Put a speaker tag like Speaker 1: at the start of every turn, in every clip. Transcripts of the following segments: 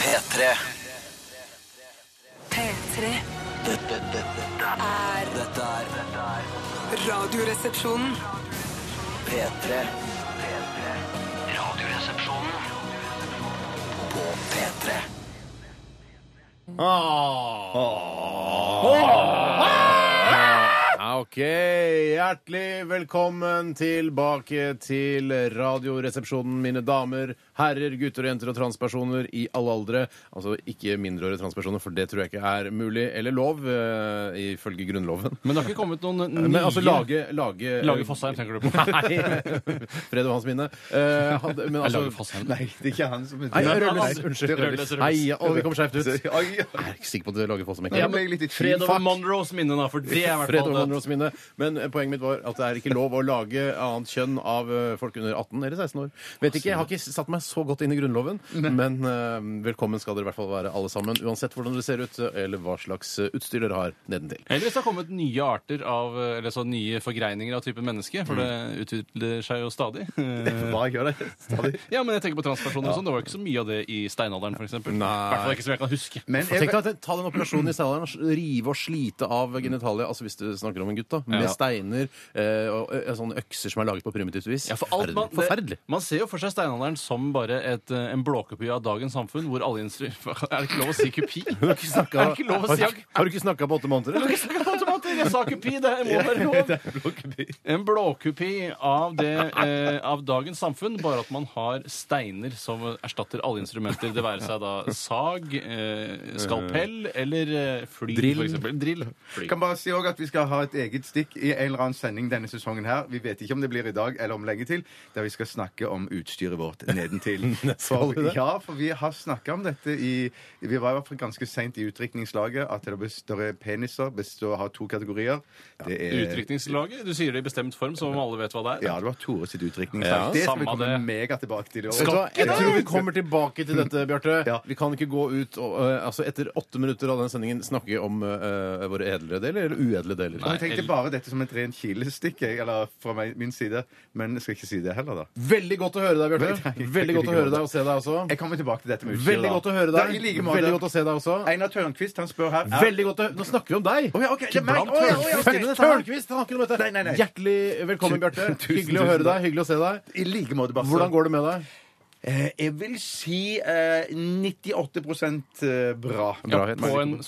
Speaker 1: P3
Speaker 2: P3
Speaker 1: Dette, dette, dette er-
Speaker 2: er
Speaker 1: dette er dette er
Speaker 2: Radioresepsjonen.
Speaker 1: P3 P3 Radioresepsjonen På P3
Speaker 3: Ja, OK. Hjertelig velkommen tilbake til Radioresepsjonen, mine damer, herrer, gutter og jenter og transpersoner i alle aldre. Altså ikke mindreårige transpersoner, for det tror jeg ikke er mulig eller lov eh, ifølge Grunnloven.
Speaker 4: Men det har ikke kommet noen nye
Speaker 3: Men altså lage Lage,
Speaker 4: Lage Fosheim, tenker du på?
Speaker 3: Nei. Fred og hans minne. Eh, hadde, men
Speaker 4: Lage
Speaker 3: altså
Speaker 4: Fosheim.
Speaker 5: Nei, det er ikke han som
Speaker 3: Nei,
Speaker 4: Nei,
Speaker 3: Rødløs.
Speaker 4: altså,
Speaker 3: Unnskyld.
Speaker 4: Rødløs, Rødløs.
Speaker 3: Nei, å, vi kommer skjevt ut. Jeg
Speaker 5: Ai, ja.
Speaker 3: er ikke sikker på at det lager Fossum.
Speaker 5: Jeg ble litt i tvil.
Speaker 4: Fred over Monroes minne, da, for det er i hvert
Speaker 3: Fred over
Speaker 4: fall det.
Speaker 3: Monroes minne. Men eh, poenget mitt var at det er ikke lov å lage annet kjønn av eh, folk under 18 eller 16 år. Vet ikke, Jeg har ikke satt meg så godt inn i Grunnloven, men eh, velkommen skal dere i hvert fall være alle sammen. Uansett hvordan dere ser ut, eh, eller hva slags eh, utstyr dere har nedentil.
Speaker 4: Eller hvis det har kommet nye arter av Eller så nye forgreininger av typen menneske, for det utvikler seg jo stadig.
Speaker 5: Hva gjør det? Stadig.
Speaker 4: Ja, men jeg tenker på transpersoner og sånn. Det var jo ikke så mye av det i steinalderen, f.eks. I
Speaker 3: Nei.
Speaker 4: hvert fall ikke som jeg kan huske.
Speaker 5: Men
Speaker 3: Tenk
Speaker 5: jeg,
Speaker 3: deg at eh, Ta den operasjonen i steinalderen og s- rive og slite av genitalia, altså hvis du snakker om en gutt, da, med
Speaker 4: Ja.
Speaker 3: steiner eh, og eh, sånne økser som er laget på primitivt vis.
Speaker 4: Ja, for alt
Speaker 3: Er
Speaker 4: man,
Speaker 3: det Forferdelig.
Speaker 4: Det, man ser jo for seg steinalderen som bare et, eh, en blåkopi av dagens samfunn, hvor alle instru... Er det ikke lov å si kupi? Er det ikke lov å si
Speaker 3: Har- Har du ikke snakka på åtte måneder? eller?
Speaker 4: Jeg snakker på automater, jeg sa kupi, det må være lov. En blåkupi av, det, eh, av dagens samfunn, bare at man har steiner som erstatter alle instrumenter. Det være seg da sag, eh, skalpell eller eh, fly,
Speaker 3: Drill.
Speaker 4: for eksempel. Drill. Fly.
Speaker 5: kan bare si også at Vi skal ha et eget stikk i en eller annen sending denne sesongen. her. Vi vet ikke om det blir i dag eller om lenge til, der vi skal snakke om utstyret vårt nedentil.
Speaker 3: Skal du
Speaker 5: For,
Speaker 3: det?
Speaker 5: ja, for vi har snakka om dette i Vi var i hvert fall ganske seint i utdrikningslaget. At det består av peniser består av to kategorier. Det er
Speaker 4: Utdrikningslaget, du sier det i bestemt form, som om alle vet hva det er.
Speaker 5: Ja, det var Tore sitt
Speaker 3: Ja,
Speaker 5: utdrikningslag. det skal
Speaker 4: samme
Speaker 5: vi komme
Speaker 4: det.
Speaker 5: mega tilbake til i år.
Speaker 3: Vet du hva? Jeg
Speaker 5: Ja.
Speaker 3: tror vi kommer tilbake til dette, Bjarte.
Speaker 5: Ja.
Speaker 3: Vi kan ikke gå ut og eh, altså etter åtte minutter av den sendingen snakke om eh, våre edle deler eller uedle deler.
Speaker 4: Nei.
Speaker 5: Jeg tenkte bare dette som et rent kilestikk, jeg, eller fra meg- min side. Men jeg skal ikke si det heller, da.
Speaker 3: Veldig godt å høre deg, Bjarte.
Speaker 5: Nei, nei,
Speaker 3: Veldig godt
Speaker 5: ikke
Speaker 3: å høre
Speaker 5: godt.
Speaker 3: deg og se deg også.
Speaker 5: Jeg kommer tilbake til dette med utstyret.
Speaker 3: Veldig
Speaker 5: da.
Speaker 3: godt å høre
Speaker 5: Da,
Speaker 3: deg.
Speaker 5: I like måte.
Speaker 3: Veldig godt å se deg også.
Speaker 5: Einar Tørnquist han spør her er-
Speaker 3: Veldig godt å Nå snakker vi om deg!
Speaker 5: Å ja, ok, det er meg.
Speaker 3: Brandt
Speaker 5: Å ja, å ja, ok.
Speaker 3: Tørnquist. Tørnquist, han har ikke noe med dette.
Speaker 5: Nei, nei, nei.
Speaker 3: Hjertelig velkommen, Bjarte.
Speaker 5: tusen,
Speaker 3: Hyggelig å
Speaker 5: tusen
Speaker 3: høre deg. Hyggelig å se deg.
Speaker 5: I like måte, Basse.
Speaker 3: Hvordan går det med deg?
Speaker 5: Eh, Jeg vil si eh, 98 eh, bra.
Speaker 4: Ja, på en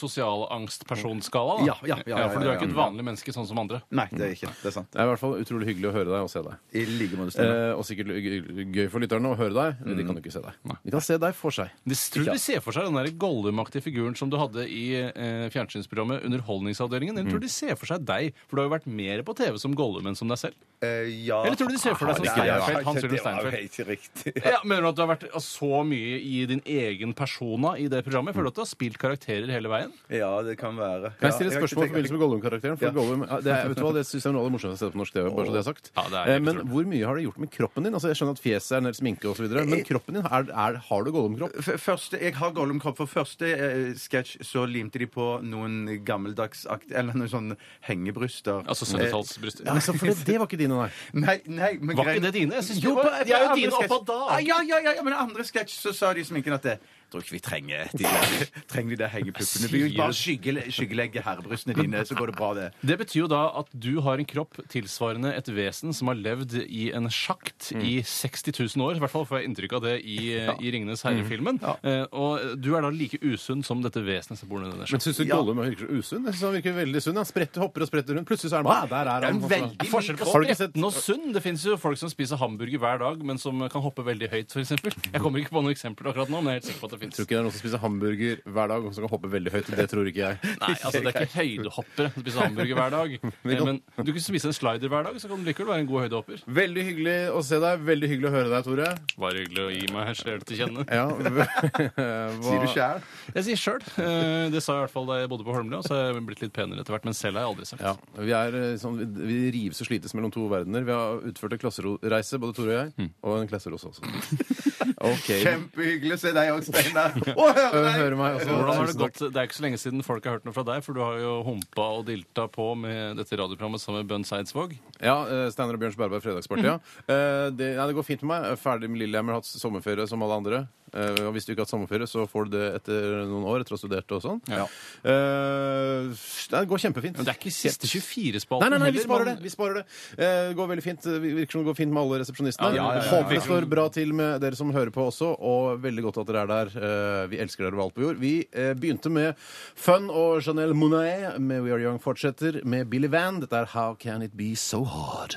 Speaker 4: sosialangstpersonskala, da.
Speaker 5: Ja, ja, ja, ja,
Speaker 4: for du er
Speaker 5: ja,
Speaker 4: ikke et
Speaker 5: ja, ja.
Speaker 4: vanlig menneske sånn som andre.
Speaker 5: Nei, det er ikke det. Det er sant.
Speaker 3: Det er i hvert fall utrolig hyggelig å høre deg og se deg.
Speaker 5: I like måte. Steinar.
Speaker 3: Eh, og sikkert gøy for lytterne å høre deg.
Speaker 5: Mm.
Speaker 3: men De kan jo ikke se deg. De kan se deg for seg.
Speaker 4: De tror de ser for seg den der Gollum-aktige figuren som du hadde i eh, fjernsynsprogrammet Underholdningsavdelingen. Eller tror de ser for seg deg, for du har jo vært mer på TV som Gollum enn som deg selv.
Speaker 5: Eh, ja. Ah,
Speaker 4: Eller tror du de ser for deg som
Speaker 5: Ja, ja, ja.
Speaker 4: Steinfeld? Hans Rune
Speaker 5: Det var jo
Speaker 4: Steinfeld.
Speaker 5: helt riktig.
Speaker 4: Ja, Mener du at du har vært så mye i din egen persona i det programmet? Føler du at du har spilt karakterer hele veien?
Speaker 5: Ja, det kan være.
Speaker 3: Kan jeg stille et
Speaker 5: Ja, har
Speaker 3: spørsmål
Speaker 5: ikke
Speaker 3: i
Speaker 5: tenkt-
Speaker 3: forbindelse med Gollum-karakteren? For
Speaker 5: Ja.
Speaker 3: Gollum, ja, det, er- vet du hva, det synes jeg er noe av det morsomste jeg har sett på norsk TV. bare så det er sagt.
Speaker 4: Ja, det er helt
Speaker 3: Eh, men
Speaker 4: utrolig.
Speaker 3: hvor mye har det gjort med kroppen din? Altså, Jeg skjønner at fjeset er en del sminke osv., men kroppen din, er, er, har du Gollum-kropp?
Speaker 5: F- Første, jeg har Gollum-kropp. For første eh, sketsj så limte de på noen gammeldagsakt... Eller noen sånne hengebryster.
Speaker 4: Altså 70-tallsbryster.
Speaker 3: Ja, altså, for det, det var ikke dine, nei.
Speaker 5: Nei, nei, men
Speaker 4: Var ikke
Speaker 5: greien-
Speaker 4: det dine? Jeg synes det
Speaker 5: Jo,
Speaker 4: var-
Speaker 5: på-
Speaker 4: de er jo
Speaker 5: andre
Speaker 4: dine
Speaker 5: sketsj-
Speaker 4: opp av da.
Speaker 5: Ah, Ja, ja, ja, ja, men i andre sketsj så sa de i sminken at det, tror ikke vi trenger de der, trenger de der hengepuppene. Vi vil
Speaker 4: Sier
Speaker 5: bare
Speaker 4: du?
Speaker 5: skygge, skyggelegge herrebrystene dine, så går det bra, det.
Speaker 4: Det betyr jo da at du har en kropp tilsvarende et vesen som har levd i en sjakt i 60 000 år. I hvert fall får jeg inntrykk av det i, i Ringenes herre-filmen. Eh, og du er da like usunn som dette vesenet som bor nedi der.
Speaker 3: Men syns du Gollum virker så usunn? Jeg synes han virker veldig sunn. Han spretter, hopper og spretter rundt. Plutselig så er han ah, der er han.
Speaker 5: En veldig
Speaker 3: Altså.
Speaker 4: Forskjell på
Speaker 3: Har du ikke sett-
Speaker 4: spretten og sunn. Det fins jo folk som spiser hamburger hver dag, men som kan hoppe veldig høyt, f.eks. Jeg kommer ikke på noen eksempler akkurat nå, men jeg er helt sikker på at det
Speaker 3: Tror
Speaker 4: fins.
Speaker 3: ikke det er noen som spiser hamburger hver dag og som kan hoppe veldig høyt. Det tror ikke jeg.
Speaker 4: Nei, altså det er ikke høydehoppere som spiser hamburger hver dag. Eh, Men du kan spise en slider hver dag, så kan du likevel være en god høydehopper.
Speaker 3: Veldig hyggelig å se deg. Veldig hyggelig å høre deg, Tore.
Speaker 4: Bare hyggelig å gi meg her selv til kjenne.
Speaker 3: Ja, hva-
Speaker 5: Sier du sjæl?
Speaker 4: Jeg sier sjøl. Det sa jeg i hvert fall da jeg bodde på Holmlia, så har jeg blitt litt penere etter hvert. Men selv har jeg aldri sagt.
Speaker 3: Ja, vi, er, eh, sånn, vi- vi rives og slites mellom to verdener. Vi har utført en klassereise, både Tore og jeg,
Speaker 4: Mm.
Speaker 3: og en klasserose også. Ok.
Speaker 5: Kjempehyggelig å se deg òg, Steinar. Å,
Speaker 3: Ø,
Speaker 5: høre
Speaker 3: Hører
Speaker 5: deg!
Speaker 3: meg også.
Speaker 4: Hvordan har det
Speaker 3: Tusen takk.
Speaker 4: gått? Det er ikke så lenge siden folk har hørt noe fra deg, for du har jo humpa og dilta på med dette radioprogrammet sammen med Bønn Seidsvåg.
Speaker 3: Ja, eh, Steinar
Speaker 4: Mm.
Speaker 3: og Bjørns Berberg Fredagsparty, ja. Eh, Det, nei, det går fint med meg. Jeg er Ferdig med Lillehammer, hatt sommerferie som alle andre. Eh, og hvis du ikke har hatt sommerferie, så får du det etter noen år etter å ha studert og sånn.
Speaker 4: Ja.
Speaker 3: Eh, det går kjempefint.
Speaker 4: Men det er ikke siste 24-spalten
Speaker 3: Nei, nei, nei, vi
Speaker 4: heller,
Speaker 3: sparer det.
Speaker 4: men-
Speaker 3: Vi sparer det. Eh, det går veldig fint. Det virker som det går fint med alle resepsjonistene.
Speaker 4: Ja, ja, ja, ja.
Speaker 3: Håper det står bra til med dere som hører på også, og veldig godt at dere er der. Eh, vi elsker dere over alt på jord. Vi eh, begynte med Fun og Chanel Monae med We Are Young fortsetter med Billy Van. Dette er How Can It Be So Hard.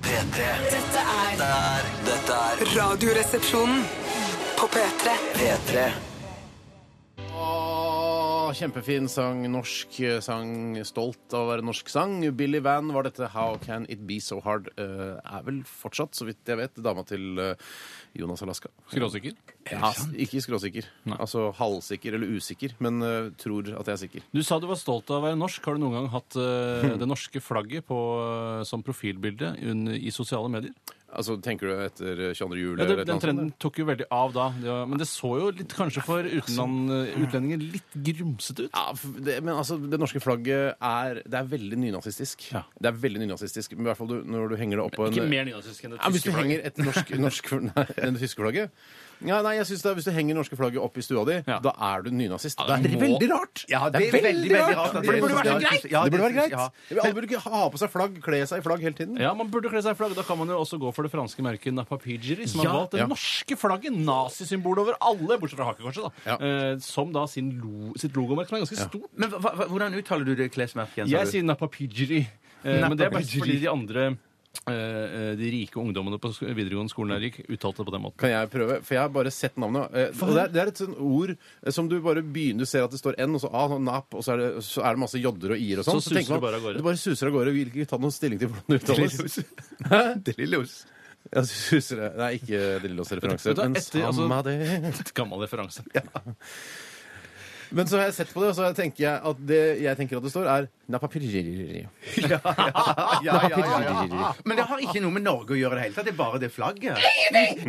Speaker 1: P3.
Speaker 2: Dette er
Speaker 1: Dette er Dette er
Speaker 2: Radioresepsjonen på P3.
Speaker 1: P3.
Speaker 3: Åh, Kjempefin sang. Norsk eh, sang. Stolt av å være norsk sang. Billy Van var dette. How Can It Be So Hard. Eh, er vel fortsatt, så vidt jeg vet, dama til eh, Jonas Alaska.
Speaker 4: Skråsikker?
Speaker 3: Ja, ikke skråsikker. Altså halvsikker eller usikker, men eh, tror at jeg er sikker.
Speaker 4: Du sa du var stolt av å være norsk. Har du noen gang hatt eh, det norske flagget på, eh, som profilbilde un- i sosiale medier?
Speaker 3: Altså, Tenker du etter eh, 22. juli?
Speaker 4: Ja,
Speaker 3: eller et
Speaker 4: det,
Speaker 3: eller
Speaker 4: den
Speaker 3: annet
Speaker 4: trenden
Speaker 3: sånt,
Speaker 4: tok jo veldig av da. Det var, men det så jo litt, kanskje for utenland, utlendinger litt grumsete ut.
Speaker 3: Ja, f- det, men altså, det norske flagget er Det er veldig nynazistisk.
Speaker 4: Ja.
Speaker 3: Det er veldig nynazistisk, men i hvert fall du, når du henger det opp på en
Speaker 4: Ikke mer nynazistisk enn det
Speaker 3: Ja, hvis du
Speaker 4: tyske flagget.
Speaker 3: henger et norsk, norsk nei, det tyske flagget ja, nei, jeg synes det, er- Hvis du henger norske flagget opp i stua di,
Speaker 4: Ja.
Speaker 3: da er du nynazist.
Speaker 4: Ja,
Speaker 3: det er
Speaker 4: det må-
Speaker 3: veldig rart!
Speaker 5: Ja, det er veldig, veldig rart at
Speaker 3: For det burde
Speaker 5: det
Speaker 3: være
Speaker 5: er-
Speaker 3: greit!
Speaker 5: Ja,
Speaker 3: det burde
Speaker 5: det
Speaker 3: være
Speaker 5: synes-
Speaker 3: greit. Alle burde ikke ha på seg flagg, kle seg i flagg hele tiden.
Speaker 4: Ja, man burde kle seg i flagg. Da kan man jo også gå for det franske merket Napapijiri, som
Speaker 3: Ja.
Speaker 4: har valgt det
Speaker 3: Ja.
Speaker 4: norske flagget, nazisymbolet over alle, bortsett fra hakekorset, da.
Speaker 3: Ja.
Speaker 4: Eh, som da sin lo, sitt logomerke, som er ganske stort.
Speaker 6: Men hva, hva, hvordan uttaler du det klesmerket?
Speaker 4: Jeg sier Napapijiri. Eh, men det er bare fordi de andre eh, eh, de rike ungdommene på sk- videregående skolen der gikk, uttalte det på den måten.
Speaker 3: Kan jeg prøve? For jeg har bare sett navnet. Eh, og det, er, det er et sånt ord eh, som du bare begynner Du ser at det står N, og så A, sånn nap, og så er det, så er det masse jodder og i-er og sånn.
Speaker 4: Så suser det bare av gårde.
Speaker 3: Det bare suser av gårde. Vi vil ikke ta noen stilling til hvordan det uttales.
Speaker 5: Delillos.
Speaker 3: Ja, suser det. Nei, ikke Delillos-referanse.
Speaker 4: Vet du hva,
Speaker 3: Men
Speaker 4: etter- altså-
Speaker 3: samme det.
Speaker 4: Gammel referanse.
Speaker 3: Men så har jeg sett på det, og så tenker jeg at det jeg tenker at det står, er napapiriri.
Speaker 5: Ja, ja, ja, ja. Men det har ikke noe med Norge å gjøre i det hele tatt. Det er bare det flagget.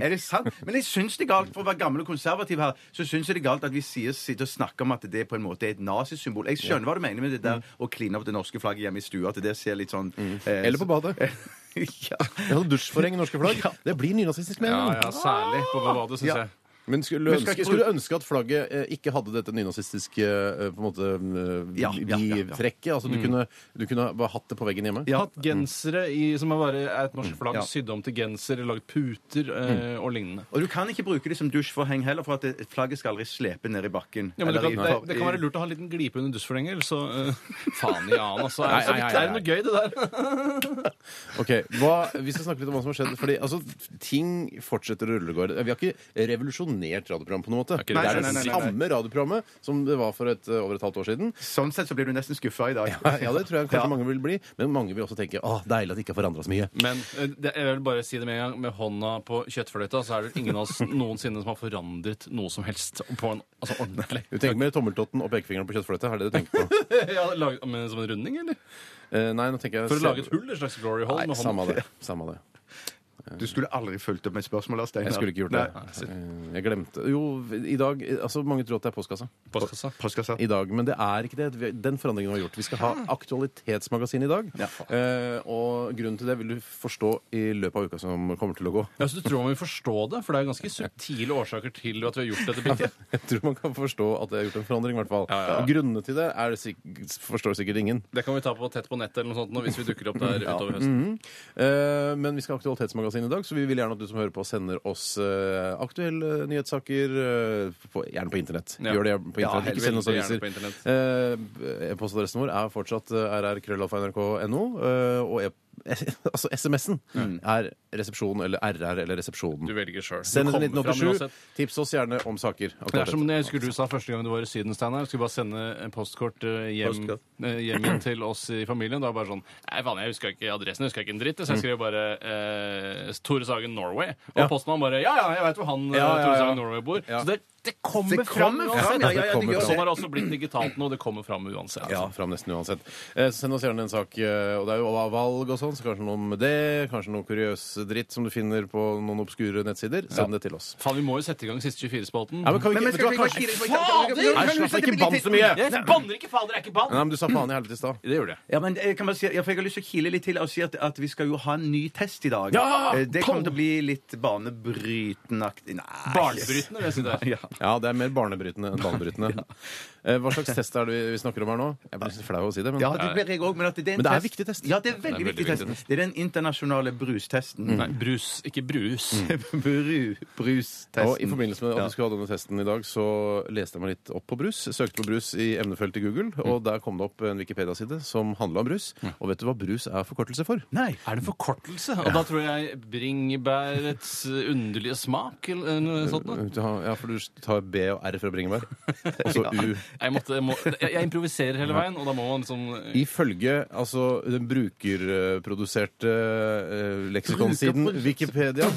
Speaker 5: Er det sant? Men jeg syns det er galt, for å være gammel og konservativ her, så syns jeg det er galt at vi sier, sitter og snakker om at det på en måte er et nazisymbol. Jeg skjønner hva du mener med det der å kline opp det norske flagget hjemme i stua, at det ser litt sånn eh,
Speaker 3: Mm. Eller på badet.
Speaker 5: ja.
Speaker 3: Jeg hadde dusjforheng i norske flagg. Det blir nynazistisk med
Speaker 4: Ja,
Speaker 3: en
Speaker 4: ja, særlig på badet, syns
Speaker 5: Ja.
Speaker 4: jeg.
Speaker 3: Men skulle du,
Speaker 5: skal
Speaker 3: ønske,
Speaker 5: ikke
Speaker 3: skulle du ønske at flagget eh, ikke hadde dette nynazistiske eh, på en måte, eh,
Speaker 5: Ja, ja, ja, ja.
Speaker 3: bivtrekket? Altså, du, kunne, du kunne bare hatt det på veggen hjemme?
Speaker 5: Ja.
Speaker 4: Hatt gensere i, som er bare er et norsk flagg,
Speaker 5: Ja.
Speaker 4: sydd om til genser, lagd puter eh, og lignende.
Speaker 5: Og du kan ikke bruke det som dusjforheng heller, for at det, flagget skal aldri slepe ned i bakken.
Speaker 4: Ja, men det, kan,
Speaker 5: Eller i-
Speaker 4: det, det kan være lurt å ha en liten glipe under dusjforhenger, så eh, Faen i annen, altså.
Speaker 3: Nei,
Speaker 4: Er,
Speaker 3: nei, nei,
Speaker 4: er det noe gøy, det der?
Speaker 3: Ok, hva, Vi skal snakke litt om hva som har skjedd. Fordi altså, Ting fortsetter å rulle og går. Vi har ikke revolusjonert radioprogram på noen måte.
Speaker 4: ikke
Speaker 3: det er det
Speaker 5: revolusjonert. Nei, nei, nei,
Speaker 3: samme radioprogrammet som det var for et, eh, over et halvt år siden.
Speaker 5: Sånn sett så blir du nesten skuffa i dag.
Speaker 3: Ja, det tror jeg kanskje mange vil bli. Men mange vil også tenke åh, deilig at det ikke har forandra så mye.
Speaker 4: Men eh, det, jeg vil bare si det med en gang. Med hånda på kjøttfløyta så er det ingen av oss noensinne som har forandret noe som helst på en altså ordentlig.
Speaker 3: Du tenker mer tommeltotten og pekefingeren på kjøttfløyta? Er det det du tenker på?
Speaker 4: ja, lag, men, som en runding, eller?
Speaker 3: Eh, nei, nå tenker jeg
Speaker 4: For å lage et hull? Et slags glory hole?
Speaker 3: Nei,
Speaker 4: med
Speaker 3: samme
Speaker 4: hånda.
Speaker 3: det. Samme det.
Speaker 5: Du skulle aldri fulgt opp med et spørsmål, Lars Steinar.
Speaker 3: Jeg skulle ikke gjort det. Eh, Jeg glemte Jo, i dag altså Mange tror at det er postkassa
Speaker 4: Postkassa.
Speaker 5: Postkassa.
Speaker 3: i dag, men det er ikke det. Vi- Den forandringen vi har gjort. Vi skal ha Aktualitetsmagasin i dag. Eh, og grunnen til det vil du forstå i løpet av uka som kommer til å gå.
Speaker 4: Ja, så Du tror man vil forstå det? For det er ganske subtile årsaker til at vi har gjort dette byttet.
Speaker 3: Jeg tror man kan forstå at det er gjort en forandring, i hvert fall.
Speaker 4: Ja, ja, ja.
Speaker 3: Og grunnene til det er det sikk- forstår sikkert ingen.
Speaker 4: Det kan vi ta på tett på nettet eller noe sånt nå, hvis vi dukker opp der
Speaker 3: Mm.
Speaker 4: utover høsten.
Speaker 3: Eh, Men vi skal ha Aktualitetsmagasin i dag, så vi vil gjerne at du som hører på, sender oss eh, aktuelle nyhetssaker. eh, På, gjerne på internett.
Speaker 4: Ja.
Speaker 3: Gjør det på
Speaker 4: Ja,
Speaker 3: internett.
Speaker 4: helst
Speaker 3: ikke send oss
Speaker 4: veldig gjerne
Speaker 3: aviser.
Speaker 4: på internett.
Speaker 3: Eh, E-postadressen vår er fortsatt eh, rrkrøllalfa.nrk.no. eh, Og e altså SMS-en er resepsjon eller RR eller
Speaker 4: Mm. Du
Speaker 3: resepsjon.
Speaker 4: velger sjøl.
Speaker 3: Send den 1987. Tips oss gjerne om saker.
Speaker 4: Det er som jeg husker du sa første gang du var i Syden, Steinar. Skulle bare sende en postkort eh, hjem,
Speaker 5: Postkort.
Speaker 4: eh, hjem igjen til oss i familien. Da var det bare sånn Nei, faen, jeg huska ikke adressen, jeg huska ikke en dritt. Så jeg skrev bare eh, Tore Sagen Norway. Og
Speaker 3: Ja.
Speaker 4: postmannen bare Ja, ja, jeg veit hvor han eh,
Speaker 3: Ja, ja,
Speaker 4: Tore
Speaker 3: ja.
Speaker 4: Sagen Norway bor.
Speaker 3: Ja.
Speaker 4: Så det er det kommer
Speaker 5: Det
Speaker 4: fram
Speaker 5: kommer fram,
Speaker 4: uansett!
Speaker 5: ja, ja, ja,
Speaker 3: kommer fram.
Speaker 5: det gjør
Speaker 4: Sånn
Speaker 5: det.
Speaker 4: har det altså blitt digitalt nå. Det kommer fram uansett.
Speaker 3: Ja, Altså, fram nesten uansett. Eh, så send oss gjerne en sak. eh, Og det er jo av valg og sånn, så kanskje noe om det. Kanskje noe kuriøs dritt som du finner på noen obskure nettsider. Send det til oss.
Speaker 4: Faen, vi må jo sette i gang siste 24-spalten.
Speaker 3: Nei, men kan vi ikke,
Speaker 5: Men- men
Speaker 3: vet du
Speaker 5: skal
Speaker 3: hva,
Speaker 5: vi
Speaker 3: kanskje, Nei,
Speaker 5: ikke- kan du- kan du
Speaker 3: slapp
Speaker 5: sette
Speaker 3: ikke
Speaker 5: litt-
Speaker 3: bann så mye!
Speaker 4: Jeg banner ikke, fader! Jeg er ikke bann!
Speaker 3: Nei, men du sa faen i helvete i stad.
Speaker 4: Det gjorde jeg.
Speaker 5: Ja, men eh, kan man si, ja, for Jeg har lyst til å kile litt til og si at, at vi skal jo ha en ny test i dag.
Speaker 3: Ja!
Speaker 5: Eh, Det kommer til å bli litt banebrytenaktig. Nei
Speaker 4: Barnebrytende, vil jeg si det. er.
Speaker 3: Ja, det er mer barnebrytende enn banebrytende. Eh, Hva slags test er det vi- vi snakker om her nå? Jeg blir litt flau av å si det, men
Speaker 5: Ja, det blir jeg òg, men at det er en
Speaker 3: Men det er
Speaker 5: test.
Speaker 3: viktig test.
Speaker 5: Ja, det er veldig,
Speaker 4: Det er veldig
Speaker 5: viktig,
Speaker 4: viktig Mm.
Speaker 5: test. Det er den internasjonale brustesten.
Speaker 4: Nei, brus. Ikke brus.
Speaker 5: Mm. Bru, brustesten.
Speaker 3: Og I forbindelse med at vi skulle ha denne testen i dag, så leste jeg meg litt opp på brus. Søkte på brus i emnefeltet i Google, og der kom det opp en Wikipedia-side som handla om brus. Og vet du hva brus er forkortelse for?
Speaker 5: Nei.
Speaker 4: Er det en forkortelse? Og da tror jeg bringebærets underlige smak eller noe sånt. Da.
Speaker 3: Du har- Ja, for du tar B og R fra bringebær. Og så U.
Speaker 4: Jeg, måtte, jeg, må, jeg, jeg improviserer hele veien, og da må man liksom
Speaker 3: Ifølge altså, den brukerproduserte eh, leksikonsiden Wikipedia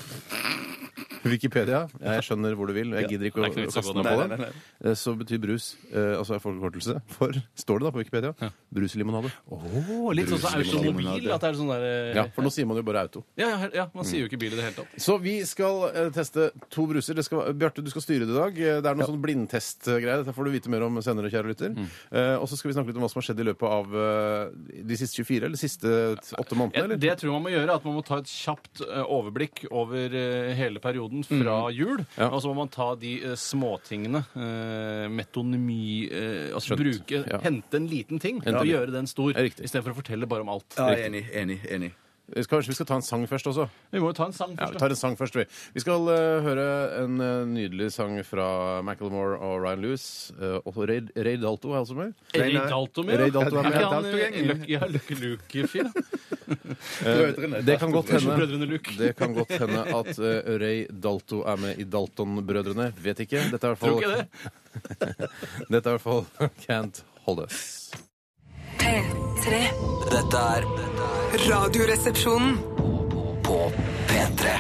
Speaker 3: Wikipedia. Ja, jeg skjønner hvor du vil. Jeg gidder ikke å
Speaker 4: Det er ikke noe vits å
Speaker 3: kaste
Speaker 4: gå
Speaker 3: meg
Speaker 4: der.
Speaker 3: på det. Eh, Så betyr brus eh, altså er forkortelse for, står det da på Wikipedia, bruslimonade.
Speaker 4: Åh, Litt sånn som automobil. At det er sånn der eh,
Speaker 3: Ja, for nå sier man jo bare auto.
Speaker 4: ja, ja, ja, man sier jo ikke bil i det hele tatt.
Speaker 3: Så vi skal eh, teste to bruser. Det skal, Bjarte, du skal styre det i dag. Eh, Det er noe sånn blindtestgreier. Dette får du vite mer om senere, kjære lytter.
Speaker 4: Mm.
Speaker 3: Eh, og så skal vi snakke litt om hva som har skjedd i løpet av eh, de siste 24, eller de siste t- åtte månedene,
Speaker 4: Jeg,
Speaker 3: eller?
Speaker 4: det jeg tror man må gjøre, er at man må ta et kjapt eh, overblikk over eh, hele perioden fra jul.
Speaker 3: Ja.
Speaker 4: Og så må man ta de eh, småtingene. eh, metonymi eh, Altså
Speaker 3: Skjønt.
Speaker 4: bruke
Speaker 3: Ja.
Speaker 4: Hente en liten ting
Speaker 3: Hente
Speaker 4: og
Speaker 3: litt.
Speaker 4: gjøre den stor.
Speaker 3: Ja, riktig.
Speaker 4: Istedenfor å fortelle bare om alt.
Speaker 5: Ja, enig, enig, enig.
Speaker 3: Eh, skal- Kanskje vi skal ta en sang først også?
Speaker 4: Vi må jo ta en sang
Speaker 3: Ja,
Speaker 4: først.
Speaker 3: vi
Speaker 4: da.
Speaker 3: tar en sang først, vi. Vi skal eh, høre en eh, nydelig sang fra Macclemore og Ryan Lewis. eh, og Ray, Ray Dalto er også med.
Speaker 4: Ray Dalto med?
Speaker 3: Ray Dalto er
Speaker 4: er
Speaker 3: med.
Speaker 4: ikke han
Speaker 5: Dalto
Speaker 4: eh,
Speaker 5: gjengen.
Speaker 4: Lucky- ja, Lucky Luke-fyr?
Speaker 5: Brødrene.
Speaker 3: Eh, Det kan godt hende.
Speaker 4: Brødrene Luke.
Speaker 3: Det kan godt hende at eh, Ray Dalto er med i Dalton-brødrene. Vet ikke. Dette er i hvert
Speaker 4: Tror
Speaker 3: fall
Speaker 4: ikke det.
Speaker 3: Dette er i hvert fall Can't Hold Us.
Speaker 2: P3.
Speaker 1: Dette er dette er
Speaker 2: Radioresepsjonen.
Speaker 1: på P3.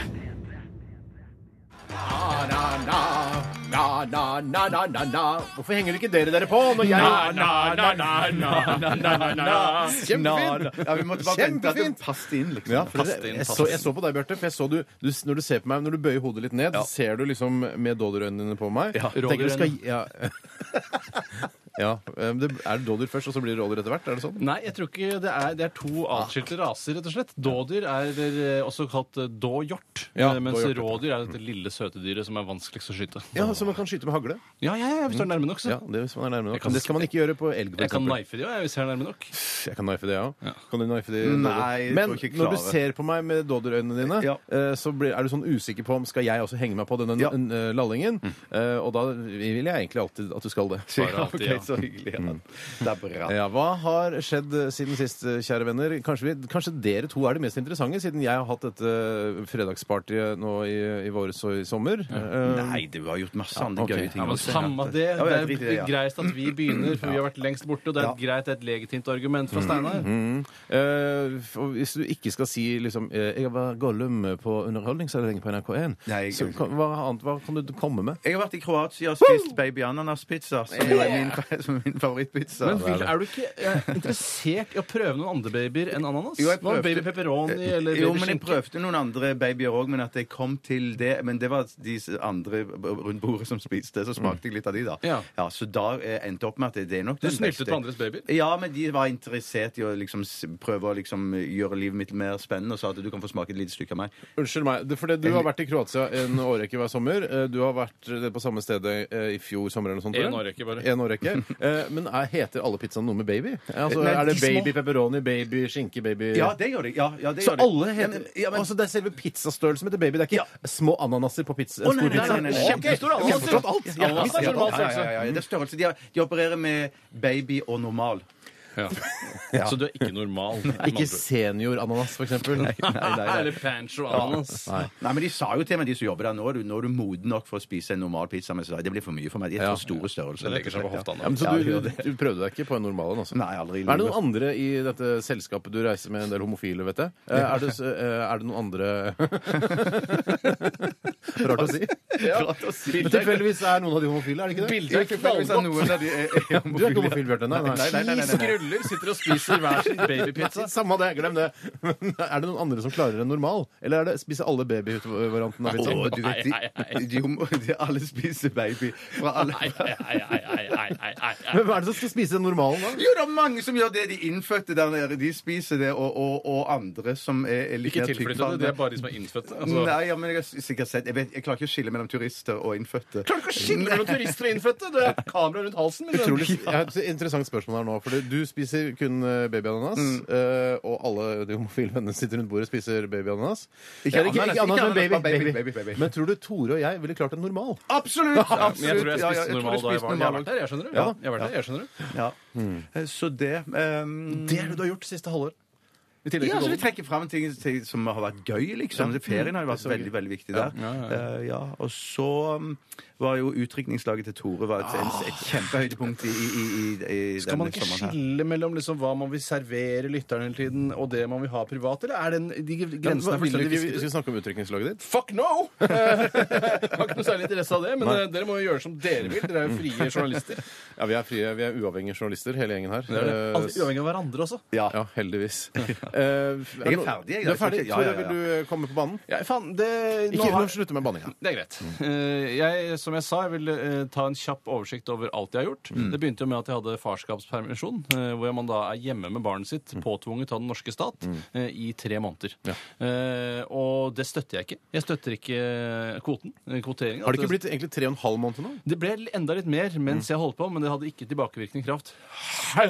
Speaker 3: Hvorfor henger ikke dere dere på når jeg Kjempefint!
Speaker 5: Ja, vi måtte bare vente at det
Speaker 3: Kjempefint!
Speaker 5: passet inn, liksom.
Speaker 3: Ja, for
Speaker 4: Fast
Speaker 3: det,
Speaker 4: inn,
Speaker 3: jeg,
Speaker 4: fast
Speaker 3: så, jeg så på deg, Bjarte. For jeg så du, du, når du ser på meg, når du bøyer hodet litt ned, så ser du liksom med dodderøynene dine på meg.
Speaker 4: Ja,
Speaker 3: Jeg tenker du skal-
Speaker 4: rådyrøyne.
Speaker 3: ja. ja. eh, det- Er det dodder først, og så blir det roller etter hvert? Er det sånn?
Speaker 4: Nei, jeg tror ikke det er, det er to atskilte raser, rett og slett. Dådyr er eh, også kalt eh, dåhjort,
Speaker 3: Ja,
Speaker 4: eh, mens
Speaker 3: dåhjort, ja.
Speaker 4: rådyr er
Speaker 5: Mm.
Speaker 4: dette lille, søte dyret som er vanskeligst å skyte.
Speaker 3: Ja, Så man kan skyte med hagle?
Speaker 4: Ja, ja, ja, hvis
Speaker 5: Mm.
Speaker 4: du er nærme nok, så.
Speaker 3: Ja, det, hvis man er nærme nok.
Speaker 4: Jeg kan-
Speaker 3: Men det skal man ikke gjøre på elg, for
Speaker 4: Jeg kan
Speaker 3: eksempel.
Speaker 4: knife de òg, hvis jeg er nærme nok.
Speaker 3: Jeg kan knife det, ja.
Speaker 4: Ja.
Speaker 3: Kan du knife det?
Speaker 5: Nei,
Speaker 3: Dodo?
Speaker 5: jeg
Speaker 3: Men
Speaker 5: tror ikke jeg
Speaker 3: når du
Speaker 5: klarer.
Speaker 3: ser på meg med dodderøynene dine,
Speaker 5: Ja.
Speaker 3: eh, så blir, er du sånn usikker på om skal jeg også henge meg på denne
Speaker 5: Ja.
Speaker 3: n- eh, lallingen.
Speaker 4: Mm.
Speaker 3: Eh, Og da vil jeg egentlig alltid at du skal det. Mm.
Speaker 4: Bare alltid, ja.
Speaker 5: Ja, ok, så hyggelig. Ja. Det er bra.
Speaker 3: Ja, Hva har skjedd siden sist, kjære venner? Kanskje, vi, kanskje dere to er de mest interessante, siden jeg har hatt dette fredagspartyet nå i, i våres og i sommer. Eh,
Speaker 5: Nei, du har gjort masse andre
Speaker 3: ok.
Speaker 5: gøye ting.
Speaker 4: Ja, men
Speaker 5: også.
Speaker 4: Samme det.
Speaker 5: Ja,
Speaker 4: Det
Speaker 5: jeg
Speaker 4: er
Speaker 5: driter i det, ja.
Speaker 4: greit at vi begynner, for vi har vært lengst borte. Og det er et greit, det er et legitimt argument
Speaker 5: Mm.
Speaker 4: fra Steinar.
Speaker 3: eh, og hvis du ikke skal si liksom eh, 'Jeg var Gollum på underholdningsavdelingen på NRK1',
Speaker 5: Nei, jeg-
Speaker 3: så kan, hva, annet, hva kan du komme med?
Speaker 5: Jeg har vært i Kroatia og spist baby ananas-pizza, som jo er min, som er min favorittpizza.
Speaker 4: Men vil, er du ikke eh, interessert i å prøve noen andre babyer enn ananas?
Speaker 5: Jo, jeg
Speaker 4: Hva,
Speaker 5: prøvde- Eh,
Speaker 4: baby pepperoni eller
Speaker 5: jo,
Speaker 4: baby
Speaker 5: men jeg
Speaker 4: skinke?
Speaker 5: prøvde noen andre babyer òg, men at jeg kom til det Men det var de andre rundt bordet som spiste, så smakte jeg litt av de, da.
Speaker 4: Mm. Ja.
Speaker 5: Så da eh, endte jeg opp med at det er nok
Speaker 4: Du
Speaker 5: den
Speaker 4: snyltet
Speaker 5: beste.
Speaker 4: på andres babyer?
Speaker 5: Ja, men de var interessert i å liksom s- prøve å liksom gjøre livet mitt mer spennende, og sa at du kan få smake et lite stykke av meg.
Speaker 3: Unnskyld meg. det- Fordi du har vært i Kroatia en årrekke hver sommer. Eh, Du har vært eh, på samme stedet eh, i fjor sommer eller noe sånt. tror jeg.
Speaker 4: En årrekke bare.
Speaker 3: En årrekke. Eh, Men er, heter alle pizzaene noe med baby? Altså,
Speaker 5: Nei,
Speaker 3: er det
Speaker 5: de små.
Speaker 3: baby pepperoni, baby skinke, baby
Speaker 5: Ja, det gjør de. Ja, ja, det
Speaker 3: Så
Speaker 5: gjør de.
Speaker 3: alle
Speaker 5: Ja,
Speaker 3: heter
Speaker 5: men- ja, men-
Speaker 3: Altså, Det er selve pizzastørrelsen som heter baby. Det er ikke små ananaser på pizza.
Speaker 5: nei, nei, nei, nei, nei.
Speaker 4: Kjempestor
Speaker 3: Jeg har forstått alt.
Speaker 4: ananas.
Speaker 3: Jeg har
Speaker 4: Ananas er
Speaker 3: forstått alt.
Speaker 4: normal
Speaker 5: Ja, ja, ja, ja, Det er størrelse. De, har- de opererer med baby og normal.
Speaker 3: Ja.
Speaker 4: Så du er ikke normal. med andre
Speaker 3: Ikke
Speaker 4: ord.
Speaker 3: seniorananas, for eksempel.
Speaker 4: Eller pancho ananas.
Speaker 3: Nei.
Speaker 5: Nei, men De sa jo til meg, de som jobber der, nå er du, nå er du moden nok for å spise en normal pizza. Men så sa jeg, det blir for mye for meg. De er
Speaker 3: Ja.
Speaker 5: for store størrelser.
Speaker 4: Det legger seg på hofta nå.
Speaker 3: Ja, men så
Speaker 5: Ja,
Speaker 3: du,
Speaker 5: det gjør
Speaker 3: du,
Speaker 5: det.
Speaker 3: du prøvde deg ikke på en normal en? Altså.
Speaker 5: Nei, aldri i
Speaker 3: Er det
Speaker 5: livet.
Speaker 3: noen andre i dette selskapet du reiser med, en del homofile, vet jeg? Eh, Er det, s- eh, er det noen andre Rart å si. Men Tilfeldigvis er noen av de homofile, er det ikke det?
Speaker 4: Bildet er
Speaker 5: Tilfeldigvis er noen av de er, er, er
Speaker 3: Du er ikke homofil, Bjarte? Nei, nei.
Speaker 5: nei, nei, nei, nei.
Speaker 4: Skruller sitter og spiser hver sin babypizza.
Speaker 3: Samme det, glem det. Men er det noen andre som klarer en normal? Eller er det, spiser alle babyvarianten av pizza?
Speaker 5: Å, du vet, de,
Speaker 4: Nei, nei, nei.
Speaker 5: de, homo- de alle spiser baby fra
Speaker 4: Nei,
Speaker 5: alle
Speaker 4: nei, nei, nei, nei, nei, nei, nei.
Speaker 3: Men Hvem er det som skal spise den normalen, da?
Speaker 5: Jo, det er mange som gjør det. De innfødte der nede, de spiser det, og, og, og andre som er, er litt
Speaker 4: Ikke
Speaker 5: mer
Speaker 4: tilflyttede,
Speaker 5: tykkfallende.
Speaker 4: de er bare de som er innfødte. Altså,
Speaker 5: Nei, ja, men jeg har sikkert sett jeg, vet, jeg klarer ikke å skille mellom turister og innfødte.
Speaker 4: klarer ikke å skille mellom turister og innfødte! Det er kamera rundt halsen liksom. min.
Speaker 3: Utrolig jeg har et interessant spørsmål her nå. For du spiser kun eh, babyananas. eh, Og alle de homofile vennene sitter rundt bordet og spiser babyananas.
Speaker 5: Ikke
Speaker 3: Eller
Speaker 5: ananas,
Speaker 3: ikke ananas, men
Speaker 5: ikke
Speaker 3: baby,
Speaker 5: ananas, bare
Speaker 3: baby,
Speaker 5: baby,
Speaker 3: baby,
Speaker 5: baby, baby.
Speaker 3: Men tror du Tore og jeg ville klart en normal?
Speaker 5: Absolutt! absolutt.
Speaker 4: Men jeg tror jeg
Speaker 5: Ja, ja,
Speaker 4: spiste normal
Speaker 5: tror du
Speaker 4: da jeg var
Speaker 5: spiste
Speaker 4: Jeg har
Speaker 5: normal.
Speaker 4: vært her, jeg skjønner det.
Speaker 5: Ja.
Speaker 4: Jeg har vært her, jeg skjønner det.
Speaker 5: Ja. Eh, Så det ehm,
Speaker 3: Det er det du har gjort siste halvår. I tillegg til
Speaker 5: Ja, altså, vi
Speaker 3: golden.
Speaker 5: trekker fram ting, ting som har vært gøy, liksom. Ferien har jo
Speaker 4: Mm.
Speaker 5: vært veldig veldig viktig der. Ja, ja. Og så um, var jo utdrikningslaget til Tore var et, et, et kjempehøydepunkt i, i, i, i
Speaker 4: Skal man
Speaker 5: denne
Speaker 4: ikke
Speaker 5: liksom sommeren her.
Speaker 4: skille mellom liksom hva man vil servere lytteren hele tiden, og det man vil ha privat, eller er den, de grensene
Speaker 3: Vil
Speaker 4: er
Speaker 3: du
Speaker 4: fullstendig
Speaker 3: ikke-
Speaker 4: visket?
Speaker 3: Skal vi snakke om utrykningslaget ditt?
Speaker 4: Fuck no! Eh, Jeg har ikke noe særlig interesse av det, men eh, dere må jo gjøre som dere vil. Dere er jo frie journalister.
Speaker 3: Ja, Vi er frie, vi er uavhengige journalister, hele gjengen her. Eh,
Speaker 4: Alt Uavhengig av hverandre også.
Speaker 3: ja. heldigvis. Eh,
Speaker 5: Jeg er
Speaker 3: no-
Speaker 5: ferdig, jeg.
Speaker 3: Du er ferdig?
Speaker 5: Ja, ja, ja.
Speaker 3: Tore, vil du eh, komme på banen?
Speaker 4: Ja, faen, det, nå
Speaker 3: Ikke
Speaker 4: har-
Speaker 3: nå slutte med banninga.
Speaker 4: Det er greit. Eh, Jeg, som jeg sa, jeg vil eh, ta en kjapp oversikt over alt jeg har gjort.
Speaker 3: Mm.
Speaker 4: Det begynte jo med at jeg hadde farskapspermisjon, eh, hvor man da er hjemme med barnet sitt,
Speaker 3: Mm.
Speaker 4: påtvunget av den norske stat, eh, i tre måneder. Eh, Og det støtter jeg ikke. Jeg støtter ikke kvoten. eh, Kvoteringen.
Speaker 3: Har det
Speaker 4: At-
Speaker 3: ikke Mm. blitt egentlig tre og en halv måned nå?
Speaker 4: det ble enda litt mer mens jeg holdt på, men det hadde ikke tilbakevirkende kraft.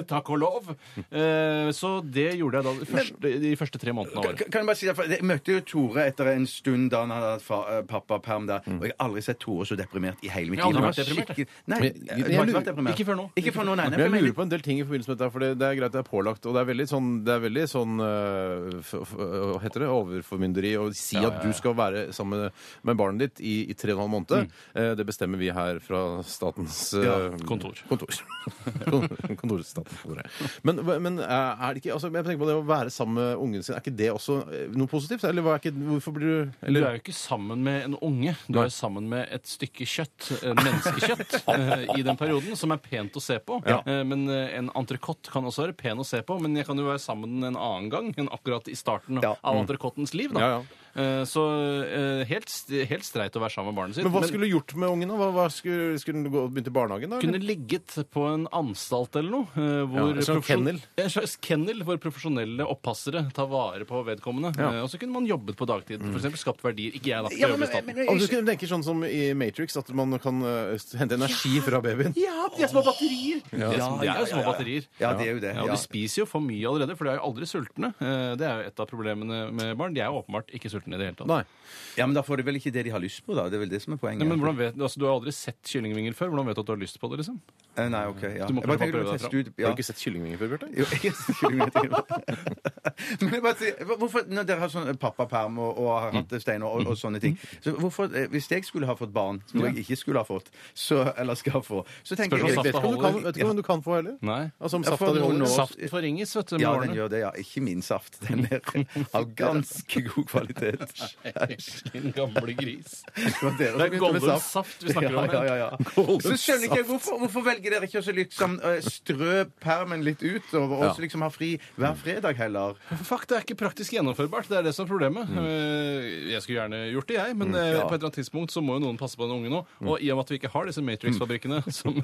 Speaker 4: Takk og lov!
Speaker 3: Mm.
Speaker 4: Eh, Så det gjorde jeg da de første, de første tre månedene av året.
Speaker 5: Kan- Kan jeg bare si det, for Jeg møtte jo Tore etter en stund da han hadde hatt fa- eh, pappaperm der. Og jeg har aldri sett Tore så deprimert i hele mitt
Speaker 4: Mm. Jeg har aldri
Speaker 5: liv. Han var
Speaker 4: vært deprimert, jeg.
Speaker 5: skikkelig-
Speaker 3: Men
Speaker 5: Nei,
Speaker 3: jeg-
Speaker 5: du har
Speaker 3: jeg
Speaker 5: ikke
Speaker 3: lurer-
Speaker 5: vært deprimert.
Speaker 4: ikke før nå.
Speaker 5: Ikke før nå, nei. nei
Speaker 3: Men
Speaker 5: for
Speaker 3: jeg
Speaker 5: jeg
Speaker 3: lurer på en del ting i forbindelse med dette, for det, det er greit det er pålagt, og det er veldig sånn, det er veldig sånn øh, f- f- øh, Hva heter det? Overformynderi. Å si at du skal være sammen med barnet ditt i, i tre og en halv måned.
Speaker 4: Mm.
Speaker 3: Eh, Det bestemmer vi her fra statens øh,
Speaker 4: kontor.
Speaker 3: kontor. Kon- Kontorstaten. kontoret. Men, hva- men er er det ikke altså, Jeg tenker på det å være sammen med ungen sin, er ikke det også eh, noe positivt? Eller hva er ikke, hvorfor blir du
Speaker 4: Du
Speaker 3: eller,
Speaker 4: er jo ikke sammen med en unge, du
Speaker 3: Nei.
Speaker 4: er sammen med et stykke kjøtt, eh, menneskekjøtt, eh, i den perioden, som er pent å se på.
Speaker 3: Ja.
Speaker 4: Eh, Men eh, en entrecôte kan også være pen å se på, men jeg kan jo være sammen en annen gang enn akkurat i starten
Speaker 5: Ja.
Speaker 4: av entrecôtens liv,
Speaker 3: Mm.
Speaker 4: da.
Speaker 3: Ja, ja.
Speaker 4: Eh, Så eh, helt, st- helt streit å være sammen med barnet sitt.
Speaker 3: Men hva skulle du gjort med ungen? da? Hva, hva skulle, skulle den gå- begynt i barnehagen? da? eller?
Speaker 4: kunne ligget på en anstalt eller noe. eh, Hvor
Speaker 3: Ja, en slags
Speaker 4: profesjon-
Speaker 3: kennel.
Speaker 4: En slags kennel hvor profesjonelle oppassere tar vare på vedkommende. Eh, Og så kunne man jobbet på dagtid.
Speaker 3: Mm.
Speaker 4: For eksempel skapt verdier. Ikke jeg, da. for
Speaker 5: Ja,
Speaker 4: jeg
Speaker 5: men-
Speaker 4: jobber i staten.
Speaker 5: men- men-
Speaker 3: Om du skulle tenke sånn som i Matrix, at man kan øh, hente energi fra babyen.
Speaker 4: Ja, de er små batterier! Det er, som- det er jo små batterier.
Speaker 5: Ja, det er jo det.
Speaker 4: Ja, og
Speaker 5: ja.
Speaker 4: De spiser jo for mye allerede, for de er jo aldri sultne. Eh, Det er jo et av problemene med barn. De er jo åpenbart ikke sultne i det hele tatt.
Speaker 3: Nei.
Speaker 5: Ja, Men da får de vel ikke det de har lyst på, da. Det er vel det som er poenget.
Speaker 4: Nei, men hvordan vet, altså, Du har aldri sett kyllingvinger før. Hvordan vet du at du har lyst på det? liksom?
Speaker 5: Eh, Nei, OK. ja.
Speaker 4: Du må
Speaker 5: Jeg bare
Speaker 4: kanskje
Speaker 5: tenker
Speaker 4: bare
Speaker 5: å
Speaker 4: prøve
Speaker 5: teste ut
Speaker 3: Har
Speaker 5: ja.
Speaker 3: du ikke sett kyllingvinger før, Bjarte?
Speaker 5: Jo, jeg skulle jo til å- Men jeg bare sier, hva- hvorfor, Når dere har sånn pappaperm og, og har hatt steiner og, og sånne ting så hvorfor, eh, Hvis jeg skulle ha fått barn, noe jeg ikke skulle ha fått, så, eller skal få så tenker
Speaker 4: Spørs om safta
Speaker 5: jeg, jeg,
Speaker 3: Vet ikke om du kan,
Speaker 4: holder.
Speaker 3: vet ikke om du kan få heller.
Speaker 4: Nei.
Speaker 3: Altså om
Speaker 5: Ja,
Speaker 3: safta
Speaker 5: for
Speaker 3: di
Speaker 5: noen
Speaker 3: holder.
Speaker 5: år-
Speaker 3: Saft.
Speaker 4: Saften forringes, vet du. med
Speaker 5: Ja,
Speaker 4: årene.
Speaker 5: den gjør det. ja Ikke min saft. Den er av ganske god kvalitet.
Speaker 4: Din gamle gris.
Speaker 5: Det var dere som
Speaker 4: Det er
Speaker 5: begynte med
Speaker 4: golden
Speaker 5: saft.
Speaker 4: saft vi snakker om.
Speaker 5: Ja, ja, ja, ja. Så skjønner ikke jeg hvorfor, hvorfor velger dere ikke å så liksom eh, strø permen litt utover og så liksom ha fri hver fredag heller?
Speaker 4: Fuck, det er ikke praktisk gjennomførbart. Det er det som er problemet.
Speaker 5: Mm.
Speaker 4: Eh, Jeg skulle gjerne gjort det, jeg, men eh, på et eller annet tidspunkt så må jo noen passe på den ungen òg.
Speaker 5: Mm.
Speaker 4: Og i og med at vi ikke har disse Matrix-fabrikkene som,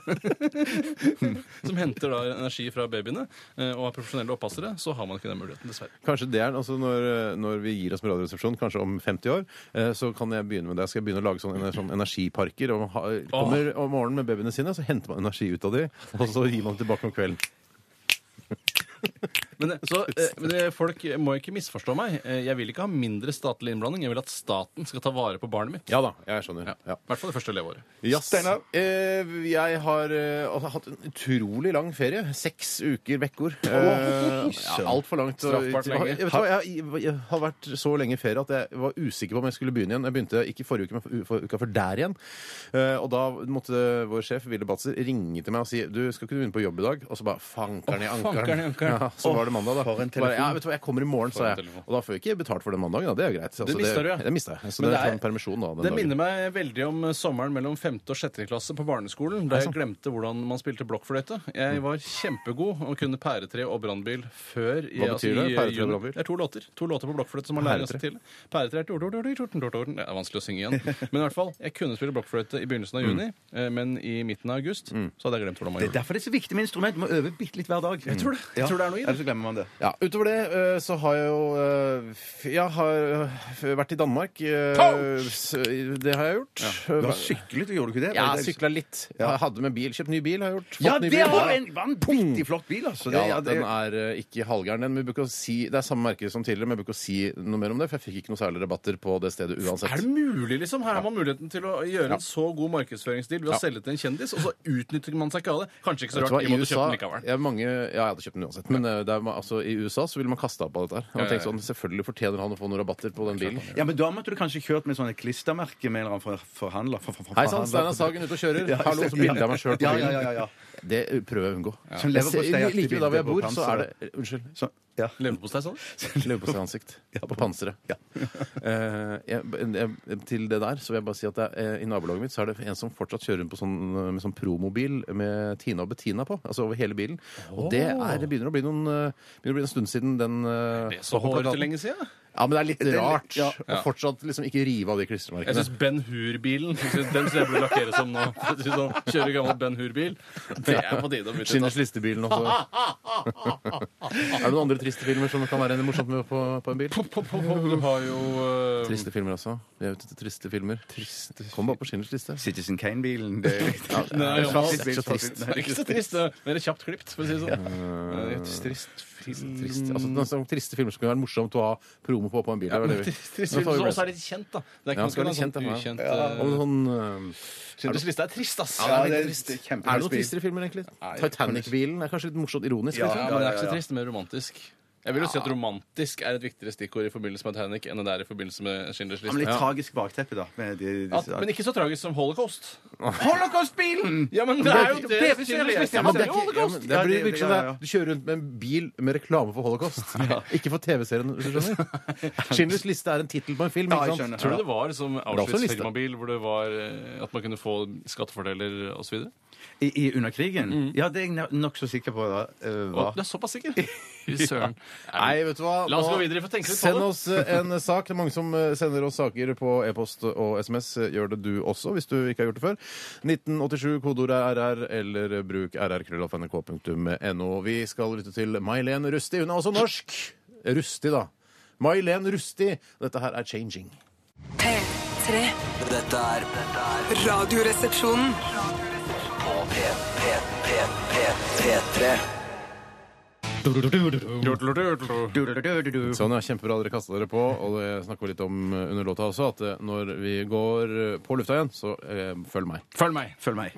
Speaker 4: som henter da energi fra babyene, eh, og er profesjonelle oppassere, så har man ikke den muligheten, dessverre.
Speaker 3: Kanskje det er, altså når, når vi gir oss med Radioresepsjonen, kanskje om 50 år, eh, så kan jeg begynne med det. Jeg skal begynne å lage sånne, sånn energiparker. Og ha, kommer om morgenen med babyene sine, så henter man energi ut av de, og så gir man det tilbake om kvelden.
Speaker 4: Men, eh, så, eh, men eh, folk må ikke misforstå meg. Eh, Jeg vil ikke ha mindre statlig innblanding. Jeg vil at staten skal ta vare på barnet mitt.
Speaker 3: Ja da, jeg skjønner.
Speaker 4: Ja.
Speaker 3: Ja.
Speaker 4: I hvert fall det første leveåret.
Speaker 3: Yes. Eh, jeg har eh, altså, hatt en utrolig lang ferie. Seks uker vekkord. Eh, ja, Altfor langt. og-
Speaker 4: Straffbart lenge.
Speaker 3: Jeg, vet hva, jeg, jeg har vært så lenge i ferie at jeg var usikker på om jeg skulle begynne igjen. Jeg begynte ikke forrige uke, men for, for uka før der igjen. Eh, og da måtte vår sjef, Ville Batzer, ringe til meg og si du skal ikke du begynne på jobb i dag. Og så bare fankeren i
Speaker 4: Å, fankeren
Speaker 3: ankeren.
Speaker 4: i ankeren.
Speaker 3: Ja, så var det mandag, da.
Speaker 5: for en
Speaker 3: bare,
Speaker 5: telefon.
Speaker 3: ja, vet du hva, jeg kommer i morgen, sa
Speaker 4: en
Speaker 3: jeg.
Speaker 4: telefon.
Speaker 3: Og da får jeg ikke betalt for den mandagen, da. Det er jo greit. Altså,
Speaker 4: Det mistet du, ja.
Speaker 3: Det mistet jeg. Så
Speaker 4: Men
Speaker 3: det,
Speaker 4: det er-
Speaker 3: er en permisjon da. den
Speaker 4: Det
Speaker 3: dagen.
Speaker 4: minner meg veldig om eh, sommeren mellom 5. og 6. klasse på barneskolen, da jeg glemte hvordan man spilte blokkfløyte. Jeg var kjempegod og kunne pæretre og brannbil før i-
Speaker 3: Hva betyr
Speaker 4: i-
Speaker 3: det, pæretre og
Speaker 4: i juni.
Speaker 3: brannbil?
Speaker 4: Det er to låter To låter på blokkfløyte som man lærer seg til. Pæretre er tortortor, tortortor, tortortor. Det er vanskelig å synge igjen. Men i hvert fall, jeg kunne spille blokkfløyte i begynnelsen av juni, eh, men i midten av august så hadde jeg glemt hvordan man
Speaker 5: Det er
Speaker 4: gjorde det.
Speaker 5: derfor det er så viktig med instrument. Du må øve bitte litt hver dag. Jeg
Speaker 4: tror det. Jeg tror det er noe i det.
Speaker 5: Ellers så glemmer man det.
Speaker 3: Ja, Utover det eh, så har jeg jo eh, f- Jeg har eh, f- vært i Danmark. eh, s- Det har jeg gjort. Eh,
Speaker 5: Du har syklet, gjorde du ikke det?
Speaker 3: Jeg har sykla litt. Jeg hadde med bil. Kjøpt ny bil har jeg gjort.
Speaker 5: Ja,
Speaker 3: Fått ny
Speaker 5: det
Speaker 3: bil.
Speaker 5: var en vanvittig flott bil, altså. Det,
Speaker 3: Ja,
Speaker 5: ja, det,
Speaker 3: den er eh, ikke halvgæren, den. Men vi bruker å si, det er samme merke som tidligere, men jeg bruker å si noe mer om det, for jeg fikk ikke noe særlig rabatter på det stedet uansett.
Speaker 4: Er det mulig, liksom? Her har man muligheten til å gjøre en så god markedsføringsdeal ved å
Speaker 3: Ja.
Speaker 4: selge til en kjendis, og så utnytter man seg ikke av det. Kanskje ikke så
Speaker 3: Vet du hva,
Speaker 4: rart. Vi
Speaker 3: i
Speaker 4: måtte
Speaker 3: USA,
Speaker 4: kjøpe den likevel.
Speaker 3: ja, mange, ja, jeg hadde kjøpt den uansett. Men eh, det er, ma- altså, i USA så ville man kaste opp av dette her. Og
Speaker 4: Ja, ja,
Speaker 3: tenkte
Speaker 4: ja.
Speaker 3: sånn, Selvfølgelig fortjener han å få noen rabatter på den bilen.
Speaker 5: ja, men da måtte du kanskje kjørt med sånne klistermerker med en eller annen for- forhandler. For, for, for,
Speaker 3: Hei sann,
Speaker 5: forhandler.
Speaker 3: Steinar Sagen ute og kjører.
Speaker 5: Ja,
Speaker 3: Hallo, så bilder jeg meg sjøl på
Speaker 5: Ja,
Speaker 3: bilen.
Speaker 5: ja, ja, ja.
Speaker 3: Det prøver jeg å unngå.
Speaker 5: Sånn
Speaker 3: Jeg ser-
Speaker 5: leverposteiaktig
Speaker 3: Like ved der hvor jeg
Speaker 5: bilde på
Speaker 3: bor, så er
Speaker 5: panseret.
Speaker 3: det Unnskyld.
Speaker 5: Så, ja.
Speaker 4: Leverpostei, sånn. sa du?
Speaker 3: Leverposteansikt. På panseret. Eh, jeg, jeg, til det der så vil jeg bare si at det er, eh, i nabolaget mitt så er det en som fortsatt kjører rundt på sånn, eh, med sånn promobil med Tina og Bettina på. Altså over hele bilen. Og det, er, det begynner å bli noen eh, begynner å bli en stund siden den eh,
Speaker 4: Det er så
Speaker 3: var på
Speaker 4: hårete
Speaker 3: plakaten.
Speaker 4: lenge siden.
Speaker 3: Ja, men det er litt rart
Speaker 5: ja.
Speaker 3: å fortsatt liksom ikke rive av de klistremerkene.
Speaker 4: Jeg syns Ben Hur-bilen jeg synes Den skal jeg burde lakkere som nå. Jeg synes Sånn, kjøre gammel Ben Hur-bil. Det er på tide å bytte. ut,
Speaker 3: Skinners listebilen også. er det noen andre triste filmer som kan være morsomt med på, på en bil?
Speaker 4: altså. Du har jo eh,
Speaker 3: Triste filmer også. Vi er ute etter triste filmer. Kom bare på Skinners liste.
Speaker 5: Citizen Kane-bilen. Det,
Speaker 4: Nei,
Speaker 3: Det er
Speaker 4: ja,
Speaker 3: faktisk
Speaker 4: det
Speaker 3: ikke så trist.
Speaker 4: det er ikke så trist. det er Mer kjapt klipt, for å si det sånn. Eh, et Trist film
Speaker 3: Trist. Altså, det er sånne triste filmer som kunne vært morsomt å ha promo på på en bil. det er veldig-
Speaker 4: Trist
Speaker 3: Nå tar vi
Speaker 4: film, som
Speaker 3: med
Speaker 4: også
Speaker 3: oss.
Speaker 4: er litt kjent, da. Det er
Speaker 3: Ja,
Speaker 4: ikke
Speaker 3: skal
Speaker 4: noe
Speaker 3: være
Speaker 4: sånn
Speaker 3: kjent, ja.
Speaker 4: ukjent
Speaker 3: Om
Speaker 4: eh,
Speaker 3: sånn, øhm,
Speaker 4: Schindlers liste er trist, ass.
Speaker 5: Ja,
Speaker 4: men
Speaker 5: det
Speaker 4: det
Speaker 5: er
Speaker 4: trist.
Speaker 5: kjempe-
Speaker 3: er det noen tristere filmer, egentlig? Titanic-bilen er kanskje litt morsomt ironisk?
Speaker 5: Ja,
Speaker 3: liksom?
Speaker 4: Ja, men det er
Speaker 5: ja,
Speaker 4: ikke
Speaker 5: ja.
Speaker 4: så trist, men romantisk. Jeg vil jo si at romantisk er et viktigere stikkord i forbindelse med Titanic enn det er i forbindelse med Schindlers
Speaker 5: Ja, men
Speaker 4: liste.
Speaker 5: litt tragisk bakteppe, da. Med de, de,
Speaker 4: At, men ikke så tragisk som holocaust.
Speaker 5: Holocaust-bilen!
Speaker 4: Ja, men det
Speaker 5: er
Speaker 4: er
Speaker 5: jo
Speaker 4: jo
Speaker 5: det
Speaker 4: det
Speaker 5: Schindlers liste
Speaker 3: Ja, men det er ikke, ja, men det
Speaker 5: Ja,
Speaker 3: blir
Speaker 5: det-
Speaker 3: virkelig
Speaker 5: ja,
Speaker 3: sånn
Speaker 5: ja, ja.
Speaker 3: der, Du kjører rundt med en bil med reklame for holocaust. Ikke for TV-serien, hvis du skjønner. Schindlers liste er en tittel på en film.
Speaker 5: Ja, jeg
Speaker 3: ikke sant?
Speaker 5: skjønner.
Speaker 4: Tror du det var som
Speaker 3: er også en liste.
Speaker 4: Auschwitz-firmabil, hvor det var eh, at man kunne få skattefordeler osv.?
Speaker 5: I, i under krigen?
Speaker 4: Mm.
Speaker 5: Ja, det er jeg nokså sikker på. da. eh, hva?
Speaker 4: Du er såpass sikker? Fy søren.
Speaker 3: Nei, vet du hva?
Speaker 4: La oss
Speaker 3: Nå-
Speaker 4: gå videre, for tenke litt på
Speaker 3: Send
Speaker 4: det.
Speaker 3: oss eh, en sak. Det er mange som eh, sender oss saker på e-post og SMS. Gjør det du også, hvis du ikke har gjort det før. 1987, kodeordet er RR, eller bruk rrkrøllalfnrk.no. Vi skal lytte til May-Len Rusti. Hun er også norsk. Rusti, da. May-Len Rusti. Dette her er Changing.
Speaker 2: P3.
Speaker 1: Dette er dette er
Speaker 2: Radioresepsjonen.
Speaker 1: på P, P, P, P, P3.
Speaker 3: Sånn, ja. Kjempebra dere kasta dere på. Og det snakker vi litt om eh, under låta også, at eh, når vi går eh, på lufta igjen, så eh, følg meg.
Speaker 4: Følg meg.
Speaker 5: Følg meg.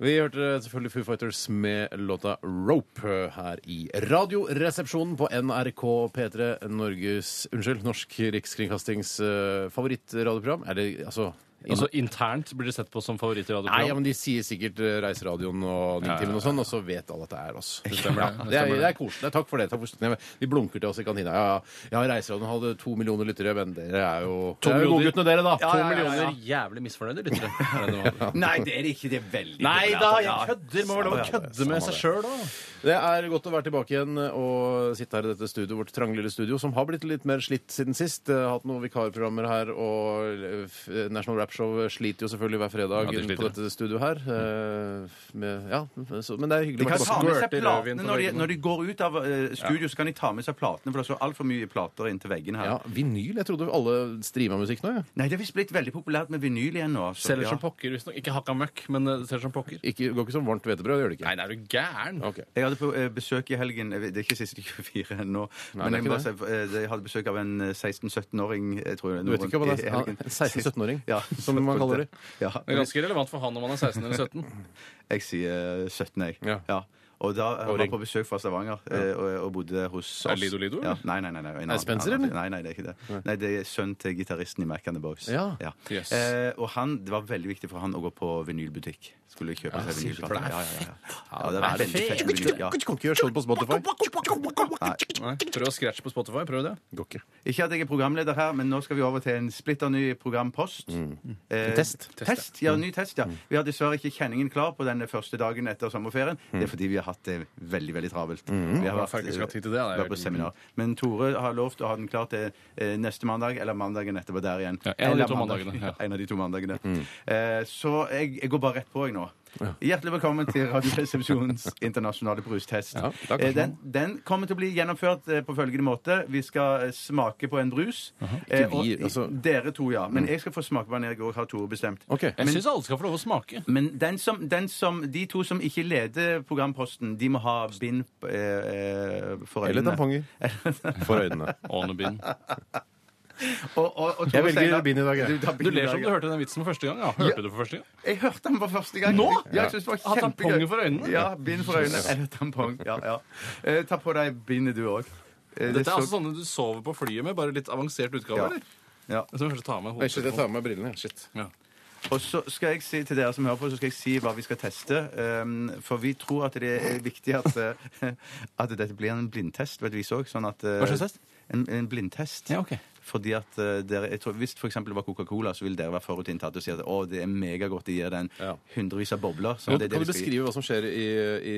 Speaker 3: Vi hørte selvfølgelig Foo Fighters med låta 'Rope' her i Radioresepsjonen på NRK P3, Norges Unnskyld, Norsk Rikskringkastings eh, favorittradioprogram. Er det altså
Speaker 4: Altså internt blir det sett på som favoritt i
Speaker 3: Nei, ja,
Speaker 4: radioprogram.
Speaker 3: men de sier sikkert eh, Reiseradioen og Ningtimen og sånn, og så vet alle at det er oss. Det stemmer, det. Det er, det er koselig. Takk for det. Takk for støtten. De blunker til oss i kantina. Ja, ja, ja Reiseradioen hadde to millioner lyttere, men dere er jo Det er
Speaker 4: To
Speaker 3: jo
Speaker 4: millioner.
Speaker 3: godguttene dere, da.
Speaker 4: To
Speaker 3: To millioner.
Speaker 4: millioner jævlig misfornøyde lyttere. er det det var.
Speaker 5: Nei, det er det ikke. Det er veldig
Speaker 4: Nei
Speaker 5: populært.
Speaker 4: da,
Speaker 5: Ja.
Speaker 4: jeg kødder! Må være lov å kødde med seg sjøl, da.
Speaker 3: Det er godt å være tilbake igjen og sitte her i dette studio, vårt trange lille studio, som har blitt litt mer slitt siden sist. Jeg har hatt noen vikarprogrammer her, og eh, National Rap Rapshow sliter jo selvfølgelig hver fredag
Speaker 7: Ja, de sliter.
Speaker 3: på dette studioet her. eh, Med, ja, så, men det er hyggelig.
Speaker 5: De kan
Speaker 3: å
Speaker 5: ta med seg
Speaker 4: squirter rødvin
Speaker 5: platene
Speaker 4: på
Speaker 5: når de,
Speaker 4: veggene.
Speaker 5: når de går ut av eh, studio, så kan de ta med seg platene, for det står altfor mye plater inntil veggene her.
Speaker 3: ja, vinyl? Jeg trodde alle streama musikk nå. Ja.
Speaker 5: Nei, det er visst blitt veldig populært med vinyl igjen nå. så-
Speaker 4: Selger
Speaker 5: ja.
Speaker 4: som pokker, visstnok. Ikke hakka møkk, men eh, selger som pokker.
Speaker 3: Ikke, går ikke som varmt hvetebrød, det gjør det ikke.
Speaker 4: Nei, nei, er du gæren?
Speaker 3: Ok.
Speaker 5: Jeg hadde på eh, besøk i helgen eh, Det er ikke siste 24 ennå.
Speaker 3: det er
Speaker 5: Men jeg, må bare,
Speaker 3: ikke
Speaker 5: si, eh, jeg hadde besøk av en eh, 16-17-åring. jeg tror
Speaker 3: Du vet ikke hva det er? Han- 16-17-åring, som man kaller det.
Speaker 5: Ja.
Speaker 4: Det er ganske relevant for han om han er 16 eller 17.
Speaker 5: Jeg sier eh, 17, jeg.
Speaker 3: Ja.
Speaker 5: Og da han var
Speaker 3: Åring.
Speaker 5: på besøk fra Stavanger eh, og, og bodde hos oss.
Speaker 4: Er det Lido Lido, eller?
Speaker 5: Ja. Nei, nei, nei. nei, en
Speaker 3: Er det
Speaker 5: annen-
Speaker 3: Spencer,
Speaker 5: annen-
Speaker 3: eller?
Speaker 5: Nei, nei, det er ikke det. Nei, det er sønnen til gitaristen i Mac and the Boys.
Speaker 3: Ja.
Speaker 4: Yes.
Speaker 5: Eh, og han, det var veldig viktig for han å gå på vinylbutikk. Skulle kjøpe seg
Speaker 4: sier du, for
Speaker 5: vinylplater.
Speaker 4: det er
Speaker 5: Ja, ja, ja, ja. ja, det var
Speaker 4: det
Speaker 5: veldig fett
Speaker 4: fett?
Speaker 5: med vinyl. Ja.
Speaker 3: Du kan ikke gjøre sånn på Spotify.
Speaker 4: Nei. Prøv å scratche på Spotify. Prøv det.
Speaker 3: Går ikke.
Speaker 5: Ikke at jeg er programleder her, men nå skal vi over til en splitter ny programpost. Eh,
Speaker 3: Test.
Speaker 5: Test, ja, ny test, ja. Vi har dessverre ikke kjenningen klar på denne første dagen etter sommerferien. Det er fordi vi har hatt det veldig, veldig travelt. Vi har
Speaker 4: Ja, faktisk hatt tid til det, det er
Speaker 5: vært
Speaker 4: jo-
Speaker 5: på seminar. Men Tore har lovt å ha den klar til eh, neste mandag, eller mandagen etterpå der igjen.
Speaker 4: Ja, en av de
Speaker 5: Eller
Speaker 4: to
Speaker 5: mandag-
Speaker 4: mandagene, ja.
Speaker 5: Ja, en av de to mandagene.
Speaker 3: Mm.
Speaker 5: Eh, så jeg, jeg går bare rett på, jeg nå. Hjertelig velkommen til Radioresepsjonens internasjonale brustest.
Speaker 3: Ja, takk.
Speaker 5: Eh, den, den kommer til å bli gjennomført eh, på følgende måte. Vi skal eh, smake på en brus. Eh,
Speaker 3: Ikke vi,
Speaker 5: og-
Speaker 3: altså.
Speaker 5: Dere to, ja. Men jeg skal få smake på den, jeg òg, har Tore bestemt.
Speaker 3: Ok.
Speaker 4: Jeg syns alle skal få lov å smake.
Speaker 5: Men den som, den som, de to som ikke leder programposten, de må ha bind eh, eh, for øynene.
Speaker 3: Eller tamponger. For øynene.
Speaker 4: Ånebind.
Speaker 5: Og, og, og Tore
Speaker 3: Jeg velger
Speaker 5: Steinar-
Speaker 3: bind i dag, jeg.
Speaker 5: tar bind
Speaker 4: Du
Speaker 5: i
Speaker 4: ler
Speaker 5: dag,
Speaker 4: som
Speaker 5: ja.
Speaker 4: du hørte den vitsen for første gang. Ja. Hørte du det for første gang?
Speaker 5: Jeg hørte den for første gang.
Speaker 4: Nå?
Speaker 5: Ja, jeg synes det var
Speaker 4: Har
Speaker 5: kjempegøy.
Speaker 4: tamponger for øynene?
Speaker 5: Ja, bind for øynene. Eller tampong. Ja, ja. Eh, ta på deg bindet, du Eh, òg.
Speaker 4: Dette er altså sånne du sover på flyet med, bare litt avansert utgave,
Speaker 5: Ja.
Speaker 4: eller?
Speaker 5: Ja.
Speaker 4: Jeg skal først ta med
Speaker 3: Shit, jeg
Speaker 4: hodet.
Speaker 3: tar med meg brillene. Shit.
Speaker 5: Og så skal jeg si til dere som hører på, så skal jeg si hva vi skal teste. Um, for vi tror at det er viktig at, eh, at dette blir en blindtest, vet vi så. Sånn at, eh,
Speaker 4: Hva slags test?
Speaker 5: En, en blindtest.
Speaker 4: Ja, ok.
Speaker 5: Fordi at eh, dere, jeg tror, Hvis for eksempel det var Coca-Cola, så vil dere være forutinntatt og si at å, det er megagodt, de gir den
Speaker 3: Ja.
Speaker 5: hundrevis av bobler. Så
Speaker 3: Kan
Speaker 5: det
Speaker 3: du
Speaker 5: er det vi skal gi.
Speaker 3: beskrive hva som skjer i, i,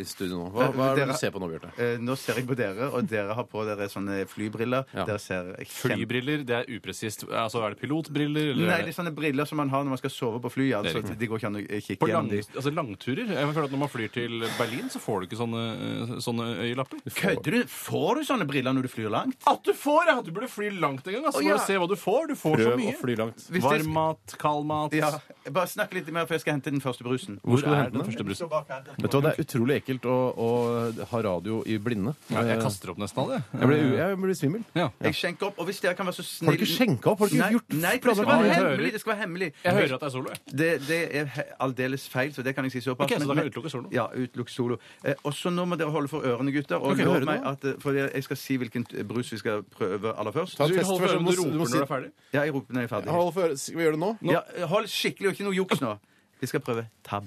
Speaker 3: i studio nå? Hva, hva er det
Speaker 5: Dere-
Speaker 3: du ser på nå, Bjarte?
Speaker 5: Eh, nå ser jeg på dere, og dere har på dere sånne flybriller.
Speaker 3: Ja.
Speaker 5: Dere ser kjempe...
Speaker 4: Flybriller, det er upresist. Altså, er det pilotbriller, eller
Speaker 5: Nei, det er sånne briller som man har når man skal sove på fly. Altså, de går ikke an å eh, kikke
Speaker 4: på lang,
Speaker 5: gjennom de.
Speaker 4: altså langturer? Jeg føler at Når man flyr til Berlin, så får du ikke sånne, eh, sånne øyelapper.
Speaker 5: Kødder du? Får du sånne briller når du flyr langt?
Speaker 4: At du får! Ja. Du burde fly langt en gang. Altså,
Speaker 5: Å,
Speaker 4: må
Speaker 5: ja.
Speaker 4: du se hva du får. Du får så
Speaker 3: Prøv å
Speaker 4: mye.
Speaker 3: fly langt.
Speaker 5: Hvis det-
Speaker 4: Varm mat, kald mat.
Speaker 5: Ja, bare snakk litt mer, for jeg skal hente den første brusen.
Speaker 3: Hvor skal du
Speaker 4: er
Speaker 3: hente den?
Speaker 4: første brusen?
Speaker 5: Står bak her.
Speaker 3: Vet du hva, Det er utrolig ekkelt å, å ha radio i blinde.
Speaker 4: Ja, jeg
Speaker 3: Eh,
Speaker 4: kaster opp nesten alle,
Speaker 3: jeg blir, jeg blir svimmel.
Speaker 4: Ja.
Speaker 5: Jeg skjenker opp, og hvis dere kan være så snill...
Speaker 3: Har du ikke skjenka opp? Har du ikke
Speaker 5: Nei,
Speaker 3: gjort
Speaker 5: Nei, for det
Speaker 3: planer
Speaker 5: skal
Speaker 3: om
Speaker 5: være
Speaker 4: Nei, jeg
Speaker 5: hemmelig.
Speaker 4: hører-
Speaker 5: Det skal være hemmelig.
Speaker 4: Jeg hører at det er solo. jeg.
Speaker 5: Det, det er he- aldeles feil, så det kan jeg si såpass.
Speaker 4: Ok, så da
Speaker 5: Men-
Speaker 4: kan
Speaker 5: men-
Speaker 4: jeg utelukke solo.
Speaker 5: Ja, utelukk solo. Eh, og så nå må dere holde for ørene, gutter. Og
Speaker 3: Ok,
Speaker 5: lov
Speaker 3: hører
Speaker 5: meg
Speaker 3: nå.
Speaker 5: at, eh, for jeg jeg skal si hvilken t- brus vi skal prøve aller først.
Speaker 3: Ta en
Speaker 4: Du
Speaker 3: test
Speaker 4: holder
Speaker 3: først,
Speaker 4: for
Speaker 3: du må
Speaker 4: øynene, du
Speaker 3: si- du må
Speaker 4: roper
Speaker 3: si-
Speaker 4: når du er ferdig.
Speaker 5: Ja, jeg roper når jeg er ferdig.
Speaker 3: Hold for øre. Skal vi gjøre det nå?
Speaker 5: Ja, eh, hold skikkelig, og ikke noe juks nå. Vi skal prøve Tab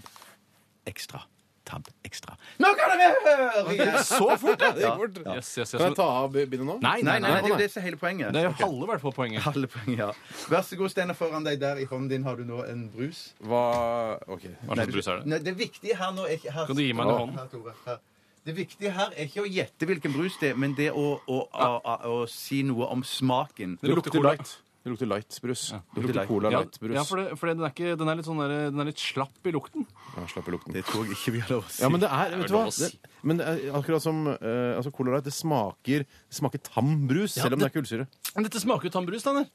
Speaker 5: Extra. Tab Extra. Nå kan dere høre!
Speaker 3: Så fort! Ja, det
Speaker 5: Ja.
Speaker 3: gikk fort.
Speaker 4: Yes, yes, yes.
Speaker 3: Kan jeg ta av bindet nå?
Speaker 4: Nei,
Speaker 5: Nei, nei, det er jo
Speaker 3: nei.
Speaker 5: det som er hele poenget.
Speaker 4: Det er jo
Speaker 5: Ok.
Speaker 4: halve i hvert fall poenget.
Speaker 5: Halve poeng, ja. Vær så god, Steinar. Foran deg der i hånden din har du nå en brus.
Speaker 3: Hva OK.
Speaker 4: Hva slags brus er det?
Speaker 5: Nei, det viktige her nå er ikke her,
Speaker 4: Kan du gi meg den i hånden?
Speaker 5: Her, Tore, her. Det viktige her er ikke å gjette hvilken brus det er, men det å, å, å, å, å si noe om smaken.
Speaker 4: Det lukter cola.
Speaker 3: Det lukter light-brus. Det
Speaker 5: Lukter
Speaker 3: lukter
Speaker 5: light.
Speaker 3: cola
Speaker 4: Ja,
Speaker 3: light-brus.
Speaker 4: ja, for, det, for det, den, er ikke, den, er litt sånn der, den er litt slapp i lukten.
Speaker 3: Ja, slapp i lukten.
Speaker 5: Det tror jeg ikke vi har lov å si.
Speaker 3: Ja, men det er, vet du hva?
Speaker 4: lov å si.
Speaker 3: Det, men det er akkurat som eh, altså Cola Light, det smaker, det smaker tam brus, selv om det,
Speaker 4: det-
Speaker 3: er kullsyre.
Speaker 4: Men dette smaker jo tannbrus, Steinar.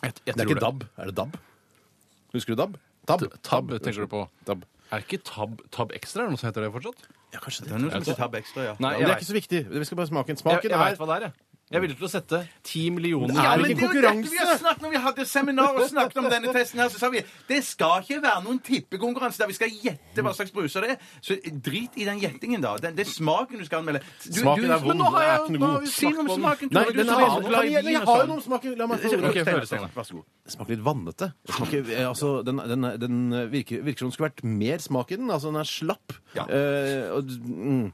Speaker 4: Jeg, jeg tror
Speaker 3: Er det DAB? Husker du DAB? Tab.
Speaker 4: Tab tenker du på.
Speaker 3: Tab.
Speaker 4: Er ikke Tab, tab Extra er det noe som heter det fortsatt?
Speaker 3: Ja, kanskje
Speaker 5: det er noe som heter Tab Extra, ja.
Speaker 4: Nei,
Speaker 3: Men
Speaker 4: jeg
Speaker 3: det er
Speaker 4: vet.
Speaker 3: ikke så viktig. Vi skal bare smake.
Speaker 4: Jeg,
Speaker 3: Smaken
Speaker 4: jeg
Speaker 3: er
Speaker 4: veit hva det er, jeg. Jeg er villig til å sette ti millioner
Speaker 3: Ja,
Speaker 5: men
Speaker 3: men
Speaker 5: det er jo dette vi har snakket Når vi hadde seminar og snakket om denne testen, her, så sa vi det skal ikke være noen tippekonkurranse der vi skal gjette hva slags bruser det er. Så drit i den gjettingen, da. Den, det er smaken du skal anmelde. Du,
Speaker 3: Smaken er vond,
Speaker 5: Men nå har
Speaker 3: den er
Speaker 5: jeg-
Speaker 3: ikke noe
Speaker 5: nå har
Speaker 3: god.
Speaker 5: vi snakket om smaken.
Speaker 3: Nei,
Speaker 5: Tore, du
Speaker 3: den
Speaker 5: som
Speaker 3: er
Speaker 5: så glad i
Speaker 3: Jeg,
Speaker 5: vin
Speaker 3: jeg
Speaker 5: og
Speaker 3: har jo
Speaker 5: sånn.
Speaker 3: noen smaker. La meg få ordet.
Speaker 4: Ok, få høre,
Speaker 5: Steinar,
Speaker 4: Steinar.
Speaker 5: Vær så god.
Speaker 3: Det smaker litt vannete. Det smaker, eh, altså, den, den, den virker, virker som den skulle vært mer smak i den. Altså, den er slapp.
Speaker 5: Ja.
Speaker 3: Eh, og, mm,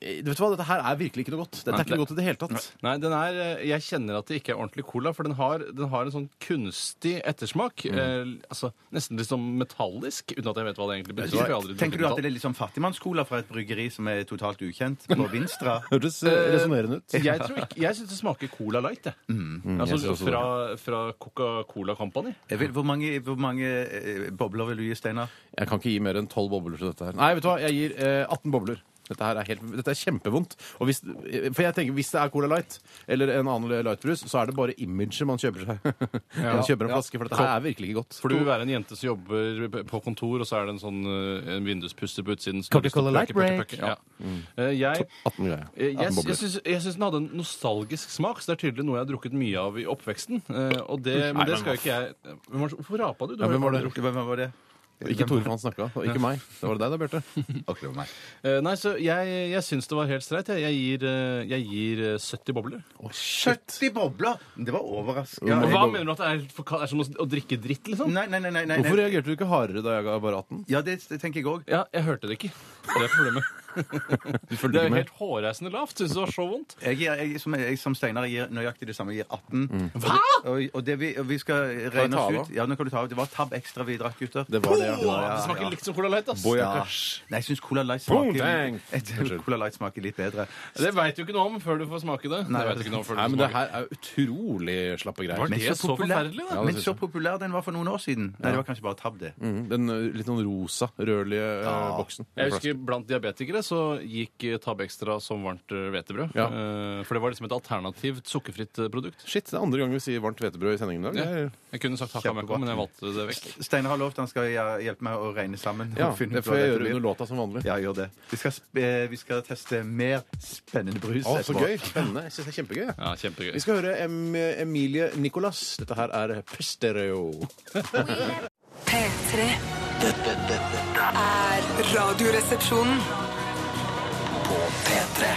Speaker 3: eh, vet du hva, dette her er virkelig ikke noe godt. Dette er ikke noe godt i det hele tatt.
Speaker 4: Nei, den er, eh, jeg kjenner at det ikke er ordentlig cola, for den har, den har en sånn kunstig ettersmak. Eh, altså, nesten litt sånn metallisk, uten at jeg vet hva det egentlig betyr. for jeg har aldri
Speaker 5: Tenker du at
Speaker 4: drukket
Speaker 5: det er litt sånn fattigmannscola fra et bryggeri som er totalt ukjent? På Vinstra?
Speaker 3: Hørtes eh,
Speaker 4: Eh,
Speaker 3: resonnerende ut.
Speaker 4: metall. jeg, tror ikke- jeg syns det smaker Cola Light. Jeg.
Speaker 3: jeg synes
Speaker 4: altså
Speaker 3: også det.
Speaker 4: fra, fra Coca-Cola Company.
Speaker 5: Jeg vil, hvor mange, hvor mange eh, bobler vil du gi, Steinar?
Speaker 3: Jeg kan ikke gi mer enn tolv bobler til dette her. Nei, vet du hva, jeg gir eh, 18 bobler. Dette her er, helt, dette er kjempevondt. Og hvis, eh, for jeg tenker, hvis det er Cola Light eller en annen lightbrus, så er det bare imaget man kjøper seg. man kjøper en flaske, for dette her er virkelig ikke godt.
Speaker 4: For du vil være en jente som jobber p- på kontor, og så er det en sånn eh, en vinduspuster på utsiden. som
Speaker 3: Coca-Cola
Speaker 4: har lyst til
Speaker 3: Light
Speaker 4: å pøkke, pøkke, pøkke. Ja. Eh, Jeg
Speaker 3: 18 greier.
Speaker 4: Eh, Jeg,
Speaker 3: 18
Speaker 4: jeg,
Speaker 3: bobler.
Speaker 4: syns, jeg syns den hadde en nostalgisk smak, så det er tydelig noe jeg har drukket mye av i oppveksten. eh, Og det, men det skal jo ikke jeg Men Mars, Hvorfor rapa du? du? har
Speaker 3: hvem
Speaker 4: jo
Speaker 3: var det?
Speaker 4: aldri drukket.
Speaker 5: Hvem var det?
Speaker 3: Ikke Tore for han snakka, og ikke meg. Det var det deg da, Bjarte.
Speaker 5: Ok, det var meg.
Speaker 4: Eh, Nei, så jeg, jeg syns det var helt streit. Jeg, jeg, gir, eh, jeg gir eh, 70 bobler.
Speaker 3: Oh,
Speaker 5: 70 bobler! Det var overraskende.
Speaker 4: Og Hva
Speaker 5: jeg-
Speaker 4: mener du at det er, for, kald- er som å, å drikke dritt, liksom?
Speaker 5: Nei, nei, nei. nei, nei.
Speaker 3: Hvorfor reagerte du ikke hardere da jeg ga bare 18?
Speaker 5: Ja, det, det tenker jeg òg.
Speaker 4: Ja, jeg hørte det ikke. Det er problemet.
Speaker 3: Du
Speaker 4: Det
Speaker 3: følger
Speaker 4: er
Speaker 3: ikke
Speaker 4: jo
Speaker 3: med?
Speaker 4: helt hårreisende lavt. Syns du det var så vondt?
Speaker 5: Jeg, gir- jeg, som, jeg som Steinar gir nøyaktig det samme. Jeg gir 18. Hva?! Og, og det vi, og vi skal
Speaker 3: Mm. jeg
Speaker 5: regne
Speaker 3: ta av,
Speaker 5: oss
Speaker 3: da?
Speaker 5: ut Ja, nå kan du ta av. Det var tab ekstra vi drakk, gutter.
Speaker 3: Det var det,
Speaker 4: Åh,
Speaker 3: ja.
Speaker 4: det smaker
Speaker 5: ja.
Speaker 4: likt som Cola Light, ass.
Speaker 3: Boy,
Speaker 5: Ja. Nei, jeg syns Cola Light smaker
Speaker 3: Boom, dang!
Speaker 5: Jeg tror Cola Light smaker litt bedre.
Speaker 4: Det veit du ikke noe om før du får smake det.
Speaker 5: Nei,
Speaker 4: det vet du ikke noe om før du
Speaker 3: Nei, men
Speaker 4: får
Speaker 3: det
Speaker 4: smake.
Speaker 3: her er utrolig slappe
Speaker 4: Var
Speaker 3: greier.
Speaker 4: det så
Speaker 5: populær-
Speaker 4: forferdelig, da?
Speaker 3: Ja, det
Speaker 5: Men
Speaker 3: synes
Speaker 5: så
Speaker 3: jeg.
Speaker 5: populær den var for noen år siden. Nei, det var kanskje bare Tab, det.
Speaker 3: Mhm, Den ø, litt sånn rosa, rødlige ø, boksen.
Speaker 4: Jeg husker Blant diabetikere så gikk eh, Tab Extra som varmt eh, hvetebrød.
Speaker 3: Ja.
Speaker 4: Eh, For det var liksom et alternativt sukkerfritt eh, produkt.
Speaker 3: Shit, det er andre gang vi sier varmt hvetebrød i sendingen i dag. Det er-
Speaker 4: Jeg kunne sagt hakka møkka, men jeg valgte det vekk.
Speaker 5: Steinar har lovt han skal hja- hjelpe meg å regne sammen.
Speaker 3: Ja,
Speaker 5: og finne
Speaker 3: det
Speaker 5: ut hva
Speaker 3: får jeg
Speaker 5: dette
Speaker 3: gjøre
Speaker 5: blir.
Speaker 3: under låta som vanlig.
Speaker 5: Ja, gjør det. Vi skal, sp- eh, vi skal teste mer spennende brus.
Speaker 3: Å, så
Speaker 5: etterpå.
Speaker 3: gøy. Spennende. Jeg synes det er kjempegøy. jeg.
Speaker 4: Ja, kjempegøy.
Speaker 3: Vi skal høre em Emilie Nicolas. Dette her er Pestereo.
Speaker 2: P3
Speaker 1: Dette, dette
Speaker 2: er Radioresepsjonen.
Speaker 1: på P3.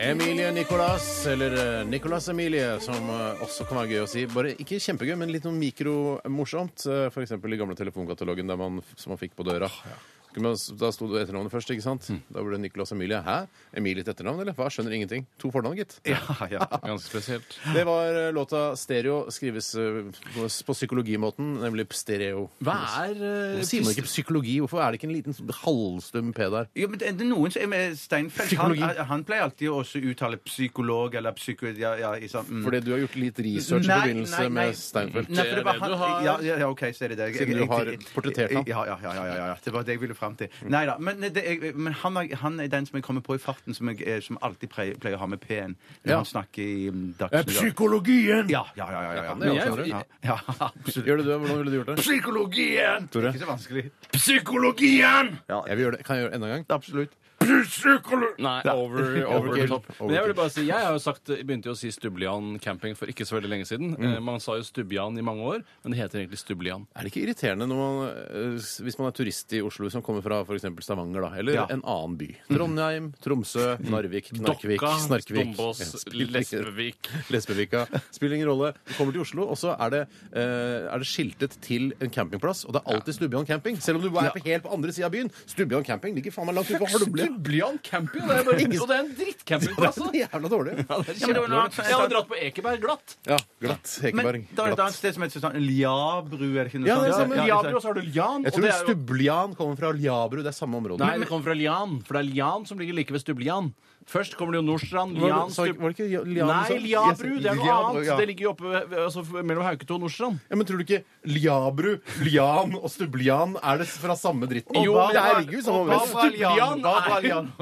Speaker 3: Emilie Nicolas, eller eh, Nicolas Emilie, som eh, også kan være gøy å si. Bare ikke kjempegøy, men litt noe mikromorsomt. eh, For eksempel i gamle telefonkatalogen der man, som man fikk på døra. Mm. Skulle man s- Da sto det etternavnet først, ikke sant? Da ble det Nicolas Emilie. Hæ? Emilie til etternavn, eller? Hva? Skjønner ingenting. To fornavn, gitt.
Speaker 5: Ja, ja.
Speaker 4: Ganske spesielt.
Speaker 3: Det var eh, låta 'Stereo', skrives eh, på på psykologimåten, nemlig stereo.
Speaker 4: Hva er eh,
Speaker 3: Hvorfor sier man ikke psykologi? Hvorfor er det ikke en liten sånn halvstum P der?
Speaker 5: Jo, men det er noen som er Steinfeld han,
Speaker 3: Psykologi.
Speaker 5: han pleier alltid å også uttale psykolog eller psyko... Ja, ja, i sånn, mm.
Speaker 3: Fordi du har gjort litt research
Speaker 5: Nei,
Speaker 3: i forbindelse
Speaker 5: nei, nei.
Speaker 3: med Steinfeld.
Speaker 5: Nei, for
Speaker 4: Det er
Speaker 5: det var
Speaker 4: det
Speaker 5: han,
Speaker 4: du har.
Speaker 5: ja, ja, ja, OK, så er det det. Jeg-
Speaker 3: Siden du
Speaker 5: jeg-
Speaker 3: har
Speaker 5: jeg-
Speaker 3: portrettert Mm. han.
Speaker 5: Ja, ja, ja, ja, ja, ja. Det var det jeg ville fram til. Nei da. Men, det, jeg- men han, er, han er den som jeg kommer på i farten, som, jeg, eh, som alltid pleier, pleier å ha med P-en når
Speaker 3: Ja.
Speaker 5: han snakker i mm, Dagsnytt.
Speaker 3: Psykologien!
Speaker 5: Ja, ja, ja. ja, ja, ja.
Speaker 3: Men jeg-
Speaker 5: Ja, ja, ja, absolutt.
Speaker 3: Gjør det du, Hvordan ville du gjort det?
Speaker 5: Psykologien!
Speaker 3: Tore?
Speaker 5: Ikke så vanskelig.
Speaker 3: Psykologien! Ja, jeg vil gjøre det. Kan jeg gjøre det enda en gang?
Speaker 5: Absolutt.
Speaker 4: Nei, over, over the
Speaker 3: Overkill.
Speaker 4: top. Men jeg vil bare si, jeg har jo sagt, jeg begynte jo å si Stubblian camping for ikke så veldig lenge siden.
Speaker 3: Mm.
Speaker 4: Eh, Man sa jo Stubbian i mange år, men det heter egentlig Stubblian.
Speaker 3: Er det ikke irriterende når man, eh, s- hvis man er turist i Oslo som kommer fra f.eks. Stavanger, da, eller
Speaker 5: Ja.
Speaker 3: en annen by? Trondheim, Tromsø, Narvik, Knarkvik,
Speaker 4: Dokka,
Speaker 3: Snarkvik
Speaker 4: Dombås,
Speaker 3: Ja, spiller ingen-
Speaker 4: Lesbevik.
Speaker 3: Lesbevika. Spiller ingen rolle. Du kommer til Oslo, og så er det, eh, er det skiltet til en campingplass, og det er alltid Stubbian camping. Selv om du er på helt på andre sida av byen. Stubbian camping ligger faen meg langt ute på Holmlia.
Speaker 4: Stubblian camping, det er bare,
Speaker 3: Ingen-
Speaker 4: og det er en
Speaker 3: Det er
Speaker 4: drittcampingplass.
Speaker 3: så
Speaker 4: da.
Speaker 3: jævla dårlig.
Speaker 4: Altså. Ja, det er
Speaker 5: men det var noe annet.
Speaker 4: kjempedårlig. Jeg hadde dratt på Ekeberg glatt.
Speaker 3: Ja, glatt. Hekeberg.
Speaker 5: Men da er det et annet
Speaker 3: Glatt.
Speaker 5: sted som heter sånn Liabru, er det ikke noe
Speaker 3: Ja, det er
Speaker 5: sånt?
Speaker 3: samme.
Speaker 4: Liabru, og så har du
Speaker 3: Jeg
Speaker 4: Lian. og det
Speaker 3: tror
Speaker 4: er jo-
Speaker 3: Stubblian kommer fra Ljabru. Det er samme område.
Speaker 4: Nei, det kommer fra Lian, for det er Lian som ligger like ved Stubblian. Først kommer det jo Nordstrand, Lian,
Speaker 3: Var det-
Speaker 4: Stubb...
Speaker 3: var det ikke Lian du sa?
Speaker 4: Nei, Liabru, det er noe
Speaker 5: Liabru,
Speaker 4: annet.
Speaker 5: ja.
Speaker 4: Det ligger jo oppe ved- ved- altså, mellom Hauketo og Nordstrand.
Speaker 3: Ja, men tror du ikke Liabru, Lian og Stubblian er det fra samme dritten?
Speaker 4: Jo,
Speaker 3: Og hva- det
Speaker 4: men det
Speaker 3: her
Speaker 4: er-
Speaker 3: ligger jo i samme
Speaker 4: og
Speaker 3: område.
Speaker 4: hva- Stubblian er-
Speaker 5: Lian.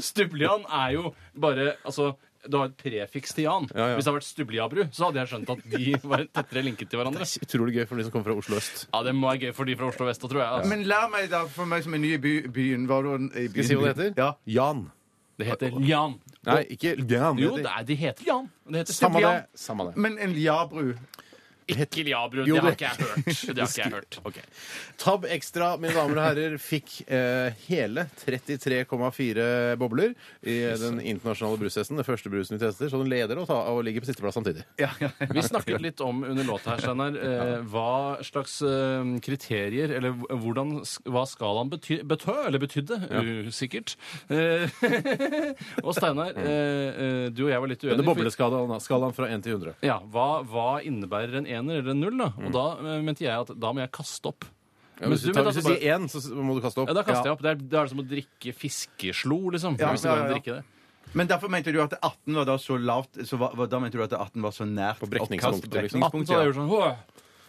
Speaker 4: Stubblian er jo bare Altså, du har et prefiks til Jan.
Speaker 3: Ja, ja.
Speaker 4: Hvis det hadde vært Stubbliabru, så hadde jeg skjønt at de var tettere linket til hverandre.
Speaker 3: Utrolig gøy for de som kommer fra Oslo øst.
Speaker 4: Ja, Det må være gøy for de fra Oslo vest, da, tror jeg. Altså.
Speaker 5: Men lær meg da, for meg som er ny i by, byen hva var det, i
Speaker 3: Skal
Speaker 5: byen,
Speaker 3: jeg si hva det heter?
Speaker 5: Ja.
Speaker 3: Jan.
Speaker 4: Det heter Lian.
Speaker 3: Nei, ikke Lian.
Speaker 4: Jo,
Speaker 3: det
Speaker 4: det
Speaker 3: heter-
Speaker 4: er, de heter Lian. Det heter
Speaker 3: Samme
Speaker 4: Stubblian.
Speaker 3: det. Samme det.
Speaker 5: Men en Liabru
Speaker 4: Ikke Liabru.
Speaker 3: Jo,
Speaker 4: Det har
Speaker 3: det-
Speaker 4: ikke jeg hørt. Det har ikke jeg hørt.
Speaker 3: Ok. Tab Extra, mine damer og herrer, fikk eh, hele 33,4 bobler i den internasjonale brustesten. Den første brusen vi tester, så den leder og, ta, og ligger på sisteplass samtidig.
Speaker 5: Ja, ja, ja.
Speaker 4: Vi snakket litt om under låta her, Steinar, eh, hva slags eh, kriterier Eller hvordan, hva skalaen bety, betød, eller betydde, usikkert. Eh, og Steinar,
Speaker 3: Mm.
Speaker 4: eh, eh, du og jeg var litt uenige.
Speaker 3: Denne
Speaker 4: for-
Speaker 3: bobleskalaen skalaen fra 1 til 100.
Speaker 4: Ja, hva, hva innebærer en ener eller en null? da? Og da eh, mente jeg at da må jeg kaste opp.
Speaker 3: Mm. Ja,
Speaker 4: Mens
Speaker 3: hvis, du
Speaker 4: mente
Speaker 3: tar,
Speaker 4: at
Speaker 3: hvis du
Speaker 4: bare-
Speaker 3: sier 1, så s- må du kaste opp.
Speaker 4: ja, da kaster jeg opp. Det er, da er det som å drikke fiskeslo, liksom.
Speaker 5: Ja,
Speaker 4: hvis det går an
Speaker 5: ja,
Speaker 4: å
Speaker 5: ja.
Speaker 4: drikke det.
Speaker 5: Men derfor mente du at 18 var da så lavt så hva- hva- Da mente du at 18 var så nært
Speaker 3: På brekningspunktet,
Speaker 5: oppkast-
Speaker 3: liksom.
Speaker 4: 18,
Speaker 5: brekningspunkt,
Speaker 4: så hadde jeg gjort sånn, «Åh!»
Speaker 5: ja.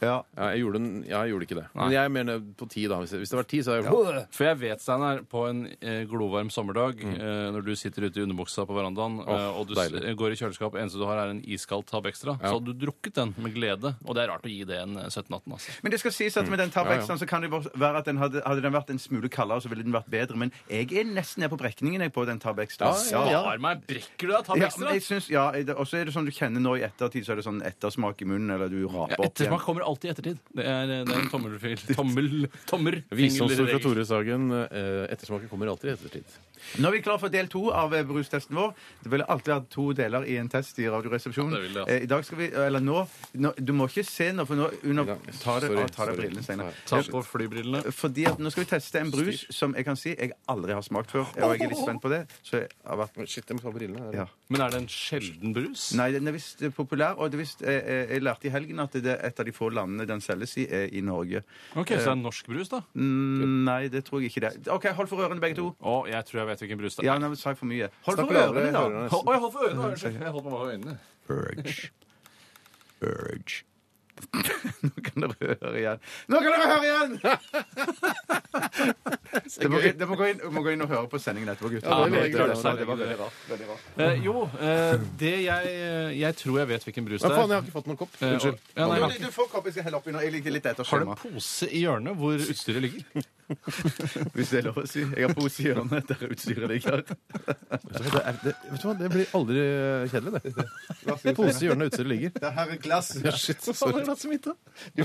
Speaker 3: Ja, jeg, gjorde den, ja, jeg gjorde ikke det.
Speaker 4: Nei.
Speaker 3: Men jeg mener på 10, da. Hvis det, hvis det var 10, så hadde jeg
Speaker 4: For jeg vet, Steinar, på en eh, glovarm sommerdag, eh, når du sitter ute i underbuksa på verandaen,
Speaker 3: Mm.
Speaker 4: eh,
Speaker 3: Åh,
Speaker 4: og du s-
Speaker 3: deilig.
Speaker 4: går i kjøleskapet, eneste du har er en iskald Tab Extra, så hadde du drukket den med glede. Og det er rart å gi det en eh, 17-18, altså.
Speaker 5: Men det skal sies at med den
Speaker 3: Mm. Ja, ja.
Speaker 5: tabbexen så kan det jo være at den hadde, hadde den vært en smule kaldere, så ville den vært bedre. Men jeg er nesten ned på brekningen jeg på den tabbexen.
Speaker 3: Ja, ja.
Speaker 4: Spar meg! Brekker du deg Tab
Speaker 5: Ja,
Speaker 4: Extra?
Speaker 5: men jeg synes, ja, jeg- og så er det sånn du kjenner nå i ettertid, så er det sånn ettersmak i munnen, eller du raper
Speaker 4: Ja,
Speaker 5: opp igjen.
Speaker 4: Ettersmak kommer alltid i ettertid. Det er, eh, det er en tommelfil. Tommel, tommer.
Speaker 3: Visdomsord fra
Speaker 4: fingerregel.
Speaker 3: Tore Sagen. eh, Ettersmaken kommer alltid i ettertid.
Speaker 5: Nå er vi klar for del to av eh, brustesten vår. Det ville alltid vært to deler i en test i Radioresepsjonen.
Speaker 4: Ja, det vil det, altså.
Speaker 5: Eh, I dag skal vi, eller nå, nå Du må ikke se nå, for nå under,
Speaker 3: Ja,
Speaker 5: ta det,
Speaker 3: sorry,
Speaker 5: ah, ta det
Speaker 3: sorry.
Speaker 5: brillene, Steinar.
Speaker 4: Ta på flybrillene.
Speaker 5: Fordi at Nå skal vi teste en brus som jeg kan si jeg aldri har smakt før. Og jeg er litt spent på det. Så jeg har vært
Speaker 3: Shit, jeg må ta på brillene.
Speaker 5: ja.
Speaker 4: Men er det en sjelden brus?
Speaker 5: Nei, den er visst eh, populær, og det er visst, eh, eh, jeg lærte i helgen at det er et av de få landene den selges i, er i Norge.
Speaker 4: Ok, Så det er
Speaker 3: Eh.
Speaker 4: en norsk brus, da?
Speaker 5: Mm, nei, det tror jeg ikke det. er. OK, hold for ørene, begge to.
Speaker 4: Å, jeg tror jeg vet hvilken brus det
Speaker 5: Ja,
Speaker 4: er.
Speaker 5: nå sa jeg for mye. Hold
Speaker 3: Snakk
Speaker 5: for
Speaker 3: lavere,
Speaker 5: ørene, da.
Speaker 3: ørene.
Speaker 4: Å, jeg holdt for ørene! da. Unnskyld. Jeg holdt på med øynene.
Speaker 5: Urge. Urge. Nå kan dere høre igjen. Nå kan dere høre igjen! Dere må, det må, gå inn, må gå inn og høre på sendingen etterpå, gutter.
Speaker 4: Ja,
Speaker 5: det, var
Speaker 4: det er
Speaker 5: veldig rart.
Speaker 4: det.
Speaker 5: det var veldig rart. Veldig rart.
Speaker 4: Eh, jo, eh, det jeg Jeg tror jeg vet hvilken brus
Speaker 3: Ja,
Speaker 4: det
Speaker 3: faen, jeg
Speaker 4: er.
Speaker 3: har ikke fått noen kopp.
Speaker 4: Eh,
Speaker 3: Unnskyld.
Speaker 4: og- ja, nei,
Speaker 5: Jo,
Speaker 4: men-
Speaker 5: du- Du får kopp, jeg skal helle oppi nå. Jeg ligger litt etter
Speaker 4: har du
Speaker 5: skjema.
Speaker 4: en pose i hjørnet hvor utstyret ligger?
Speaker 5: Hvis det er lov å si. Jeg har pose i hjørnet der utstyret ligger.
Speaker 3: Det, er, det, vet du hva, det blir aldri eh, kjedelig, det. Pose i hjørnet utstyret ligger.
Speaker 5: Det her er glass.
Speaker 3: Shit, sorry.
Speaker 5: Du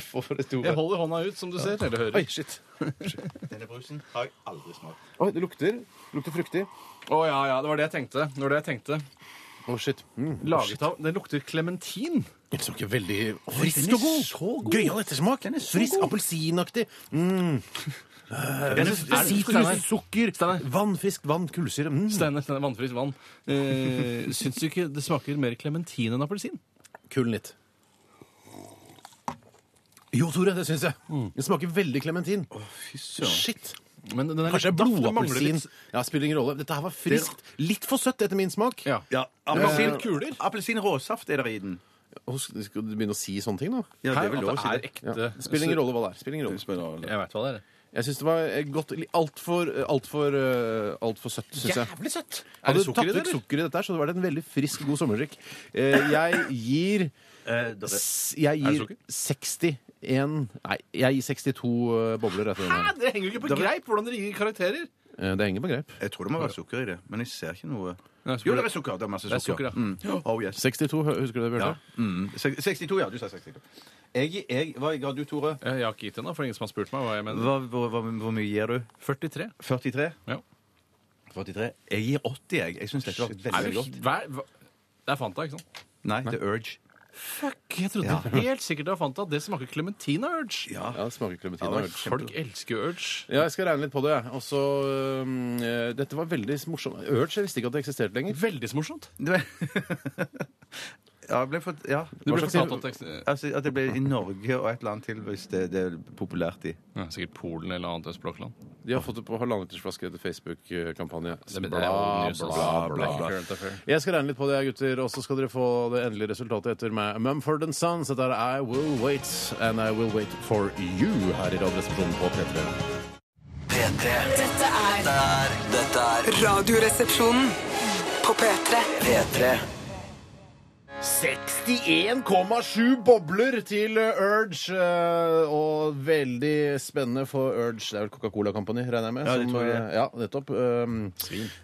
Speaker 5: får det
Speaker 4: Jeg
Speaker 5: store.
Speaker 4: holder hånda ut, som du ser. Eller hører.
Speaker 3: Oi, shit.
Speaker 5: Denne brusen har jeg aldri smakt.
Speaker 3: Oi, det lukter. Lukter fruktig.
Speaker 4: Å ja, ja, det var det jeg tenkte. Det var det jeg tenkte.
Speaker 3: Å, shit. Mm.
Speaker 4: Laget av Det lukter klementin.
Speaker 3: Den smaker veldig frisk og god. Gøyal ettersmak. Frisk appelsinaktig. Mm. Sitrus, sukker,
Speaker 4: Steinar.
Speaker 3: vann, friskt vann, kullsyre. Mm.
Speaker 4: Steiner, Steiner, vannfritt vann. Eh, syns du ikke det smaker mer klementin enn appelsin?
Speaker 3: Kull litt. Jo, Tore, det syns jeg.
Speaker 4: Mm.
Speaker 3: Det smaker veldig klementin. Shit.
Speaker 4: Men den er
Speaker 3: Kanskje det er
Speaker 4: litt daff, det mangler
Speaker 3: blodappelsin.
Speaker 4: litt-
Speaker 3: Ja, spiller ingen rolle. Dette her var friskt. Litt for søtt etter min smak.
Speaker 4: Ja.
Speaker 5: Ja,
Speaker 4: Appelsin,
Speaker 5: appelsin,
Speaker 4: kuler.
Speaker 5: Eh, appelsin råsaft er det i den.
Speaker 3: Å, Skal du begynne å si sånne ting, da?
Speaker 5: Ja, det er vel
Speaker 4: Her,
Speaker 5: lov å
Speaker 4: at
Speaker 5: si
Speaker 4: det
Speaker 5: det.
Speaker 4: er ekte.
Speaker 3: Spiller ingen rolle hva det er. Spiller ingen rolle.
Speaker 4: Jeg vet hva det er.
Speaker 3: Jeg syns det var eh, godt Altfor alt for, eh, alt for søtt, syns jeg.
Speaker 4: Jævlig søtt! Er
Speaker 3: Hadde
Speaker 4: det
Speaker 3: du
Speaker 4: sukker
Speaker 3: tatt
Speaker 4: i det?
Speaker 3: ut
Speaker 4: eller?
Speaker 3: sukker i dette, her, så hadde det vært en veldig frisk, god sommerdrikk. Eh, Jeg gir
Speaker 5: Eh,
Speaker 3: s- Jeg
Speaker 4: det
Speaker 3: gir
Speaker 4: sukker?
Speaker 3: 61 Nei, jeg gir 62 bobler etter
Speaker 4: Hæ?
Speaker 3: den.
Speaker 4: Det henger jo ikke på greip hvordan dere gir karakterer.
Speaker 3: Eh, Det henger på greip.
Speaker 5: Jeg tror det må være sukker i det, men jeg ser ikke noe
Speaker 4: Nei, så
Speaker 5: Jo,
Speaker 4: blir det-
Speaker 5: det er sukker. Det er masse
Speaker 4: Det er
Speaker 5: sukker.
Speaker 4: sukker, ja.
Speaker 5: Mm. Oh, yes.
Speaker 3: 62, hø- husker du det, Bjarte?
Speaker 5: Mm. Sek- 62, ja. Du sa 62. Jeg, jeg, hva ga du, Tore?
Speaker 4: Eh, Jeg har ikke gitt ennå, for ingen som har spurt meg hva jeg mener.
Speaker 5: Hva, hvor, hvor, hvor mye gir du?
Speaker 4: 43.
Speaker 5: 43?
Speaker 4: Ja.
Speaker 5: 43? Jeg gir 80, jeg. Jeg syns dette var veldig,
Speaker 4: Er
Speaker 5: veldig
Speaker 4: du,
Speaker 5: godt.
Speaker 4: hva, er- hva, det er Fanta, ikke sant?
Speaker 5: Nei, The Urge.
Speaker 4: Fuck, jeg trodde helt sikkert det var Fanta. Det smaker Clementina Urge.
Speaker 5: Ja.
Speaker 3: Ja, det smaker klementin
Speaker 5: Ja,
Speaker 3: og øl.
Speaker 5: det er
Speaker 4: Folk elsker jo Urge.
Speaker 3: Ja, jeg skal regne litt på det. jeg. Og så øhm, eh, Dette var veldig morsomt. Urge, jeg visste ikke at det eksisterte lenger.
Speaker 4: Veldig så morsomt.
Speaker 5: Du- Ja, jeg ble fått, ja.
Speaker 4: Du ble
Speaker 3: slags-
Speaker 4: fortalt at det-
Speaker 5: Altså, at det ble i Norge og et eller annet til hvis det, det er populært i.
Speaker 4: ja, Sikkert Polen eller annet østblokkland.
Speaker 3: De har fått det på halvannenlitersflaske etter Facebook-kampanje.
Speaker 4: Det- det er altså.
Speaker 3: Bla,
Speaker 4: jo nyhets-
Speaker 3: bla, bla.
Speaker 4: Current affair.
Speaker 3: Jeg skal regne litt på det, gutter, og så skal dere få det endelige resultatet etter meg. Mumford and Sons. Dette er I Will Wait, and I Will Wait for You her i Radioresepsjonen på P3.
Speaker 1: P3
Speaker 2: Dette er
Speaker 1: er Dette er
Speaker 2: Radioresepsjonen på P3.
Speaker 1: P3
Speaker 7: Seks
Speaker 3: 91,7 bobler til eh, Urge. eh, Og veldig spennende for Urge. Det er vel Coca-Cola Company, regner jeg med?
Speaker 5: Ja, det tror jeg.
Speaker 3: eh, ja, nettopp. Um,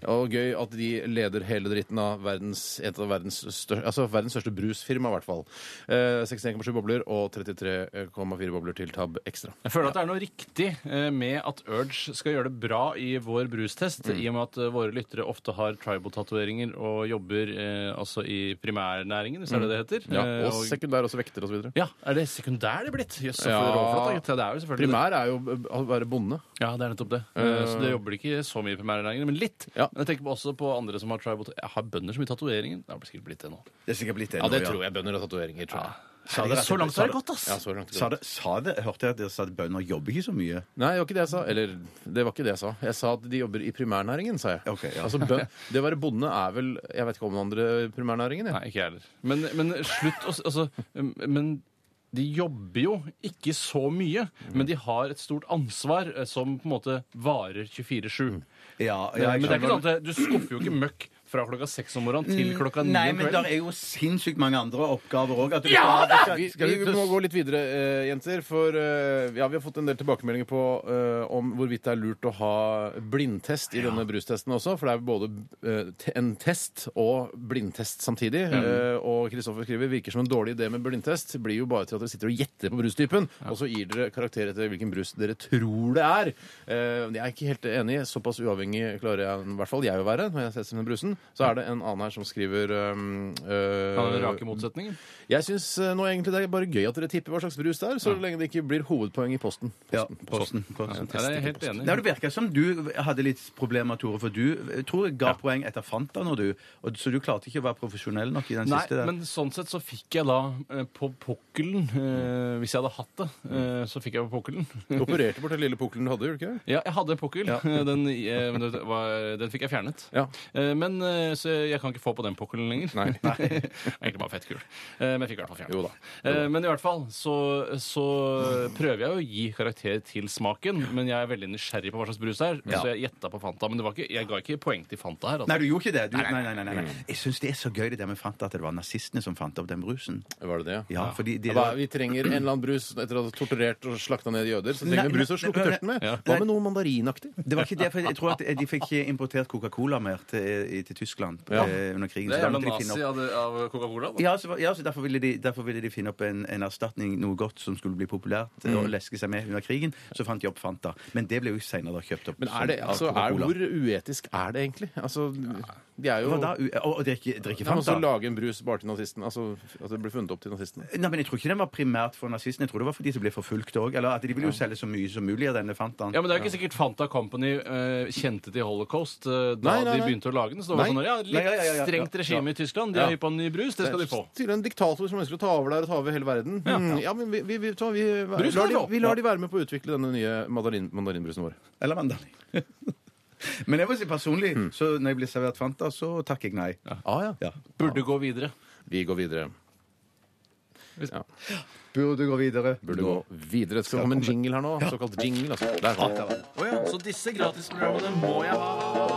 Speaker 3: og gøy at de leder hele dritten av verdens, et av verdens, stør, altså verdens største brusfirma, i hvert fall. Eh, 61,7 bobler og 33,4 bobler til Tab Extra.
Speaker 4: Jeg føler at det er noe riktig eh, med at Urge skal gjøre det bra i vår brustest,
Speaker 3: Mm.
Speaker 4: i og med at eh, våre lyttere ofte har tribal-tatoveringer og jobber eh, altså i primærnæringen, hvis det er det det heter.
Speaker 3: Mm. Ja,
Speaker 4: Eh,
Speaker 3: og sekundær også vekter osv.
Speaker 4: ja, er det sekundær det er blitt? Jøss, så
Speaker 3: Ja.
Speaker 4: råflott. da, gitt. Ja, det er jo selvfølgelig det.
Speaker 3: Primær er jo eh, å være bonde.
Speaker 4: Ja, det er nettopp det. Eh, Så det jobber ikke så mye i primærnæringen, men litt.
Speaker 3: Ja.
Speaker 4: Men jeg tenker på- også på andre som har tribal Jeg har bønder som i tatoveringen. Det har sikkert blitt det nå.
Speaker 5: Det er sikkert blitt det
Speaker 3: Ja,
Speaker 5: nå,
Speaker 3: det tror jeg bønder har tatoveringer. tror jeg.
Speaker 4: Så det er så langt har det gått, ass!
Speaker 3: Ja, så langt.
Speaker 5: Sa det, sa det, hørte jeg at dere sa at bønder jobber ikke så mye?
Speaker 3: Nei, det var ikke det jeg sa. Eller, det var ikke det jeg sa. Jeg sa at de jobber i primærnæringen, sa jeg.
Speaker 5: Ok, ja.
Speaker 3: altså, bø- det å være bonde er vel Jeg vet ikke om den andre primærnæringen, jeg.
Speaker 4: Nei, ikke jeg heller. Men, men slutt å s- Altså, um, men de jobber jo ikke så mye, men de har et stort ansvar eh, som på en måte varer 24-7.
Speaker 5: Ja, ja,
Speaker 4: Men
Speaker 5: jeg
Speaker 4: det er ikke
Speaker 5: skjønner.
Speaker 4: sånn at du skuffer jo ikke møkk fra klokka seks om morgenen til klokka ni
Speaker 5: Nei,
Speaker 4: om
Speaker 5: men det
Speaker 4: kvelden.
Speaker 5: er jo sinnssykt mange andre oppgaver òg.
Speaker 3: Vi, vi må gå litt videre, eh, jenter. For eh, ja, vi har fått en del tilbakemeldinger på eh, om hvorvidt det er lurt å ha blindtest i denne brustesten også. For det er både eh, te- en test og blindtest samtidig. Eh, og Kristoffer skriver virker som en dårlig idé med blindtest. Det blir jo bare til at dere sitter og gjetter på brustypen, og så gir dere karakter etter hvilken brus dere tror det er. Eh, jeg er ikke helt enig. Såpass uavhengig klarer jeg i hvert fall jeg å være når jeg setter meg i brusen. Så er det en annen her som skriver um, eh,
Speaker 4: Ja, den rake motsetningen.
Speaker 3: jeg syns eh, nå egentlig det er bare gøy at dere tipper hva slags brus det er, så lenge det ikke blir hovedpoeng i posten.
Speaker 5: Ja, posten.
Speaker 4: Ja,
Speaker 5: posten.
Speaker 4: det er jeg helt enig.
Speaker 5: Nei,
Speaker 4: i.
Speaker 5: det virker som du hadde litt problemer, Tore, for du jeg tror jeg ga poeng etter Fanta nå, du. Og, så du klarte ikke å være profesjonell nok i den
Speaker 4: Nei,
Speaker 5: siste der.
Speaker 4: men sånn sett så fikk jeg da eh, på pukkelen eh, Hvis jeg hadde hatt det, eh, så fikk jeg på pukkelen.
Speaker 3: Du opererte bort den lille pukkelen du hadde, gjorde du ikke? det?
Speaker 4: Ja, jeg hadde en pukkel. Den, eh, men det var- den fikk jeg fjernet.
Speaker 3: Ja.
Speaker 4: Eh, Men eh, så jeg kan ikke få på den pukkelen lenger.
Speaker 3: Nei.
Speaker 4: Egentlig bare fettkul. Eh, Men jeg fikk i hvert fall fjernet.
Speaker 3: Jo da.
Speaker 4: Eh, Men i hvert fall så, så prøver jeg å gi karakter til smaken, men jeg er veldig nysgjerrig på hva slags brus det er, så jeg gjetta på Fanta. Men det var ikke, jeg ga ikke poeng til Fanta her.
Speaker 5: Nei,
Speaker 4: Altså.
Speaker 5: du gjorde ikke det. Du, nei, nei, nei, nei, nei. Jeg syns det er så gøy det der med Fanta, at det var nazistene som fant opp den brusen.
Speaker 3: Var det det?
Speaker 5: Ja, fordi de,
Speaker 3: Ja, hva, vi trenger en eller annen brus etter å ha torturert og slakta ned jøder. Så
Speaker 5: Nei,
Speaker 3: trenger vi brus å
Speaker 5: nei,
Speaker 3: slukke
Speaker 5: nei,
Speaker 3: tørten med.
Speaker 5: nei.
Speaker 3: Hva med noe mandarinaktig?
Speaker 5: Det var ikke det, for jeg tror at de fikk ikke importert Coca-Cola mer til, til Tyskland
Speaker 3: Ja.
Speaker 5: eh, under krigen.
Speaker 4: Det er
Speaker 5: så
Speaker 4: jævla
Speaker 5: da måtte de finne
Speaker 4: nazi altså.
Speaker 5: opp-
Speaker 4: av, det- av Coca-Cola. da.
Speaker 5: Ja, så, var- ja så derfor, ville de, derfor ville de finne opp en, en erstatning, noe godt som skulle bli populært, eh, og leske seg med under krigen. Så fant de opp Fanta. Men det ble jo senere da kjøpt opp.
Speaker 3: Men er det,
Speaker 5: som- av
Speaker 3: altså, er,
Speaker 5: Coca-Cola.
Speaker 3: hvor uetisk er det egentlig? Altså, de er jo
Speaker 5: Hva da? U- Å, å drikke, drikke
Speaker 3: Man må også
Speaker 5: Fanta?
Speaker 3: lage en brus bare til nazistene. Altså at det blir funnet opp til nazistene.
Speaker 5: Nei, men Jeg tror ikke den var primært for nazistene. Jeg tror det var for de som ble forfulgt òg. Eller at de ville jo selge så mye som mulig av denne Fantaen.
Speaker 4: Ja, men Det er jo ikke sikkert Fanta Company eh, kjente til holocaust eh, da
Speaker 3: Nei, nei,
Speaker 4: de
Speaker 3: nei.
Speaker 4: begynte å lage den. Så det var
Speaker 3: Nei.
Speaker 4: sånn, ja, litt
Speaker 5: Nei, ja, ja, ja, ja.
Speaker 4: strengt regime i Tyskland. De
Speaker 3: Ja.
Speaker 4: er hypp på en ny brus. Det skal de få.
Speaker 3: Tydelig en diktator som ønsker å ta over der og ta over hele verden. Ja, ja men vi, vi, vi, tar- vi,
Speaker 4: Brus kan
Speaker 3: lar
Speaker 4: vi
Speaker 3: de,
Speaker 4: få.
Speaker 3: vi lar de være med på å utvikle denne nye mandarin, mandarinbrusen vår.
Speaker 5: Eller mandarin. men jeg må si personlig, så når jeg blir servert Fanta, så takker jeg nei.
Speaker 3: Ah, Mm. ja.
Speaker 5: Ja.
Speaker 4: Burde gå videre.
Speaker 3: Vi går videre.
Speaker 5: Burde gå videre.
Speaker 3: Burde gå videre. Det skal komme en jingle her nå. Såkalt jingle. Altså. Der var den.
Speaker 4: Så disse gratisprogrammene må jeg ha.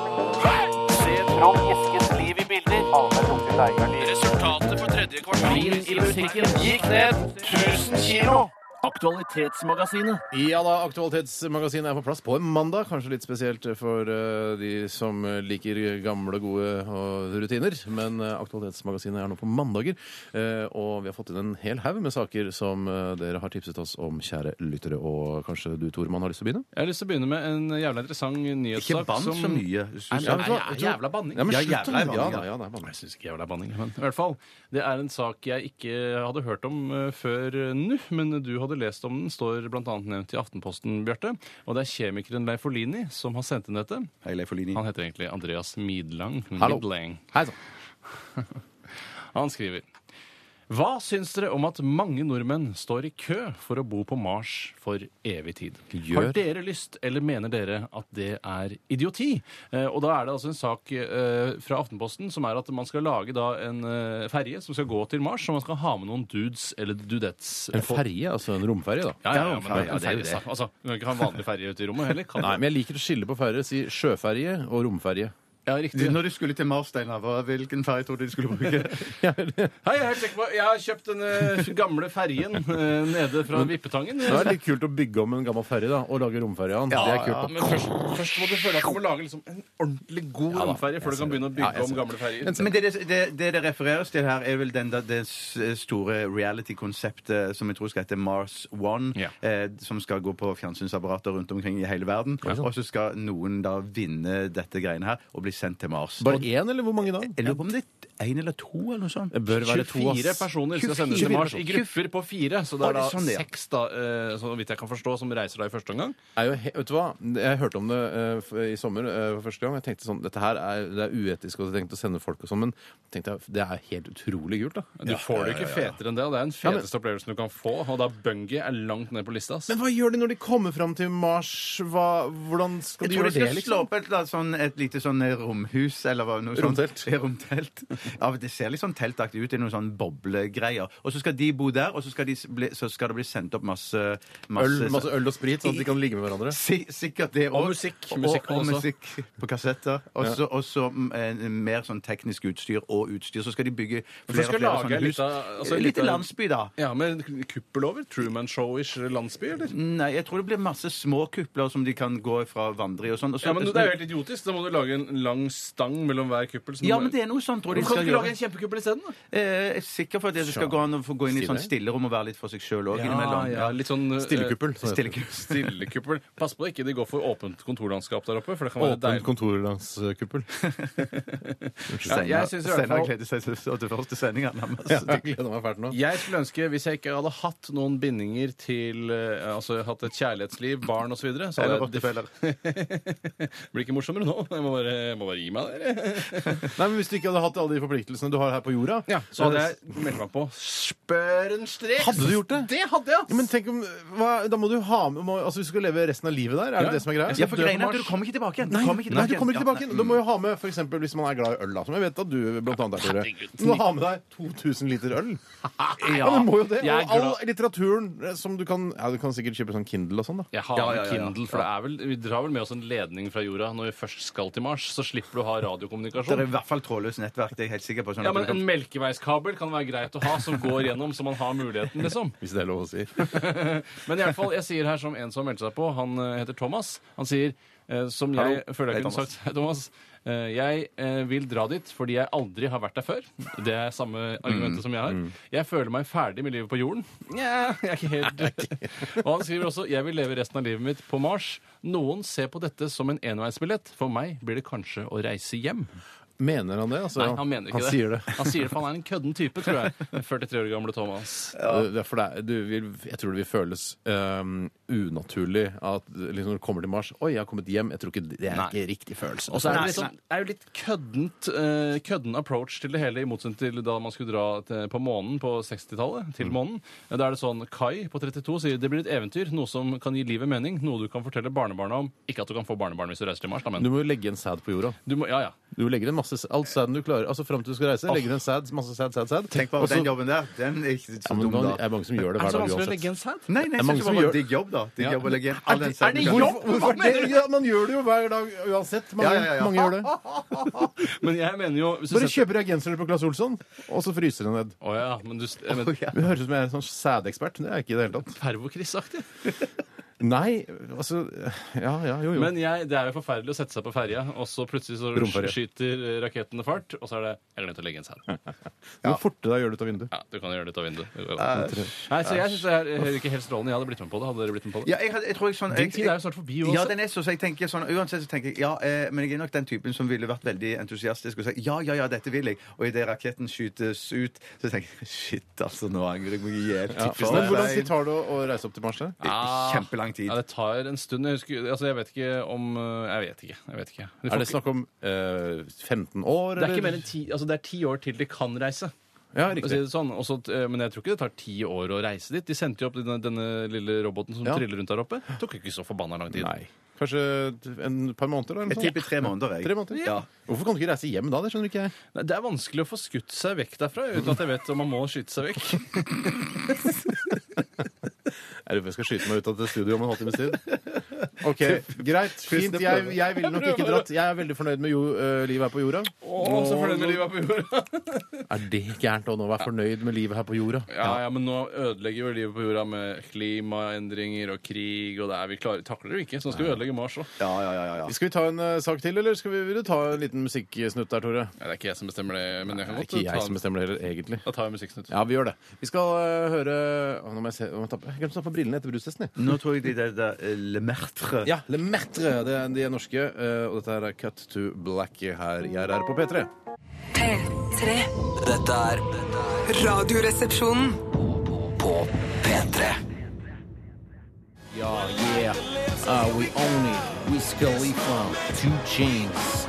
Speaker 4: Resultatet på tredje kvartal i butikken gikk ned 1000 kilo. Aktualitetsmagasinet.
Speaker 3: Ja da, Aktualitetsmagasinet er på plass på en mandag. Kanskje litt spesielt for eh, de som liker gamle, gode og rutiner. Men eh, Aktualitetsmagasinet er nå på mandager. Eh, og vi har fått inn en hel haug med saker som eh, dere har tipset oss om, kjære lyttere. Og kanskje du, Toremann, har lyst til å begynne?
Speaker 4: Jeg har lyst til å begynne med en jævla interessant nyhetssak.
Speaker 5: Ikke bann
Speaker 4: som-
Speaker 5: så
Speaker 4: Nei,
Speaker 5: mye. synes
Speaker 4: men,
Speaker 5: jeg.
Speaker 4: nei, nei, jævla banning.
Speaker 3: Ja, men
Speaker 5: Ja,
Speaker 3: slutt! å- Ja,
Speaker 5: jævla banning, ja.
Speaker 3: da, ja, det er banning.
Speaker 4: Jeg syns ikke jævla banning, men i hvert fall. Det er en sak jeg ikke hadde hørt om eh, før eh, nå, men du hadde lest om den. Står bl.a. nevnt i Aftenposten, Bjarte. Og det er kjemikeren Leif Olini som har sendt inn dette.
Speaker 5: Hei, Leif Olini.
Speaker 4: Han heter egentlig Andreas Midlang.
Speaker 3: Hallo.
Speaker 4: Midlang.
Speaker 3: Hei sann.
Speaker 4: Han skriver Hva syns dere om at mange nordmenn står i kø for å bo på Mars for evig tid?
Speaker 3: Gjør.
Speaker 4: Har dere lyst, eller mener dere at det er idioti? Eh, og da er det altså en sak eh, fra Aftenposten som er at man skal lage da en eh, ferje som skal gå til Mars, og man skal ha med noen dudes eller dudettes.
Speaker 3: En ferje, altså en romferje, da.
Speaker 4: Ja, ja, ja,
Speaker 5: en
Speaker 4: men
Speaker 5: ferje,
Speaker 4: en
Speaker 5: det er jo
Speaker 4: ferje,
Speaker 5: det.
Speaker 4: sa- Altså, du kan ikke ha en vanlig ferje ute i rommet heller. Kan
Speaker 3: Nei, men jeg liker å skille på ferjer. Si sjøferje og romferje.
Speaker 4: Ja,
Speaker 5: Du,
Speaker 4: riktig.
Speaker 5: Når du skulle til Mars, Steinar, hva- hvilken ferge trodde du skulle bruke?
Speaker 4: Hei, jeg, er helt sikker på, jeg har kjøpt den eh, gamle ferjen eh, nede fra Vippetangen. eh,
Speaker 3: Det er litt kult å bygge om en gammel ferje da, og lage romferje av den. det er kult.
Speaker 4: Men først, først må du føle at du må lage liksom en ordentlig god
Speaker 3: da,
Speaker 4: romferje før
Speaker 3: jeg
Speaker 4: du kan
Speaker 3: ser
Speaker 4: begynne å
Speaker 3: det. Ja,
Speaker 4: bygge
Speaker 3: jeg
Speaker 4: om
Speaker 3: ser
Speaker 4: gamle ferjer.
Speaker 5: Men det det, det det det refereres til her, er vel den, der- det s- store reality-konseptet som jeg tror skal hete Mars One,
Speaker 4: Ja.
Speaker 5: eh, som skal gå på fjernsynsapparater rundt omkring i hele verden. Og så skal noen da vinne dette greiene her og bli sendt til Mars.
Speaker 3: Bare én, eller hvor mange da?
Speaker 5: Jeg lurer på om det er én eller to eller noe sånt.
Speaker 3: Det bør være to,
Speaker 4: 24
Speaker 3: ass.
Speaker 4: personer skal sendes til
Speaker 3: 24
Speaker 4: Mars i grupper på fire. Så det
Speaker 5: Å,
Speaker 4: er
Speaker 5: det
Speaker 4: da
Speaker 5: er sånn, ja.
Speaker 4: seks, da, eh, så vidt jeg kan forstå, som reiser da i første omgang.
Speaker 3: Er jo he vet du hva? Jeg hørte om det eh, f- i sommer eh, for første gang. Jeg tenkte sånn, dette her er, det er uetisk og jeg tenkte å sende folk og sånn, men tenkte jeg, det er helt utrolig kult. da.
Speaker 4: Du får det ikke fetere enn det. og Det er den feteste opplevelsen du kan få. Og da bungee er langt ned på lista. ass.
Speaker 3: Men hva gjør de når de kommer fram til Mars? Hva, hvordan skal
Speaker 5: Jeg
Speaker 3: de
Speaker 5: tror de
Speaker 3: gjøre det,
Speaker 5: skal slå
Speaker 3: liksom?
Speaker 5: opp et, da, sånn, et lite sånn romhus eller hva, noe sånt.
Speaker 3: Romtelt.
Speaker 5: Ja, romtelt. Ja, men det ser litt sånn teltaktig ut. Det er noen sånn boblegreier. Og så skal de bo der, og så skal, de s- bli, så skal det bli sendt opp masse,
Speaker 3: Øl,
Speaker 5: masse
Speaker 3: masse
Speaker 4: Eh,
Speaker 3: øl og sprit, sånn at de kan ligge med hverandre?
Speaker 5: Si- Sikkert det
Speaker 4: Og
Speaker 5: også.
Speaker 4: musikk.
Speaker 5: Og,
Speaker 4: Musikk
Speaker 5: og,
Speaker 4: også.
Speaker 5: musikk på kassetter. Og så- Og så mm, eh, mer sånn teknisk utstyr og utstyr. Så skal de bygge flere
Speaker 4: skal
Speaker 5: og flere
Speaker 4: lage
Speaker 5: sånne
Speaker 4: litt
Speaker 5: hus.
Speaker 4: av- altså, litt
Speaker 5: Lite
Speaker 4: av-
Speaker 5: landsby, da.
Speaker 4: Ja, med kuppel over? Truman Show-ish landsby, eller?
Speaker 5: Nei, jeg tror det blir masse små kupler som de kan gå fra og vandre i og sånn. Og så-
Speaker 4: Ja, men Det er jo helt idiotisk. Da må du lage en lang stang mellom hver kuppel.
Speaker 5: ja, men det er noe sånt, tror jeg de
Speaker 4: Kan du
Speaker 5: skal
Speaker 4: ikke lage
Speaker 5: gjøre.
Speaker 4: en kjempekuppel isteden? da?
Speaker 5: Eh, Jeg er sikker for at det skal gå an å få gå inn i sånn stillerom og være litt for seg sjøl òg innimellom.
Speaker 4: ja, litt sånn eh,
Speaker 3: Stillekuppel. så heter det.
Speaker 5: Stillekuppel.
Speaker 4: Stillekuppel. Pass på ikke de går for åpent kontorlandskap der oppe. for det kan være
Speaker 3: Åpent
Speaker 4: deilig.
Speaker 3: kontor langs eh, kuppel.
Speaker 4: Ja, jeg synes i hvert
Speaker 5: Steinar
Speaker 4: fall-
Speaker 5: gleder seg til til første sending. han, nærmest.
Speaker 3: Jeg gleder meg fælt nå.
Speaker 4: Jeg skulle ønske, hvis jeg ikke hadde hatt noen bindinger til eh, Altså hatt et kjærlighetsliv, barn osv.
Speaker 5: Eller rottefeller.
Speaker 4: Blir ikke morsommere nå. Jeg må bare, jeg må bare gi meg der.
Speaker 3: Nei, men Hvis du ikke hadde hatt alle de forpliktelsene du har her på jorda
Speaker 4: Ja, så hadde jeg meldt meg på Spørrenstreks.
Speaker 3: Hadde du gjort det?
Speaker 4: Det hadde jeg!
Speaker 3: Ja, men tenk om, hva, Da må du ha med må, Altså, Du skal leve resten av livet der? Er det det som er greia?
Speaker 5: Ja, for greien er at du kommer ikke tilbake igjen. Du
Speaker 3: Nei,
Speaker 5: kommer ikke
Speaker 3: nei,
Speaker 5: tilbake
Speaker 3: du kommer
Speaker 5: igjen.
Speaker 3: ikke
Speaker 5: Ja,
Speaker 3: tilbake igjen. Du må jo ha med for eksempel, hvis man er glad i øl, da, som jeg vet at du blant annet er, Tore. Du må ha med deg 2000 liter øl. Ja, du må jo det.
Speaker 4: Jeg er
Speaker 3: Og all
Speaker 4: glad.
Speaker 3: litteraturen eh, som du kan Ja, du kan sikkert kjøpe sånn Kindle og sånn, da.
Speaker 4: Jeg har
Speaker 5: Ja, ja, ja, ja.
Speaker 4: Kindle, for det er vel, Vi drar vel med oss en ledning fra jorda når vi først skal til Mars. Så slipper du å ha
Speaker 5: Det er i
Speaker 4: radiokommunikasjon.
Speaker 5: hvert fall trådløst nettverk. det er jeg helt sikker på. Sånn
Speaker 4: Ja,
Speaker 5: at
Speaker 4: men
Speaker 5: du kan-
Speaker 4: En melkeveiskabel kan være greit å ha, som går gjennom, så man har muligheten, liksom.
Speaker 3: Hvis det er lov å si.
Speaker 4: Men i alle fall, jeg sier her som en som meldte seg på, han eh, heter Thomas. Han sier, eh, som jeg føler jeg
Speaker 5: Hei,
Speaker 4: kunne sagt Hei, Thomas. Eh, jeg eh, vil dra dit fordi jeg aldri har vært der før. Det er samme argumentet som jeg har. Jeg føler meg ferdig med livet på jorden. Nja, jeg er ikke helt Og han skriver også jeg vil leve resten av livet mitt på Mars. Noen ser på dette som en enveisbillett. For meg blir det kanskje å reise hjem.
Speaker 3: Mener han det? Altså,
Speaker 4: Nei, han mener ikke
Speaker 3: han
Speaker 4: det.
Speaker 3: sier det.
Speaker 4: Han sier det, for han er en kødden type, tror jeg. 43 år gamle Thomas.
Speaker 3: Det er for det, er- du vil, jeg tror det vil føles øhm, unaturlig at liksom, når du kommer til Mars Oi, jeg har kommet hjem. Jeg tror ikke Det er
Speaker 4: Nei.
Speaker 3: ikke riktig følelse.
Speaker 4: Og så er det litt, sånn, er jo litt køddent, eh, kødden approach til det hele, i motsetning til da man skulle dra til, på månen på 60-tallet. til månen. Da er det sånn Kai på 32 sier det blir et eventyr, noe som kan gi livet mening, noe du kan fortelle barnebarna om. Ikke at du kan få barnebarn hvis du reiser til Mars, da, men
Speaker 3: Du må jo legge en sæd på jorda.
Speaker 4: du må, ja, ja.
Speaker 3: Du legger en masse Alt sæden du klarer. Altså Fram til du skal reise, legger du en sæd, masse sæd, sæd, sæd.
Speaker 5: Tenk bare
Speaker 3: Og
Speaker 5: på
Speaker 3: så-
Speaker 5: den jobben der. Den er ikke så
Speaker 3: Ja, men
Speaker 5: dum,
Speaker 3: nå
Speaker 5: da.
Speaker 3: er det mange som gjør det
Speaker 4: Er
Speaker 3: hver
Speaker 4: det så
Speaker 3: dag
Speaker 4: vanskelig å
Speaker 3: uansett.
Speaker 4: legge en sæd?
Speaker 5: Nei, nei,
Speaker 3: er mange
Speaker 5: jeg synes det
Speaker 3: som
Speaker 5: var
Speaker 3: gjør-
Speaker 5: en digg jobb, da. Digg jobb å legge igjen. all den
Speaker 4: Er det- er det
Speaker 5: søvnen.
Speaker 4: jobb?
Speaker 3: Hvorfor, hvorfor det? Ja, man gjør det jo hver dag uansett. Mange,
Speaker 5: Ja, ja, ja.
Speaker 3: mange gjør det.
Speaker 4: Men jeg mener jo hvis du
Speaker 3: Bare
Speaker 4: setter,
Speaker 3: kjøper reagensrør på Claes Olsson, og så fryser det ned.
Speaker 4: Å ja, men du jeg mener,
Speaker 3: Det høres ut som jeg er en sånn sædekspert. men Det er jeg ikke i det hele tatt.
Speaker 4: Pervokris-aktig.
Speaker 3: Nei, altså Ja, ja, jo, jo.
Speaker 4: Men jeg, det er jo forferdelig å sette seg på ferja, og så plutselig så
Speaker 3: Romferie.
Speaker 4: skyter rakettene fart, og så er det Jeg glemte å legge en sæd.
Speaker 3: Du må forte deg å gjøre det ut av vinduet.
Speaker 4: Ja, du kan gjøre det ut av vinduet. Det går godt. Nei, så jeg synes det er heller ikke helt strålende. Jeg hadde blitt med på det. Hadde dere blitt med på det?
Speaker 5: Ja, jeg, hadde- jeg tror jeg sånn...
Speaker 4: Din
Speaker 5: Jeg,
Speaker 4: tid er jo snart forbi
Speaker 5: ja,
Speaker 4: uansett.
Speaker 5: den er så, så jeg tenker sånn, uansett så tenker jeg, ja, eh, men jeg er nok den typen som ville vært veldig entusiastisk og sagt, ja, ja, ja, dette vil jeg. Og i det raketten skytes ut, så tenker jeg, shit, altså, nå angrer jeg meg ihjel. Ja,
Speaker 3: Men hvordan tid tar det å å reise opp til Mars? da?
Speaker 5: Kjempelang tid.
Speaker 4: Ah. Ja, det tar en stund. Jeg husker, altså jeg vet ikke om øh, Jeg vet ikke. Jeg vet ikke. Du får
Speaker 3: Er det
Speaker 4: ikke-
Speaker 3: snakk om eh, 15 år,
Speaker 4: det er ikke mer enn ti, altså det er ti år til de kan reise.
Speaker 3: Ja,
Speaker 4: å Si
Speaker 3: riktig.
Speaker 4: det sånn. Og så, øh, men jeg tror ikke det tar ti år å reise dit. De sendte jo opp denne, denne lille roboten som
Speaker 3: Ja.
Speaker 4: triller rundt der oppe. Det tok jo ikke så forbanna lang tid.
Speaker 3: Nei. Kanskje et par måneder? da, Eller noe
Speaker 5: Jeg
Speaker 3: sånt?
Speaker 5: tipper tre måneder, jeg.
Speaker 3: Tre måneder?
Speaker 5: Ja.
Speaker 3: Hvorfor kan du ikke reise hjem da? Det skjønner ikke jeg.
Speaker 4: Nei, Det er vanskelig å få skutt seg vekk derfra uten at jeg vet om man må skyte seg vekk.
Speaker 3: Er det for jeg skal skyte meg ut av dette studioet om en halvtimes tid? Ok, Greit. Fint. Jeg, jeg ville nok ikke dratt. Jeg er veldig fornøyd med jo, eh, livet her på jorda.
Speaker 4: Å, så fornøyd med livet her på jorda.
Speaker 3: Er det gærent å nå være fornøyd med livet her på jorda?
Speaker 4: Ja, ja, men nå ødelegger jo livet på jorda med klimaendringer og krig, og det er vi klarer, takler det ikke. Så nå skal vi ødelegge Mars òg.
Speaker 5: Ja, ja, ja, ja, ja.
Speaker 3: Skal vi ta en eh, sak til, eller skal vi, vil du ta en liten musikksnutt der, Tore?
Speaker 4: Ja, det er ikke jeg som bestemmer det, men jeg
Speaker 3: Det
Speaker 4: kan
Speaker 3: er
Speaker 4: godt
Speaker 3: ikke
Speaker 4: ta
Speaker 3: jeg som
Speaker 4: den.
Speaker 3: bestemmer det heller, egentlig.
Speaker 4: Da tar jeg musikksnutt.
Speaker 3: Ja, vi gjør det. Vi skal eh, høre Å, Nå må jeg se Å, tappe- Jeg glemte å ta på brillene etter brustesten, jeg.
Speaker 5: Nå tror jeg de der, der eh, Le Mertre
Speaker 3: Ja, Le Metre. Det er, de er norske. eh, Og dette er Cut to Black her i RR på P3.
Speaker 2: P3.
Speaker 1: Dette er
Speaker 2: Radioresepsjonen.
Speaker 1: på P3.
Speaker 3: Ja, yeah. Uh, we own it. Wiz Khalifa, Two Chains.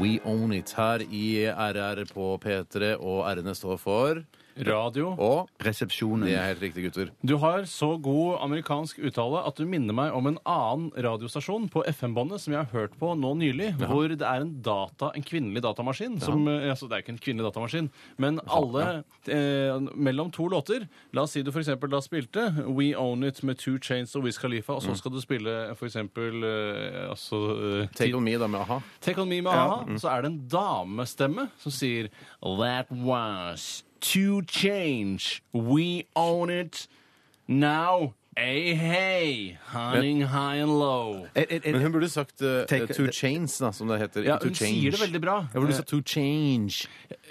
Speaker 3: We own it her i RR på P3, og R-ene står for
Speaker 4: Radio.
Speaker 3: Og
Speaker 5: Resepsjonen.
Speaker 3: det er helt riktig, gutter.
Speaker 4: Du har så god amerikansk uttale at du minner meg om en annen radiostasjon på FM-båndet som jeg har hørt på nå nylig, hvor det er en data, en kvinnelig datamaskin som eh, Altså, det er ikke en kvinnelig datamaskin, men alle eh, Mellom to låter La oss si du for eksempel da spilte We Own It med Two Chains og Wiz Khalifa, og så skal du spille for eksempel eh, altså eh,
Speaker 3: Take on me, da, med a-ha.
Speaker 4: Take On Me med a-ha, så er det en damestemme som sier That was to change. We own it now. Hey, hey, hunting high and low.
Speaker 3: Men hun burde sagt eh,
Speaker 5: Take-
Speaker 3: Two Chains, da, som det heter.
Speaker 4: Ja,
Speaker 3: ikke
Speaker 4: hun
Speaker 3: to change.
Speaker 4: sier det veldig bra. Eh.
Speaker 3: Ja, burde du sagt Two Change?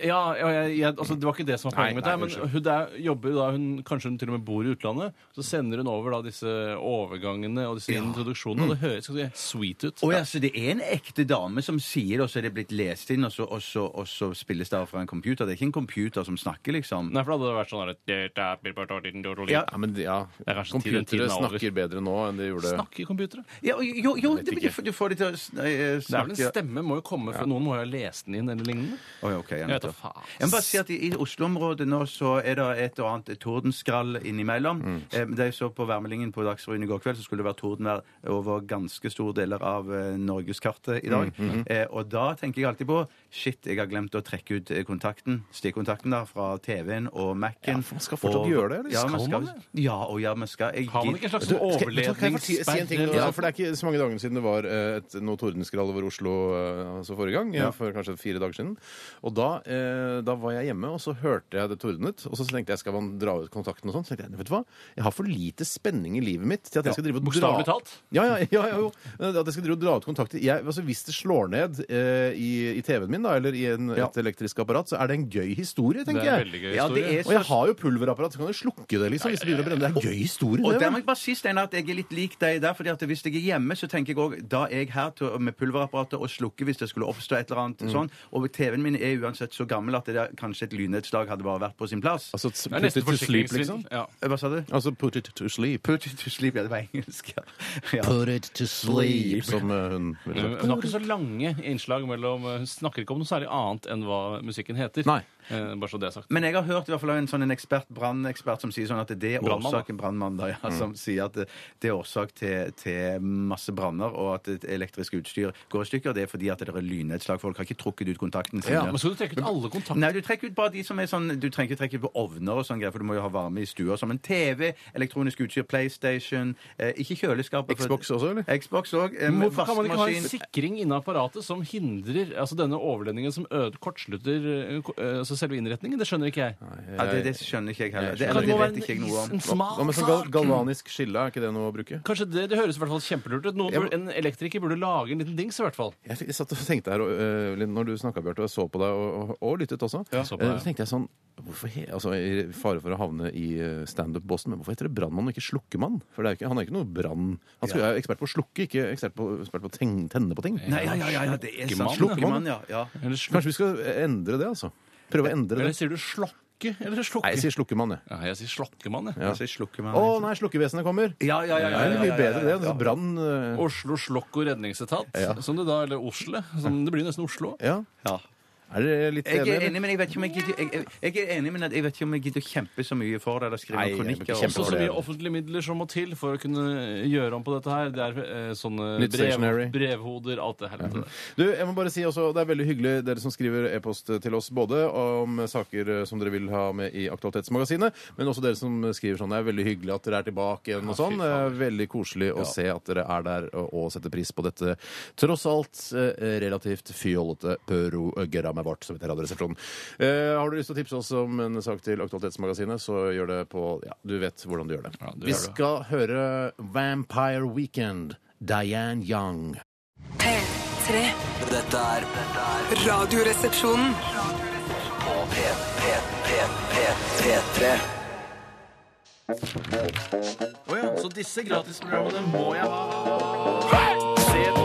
Speaker 4: Ja, ja, jeg, jeg, altså, Det var ikke det som var
Speaker 3: Nei,
Speaker 4: poenget mitt.
Speaker 3: nei,
Speaker 4: der,
Speaker 3: unnskyld.
Speaker 4: Men hun der jobber jo da, hun, Kanskje hun til og med bor i utlandet. Så sender hun over da disse overgangene og disse introduksjonene, og det høres skal du si, sweet ut.
Speaker 5: Mm. Å ja, så det er en ekte dame som sier det, og så er det blitt lest inn, og så, og så, og så spilles det av fra en computer. Det er ikke en computer som snakker, liksom.
Speaker 4: Nei, for da hadde det vært sånn der
Speaker 5: Ja.
Speaker 3: Ja, men ja.
Speaker 4: er kanskje tiden- tiden
Speaker 3: Computere
Speaker 4: er over.
Speaker 3: snakker bedre nå enn de gjorde
Speaker 4: Snakke i computere.
Speaker 5: Ja, og- jo, jo det,
Speaker 3: ikke.
Speaker 5: du, du får det til å sn- eh,
Speaker 4: Det er vel
Speaker 5: snakke
Speaker 4: en stemme må jo komme fra Noen må jo ha lest den inn, eller lignende.
Speaker 5: Å ja, ok,
Speaker 4: Jeg
Speaker 5: ja,
Speaker 4: vet da
Speaker 5: nettopp.
Speaker 4: faen.
Speaker 5: Jeg må bare si at i, i Oslo-området nå så er det et og annet tordenskrall innimellom.
Speaker 3: Mm.
Speaker 5: Eh, Da jeg så på værmeldingen på Dagsrevyen i går kveld, så skulle det være tordenvær over ganske store deler av eh, norgeskartet i dag.
Speaker 3: Mm,
Speaker 5: eh, og da tenker jeg alltid på Shit, jeg har glemt å trekke ut eh, kontakten, stikkontakten da, fra TV-en og Mac-en.
Speaker 3: Ja, for man skal fortsatt gjøre det, eller?
Speaker 5: Ja, man
Speaker 3: Skal
Speaker 5: skal,
Speaker 3: man
Speaker 5: ja, og ja, man skal. Jeg,
Speaker 4: Har man ikke en slags
Speaker 3: Du, skal- vet du hva, kan jeg få si- si en ting nå?
Speaker 4: overledningssperre?
Speaker 3: Ja, for Det er ikke så mange dagene siden det var eh, et, noe tordenskrall over Oslo eh, altså forrige gang. eh, For kanskje fire dager siden. Og da, eh, da var jeg hjemme, og så hørte jeg det tordnet. Og så tenkte jeg skal man dra ut kontakten og sånn. Så tenkte jeg vet du hva, jeg har for lite spenning i livet mitt til at jeg skal drive og dra
Speaker 4: Bokstavelig talt?
Speaker 3: Ja, ja, ja, ja, jo. Men At jeg skal drive og dra ut kontakter. Jeg, altså, hvis det slår ned eh, i, i TV-en min, da, eller i en, et elektrisk apparat, så er det en gøy historie, tenker
Speaker 4: Det er en
Speaker 3: jeg.
Speaker 4: veldig gøy
Speaker 5: ja, det
Speaker 4: historie.
Speaker 5: er
Speaker 3: Og jeg har jo pulverapparat, så kan jeg slukke det liksom, hvis det begynner å brenne. Det er en gøy historie.
Speaker 5: Og
Speaker 3: det,
Speaker 5: der
Speaker 3: vel?
Speaker 5: må jeg bare si, Steinar, at jeg er litt lik deg der. fordi at hvis jeg er hjemme, så tenker jeg òg da er jeg her til, med pulverapparatet og slukker hvis det skulle oppstå et eller annet sånn. Og TV-en min er uansett så gammel at det der, kanskje et lynnedslag hadde bare vært på sin plass.
Speaker 3: Altså,
Speaker 4: Det er
Speaker 3: put
Speaker 4: nesten
Speaker 3: it to sleep, liksom.
Speaker 4: forsikringssvindel. Ja.
Speaker 5: Eh, Hva sa du?
Speaker 3: Altså put it to sleep.
Speaker 5: Put it to sleep. Ja, det var engelsk. Ja. Ja.
Speaker 3: Put it to sleep, som eh, hun ville
Speaker 4: Hun
Speaker 3: sagt.
Speaker 4: har ikke så lange innslag mellom eh, Hun snakker ikke om noe særlig annet enn hva musikken heter.
Speaker 3: Nei.
Speaker 4: Eh, Bare så det er sagt.
Speaker 5: Men jeg har hørt i hvert fall av en sånn en ekspert, brannekspert som sier sånn at det er
Speaker 4: Brandmann, da.
Speaker 5: årsaken brannmann da, ja, som sier at det, det er årsak til, til masse branner, og at et elektrisk utstyr går i stykker. Det er fordi at det er lynnedslag. Folk har ikke trukket ut kontakten sin.
Speaker 3: Ja,
Speaker 4: Men skal du trekke ut alle kontakter?
Speaker 5: Nei, du trekker ut bare de som er sånn Du trenger ikke trekke ut på ovner og sånn greier, for du må jo ha varme i stua. Som en TV, elektronisk utstyr, PlayStation eh, Ikke kjøleskapet. for-
Speaker 3: Xbox også, eller?
Speaker 5: Xbox òg. Eh, med
Speaker 4: Hvorfor kan man ikke ha en
Speaker 5: vaskemaskin.
Speaker 4: sikring inne i apparatet som hindrer altså denne overledningen som øde, kortslutter eh, ko- eh, altså selve innretningen? Det skjønner ikke jeg.
Speaker 5: ja, det, det skjønner ikke jeg heller. Det,
Speaker 4: Kan
Speaker 5: eller,
Speaker 4: det
Speaker 5: det
Speaker 4: må
Speaker 5: vet
Speaker 4: være
Speaker 5: ikke jeg
Speaker 4: en,
Speaker 5: noe
Speaker 4: is-
Speaker 5: om.
Speaker 4: en smak?
Speaker 3: Hva med sånn gal galvanisk skille? Er ikke det noe å bruke?
Speaker 4: Kanskje det, det høres i hvert fall kjempelurt ut. Noen,
Speaker 3: Jeg må-
Speaker 4: burde- en elektriker burde lage en liten dings, i hvert fall.
Speaker 3: Jeg, jeg satt og tenkte her, og, eh, litt når du snakka, Bjarte, og jeg så på deg og, og, og lyttet også,
Speaker 4: Ja, så på deg,
Speaker 3: eh, så tenkte jeg sånn hvorfor he, altså, I fare for å havne i eh, standup-bossen, men hvorfor heter det brannmann og ikke slukkemann? For det er jo ikke, han er ikke noe brann... Han skal, er ekspert på å slukke, ikke ekspert på, ekspert på å ten, tenne på ting.
Speaker 5: Nei, ja, ja, ja, ja, det er sant.
Speaker 4: Slukkemann,
Speaker 5: Slukkemann, ja. ja.
Speaker 4: Eller, sluk-
Speaker 3: Kanskje vi skal endre det, altså? Prøve å endre
Speaker 4: eller
Speaker 3: det?
Speaker 4: sier du slokke? Eller
Speaker 3: Nei,
Speaker 4: slokke?
Speaker 3: jeg sier slukkemann, jeg.
Speaker 4: Ja, jeg sier slokkemann, jeg.
Speaker 3: Ja.
Speaker 5: Altså, slukkemann.
Speaker 3: Å nei, slukkevesenet kommer!
Speaker 5: ja, ja, ja,
Speaker 3: Det
Speaker 5: ja,
Speaker 3: er
Speaker 5: ja,
Speaker 3: mye
Speaker 5: ja, ja,
Speaker 3: bedre det.
Speaker 5: ja,
Speaker 3: Altså,
Speaker 5: ja.
Speaker 3: brann eh,
Speaker 4: Oslo Slokk og redningsetat, som det da, eller Osle, som det blir nesten Oslo.
Speaker 3: Ja.
Speaker 5: Ja.
Speaker 3: Er dere litt
Speaker 5: Jeg
Speaker 3: enige?
Speaker 5: er
Speaker 3: eller?
Speaker 5: enig, men jeg vet ikke om jeg gidder, jeg, jeg, jeg er enig, men at jeg vet ikke om jeg gidder å kjempe så mye for det eller skrive
Speaker 3: Nei,
Speaker 5: noen
Speaker 3: jeg må ikke
Speaker 5: kronikker. sånn.
Speaker 3: kjempe
Speaker 5: om
Speaker 4: Også
Speaker 5: det.
Speaker 4: så mye offentlige midler som må til for å kunne gjøre om på dette her. Det er eh, sånne
Speaker 3: Litt
Speaker 4: brev,
Speaker 3: stationary.
Speaker 4: brevhoder, alt det helvete.
Speaker 3: Du, jeg må bare si også, Det er veldig hyggelig dere som skriver e-post til oss, både om saker eh, som dere vil ha med i Aktualitetsmagasinet, men også dere som skriver sånn. Det er veldig hyggelig at dere er tilbake igjen og sånn. Det er Veldig koselig å se at dere er der og, og setter pris på dette tross alt eh, relativt fjollete programmet vårt som heter Radioresepsjonen. Eh, har du lyst til å tipse oss om en sak til Aktualitetsmagasinet, så gjør det på Ja, du vet hvordan du gjør det.
Speaker 4: Ja, du
Speaker 3: Vi
Speaker 4: gjør det.
Speaker 3: skal høre Vampire Weekend, Diane Young.
Speaker 2: P3.
Speaker 1: Dette er dette er
Speaker 2: Radioresepsjonen.
Speaker 1: på P, P, P, P, P3.
Speaker 4: Så disse gratisprogrammene må jeg ha.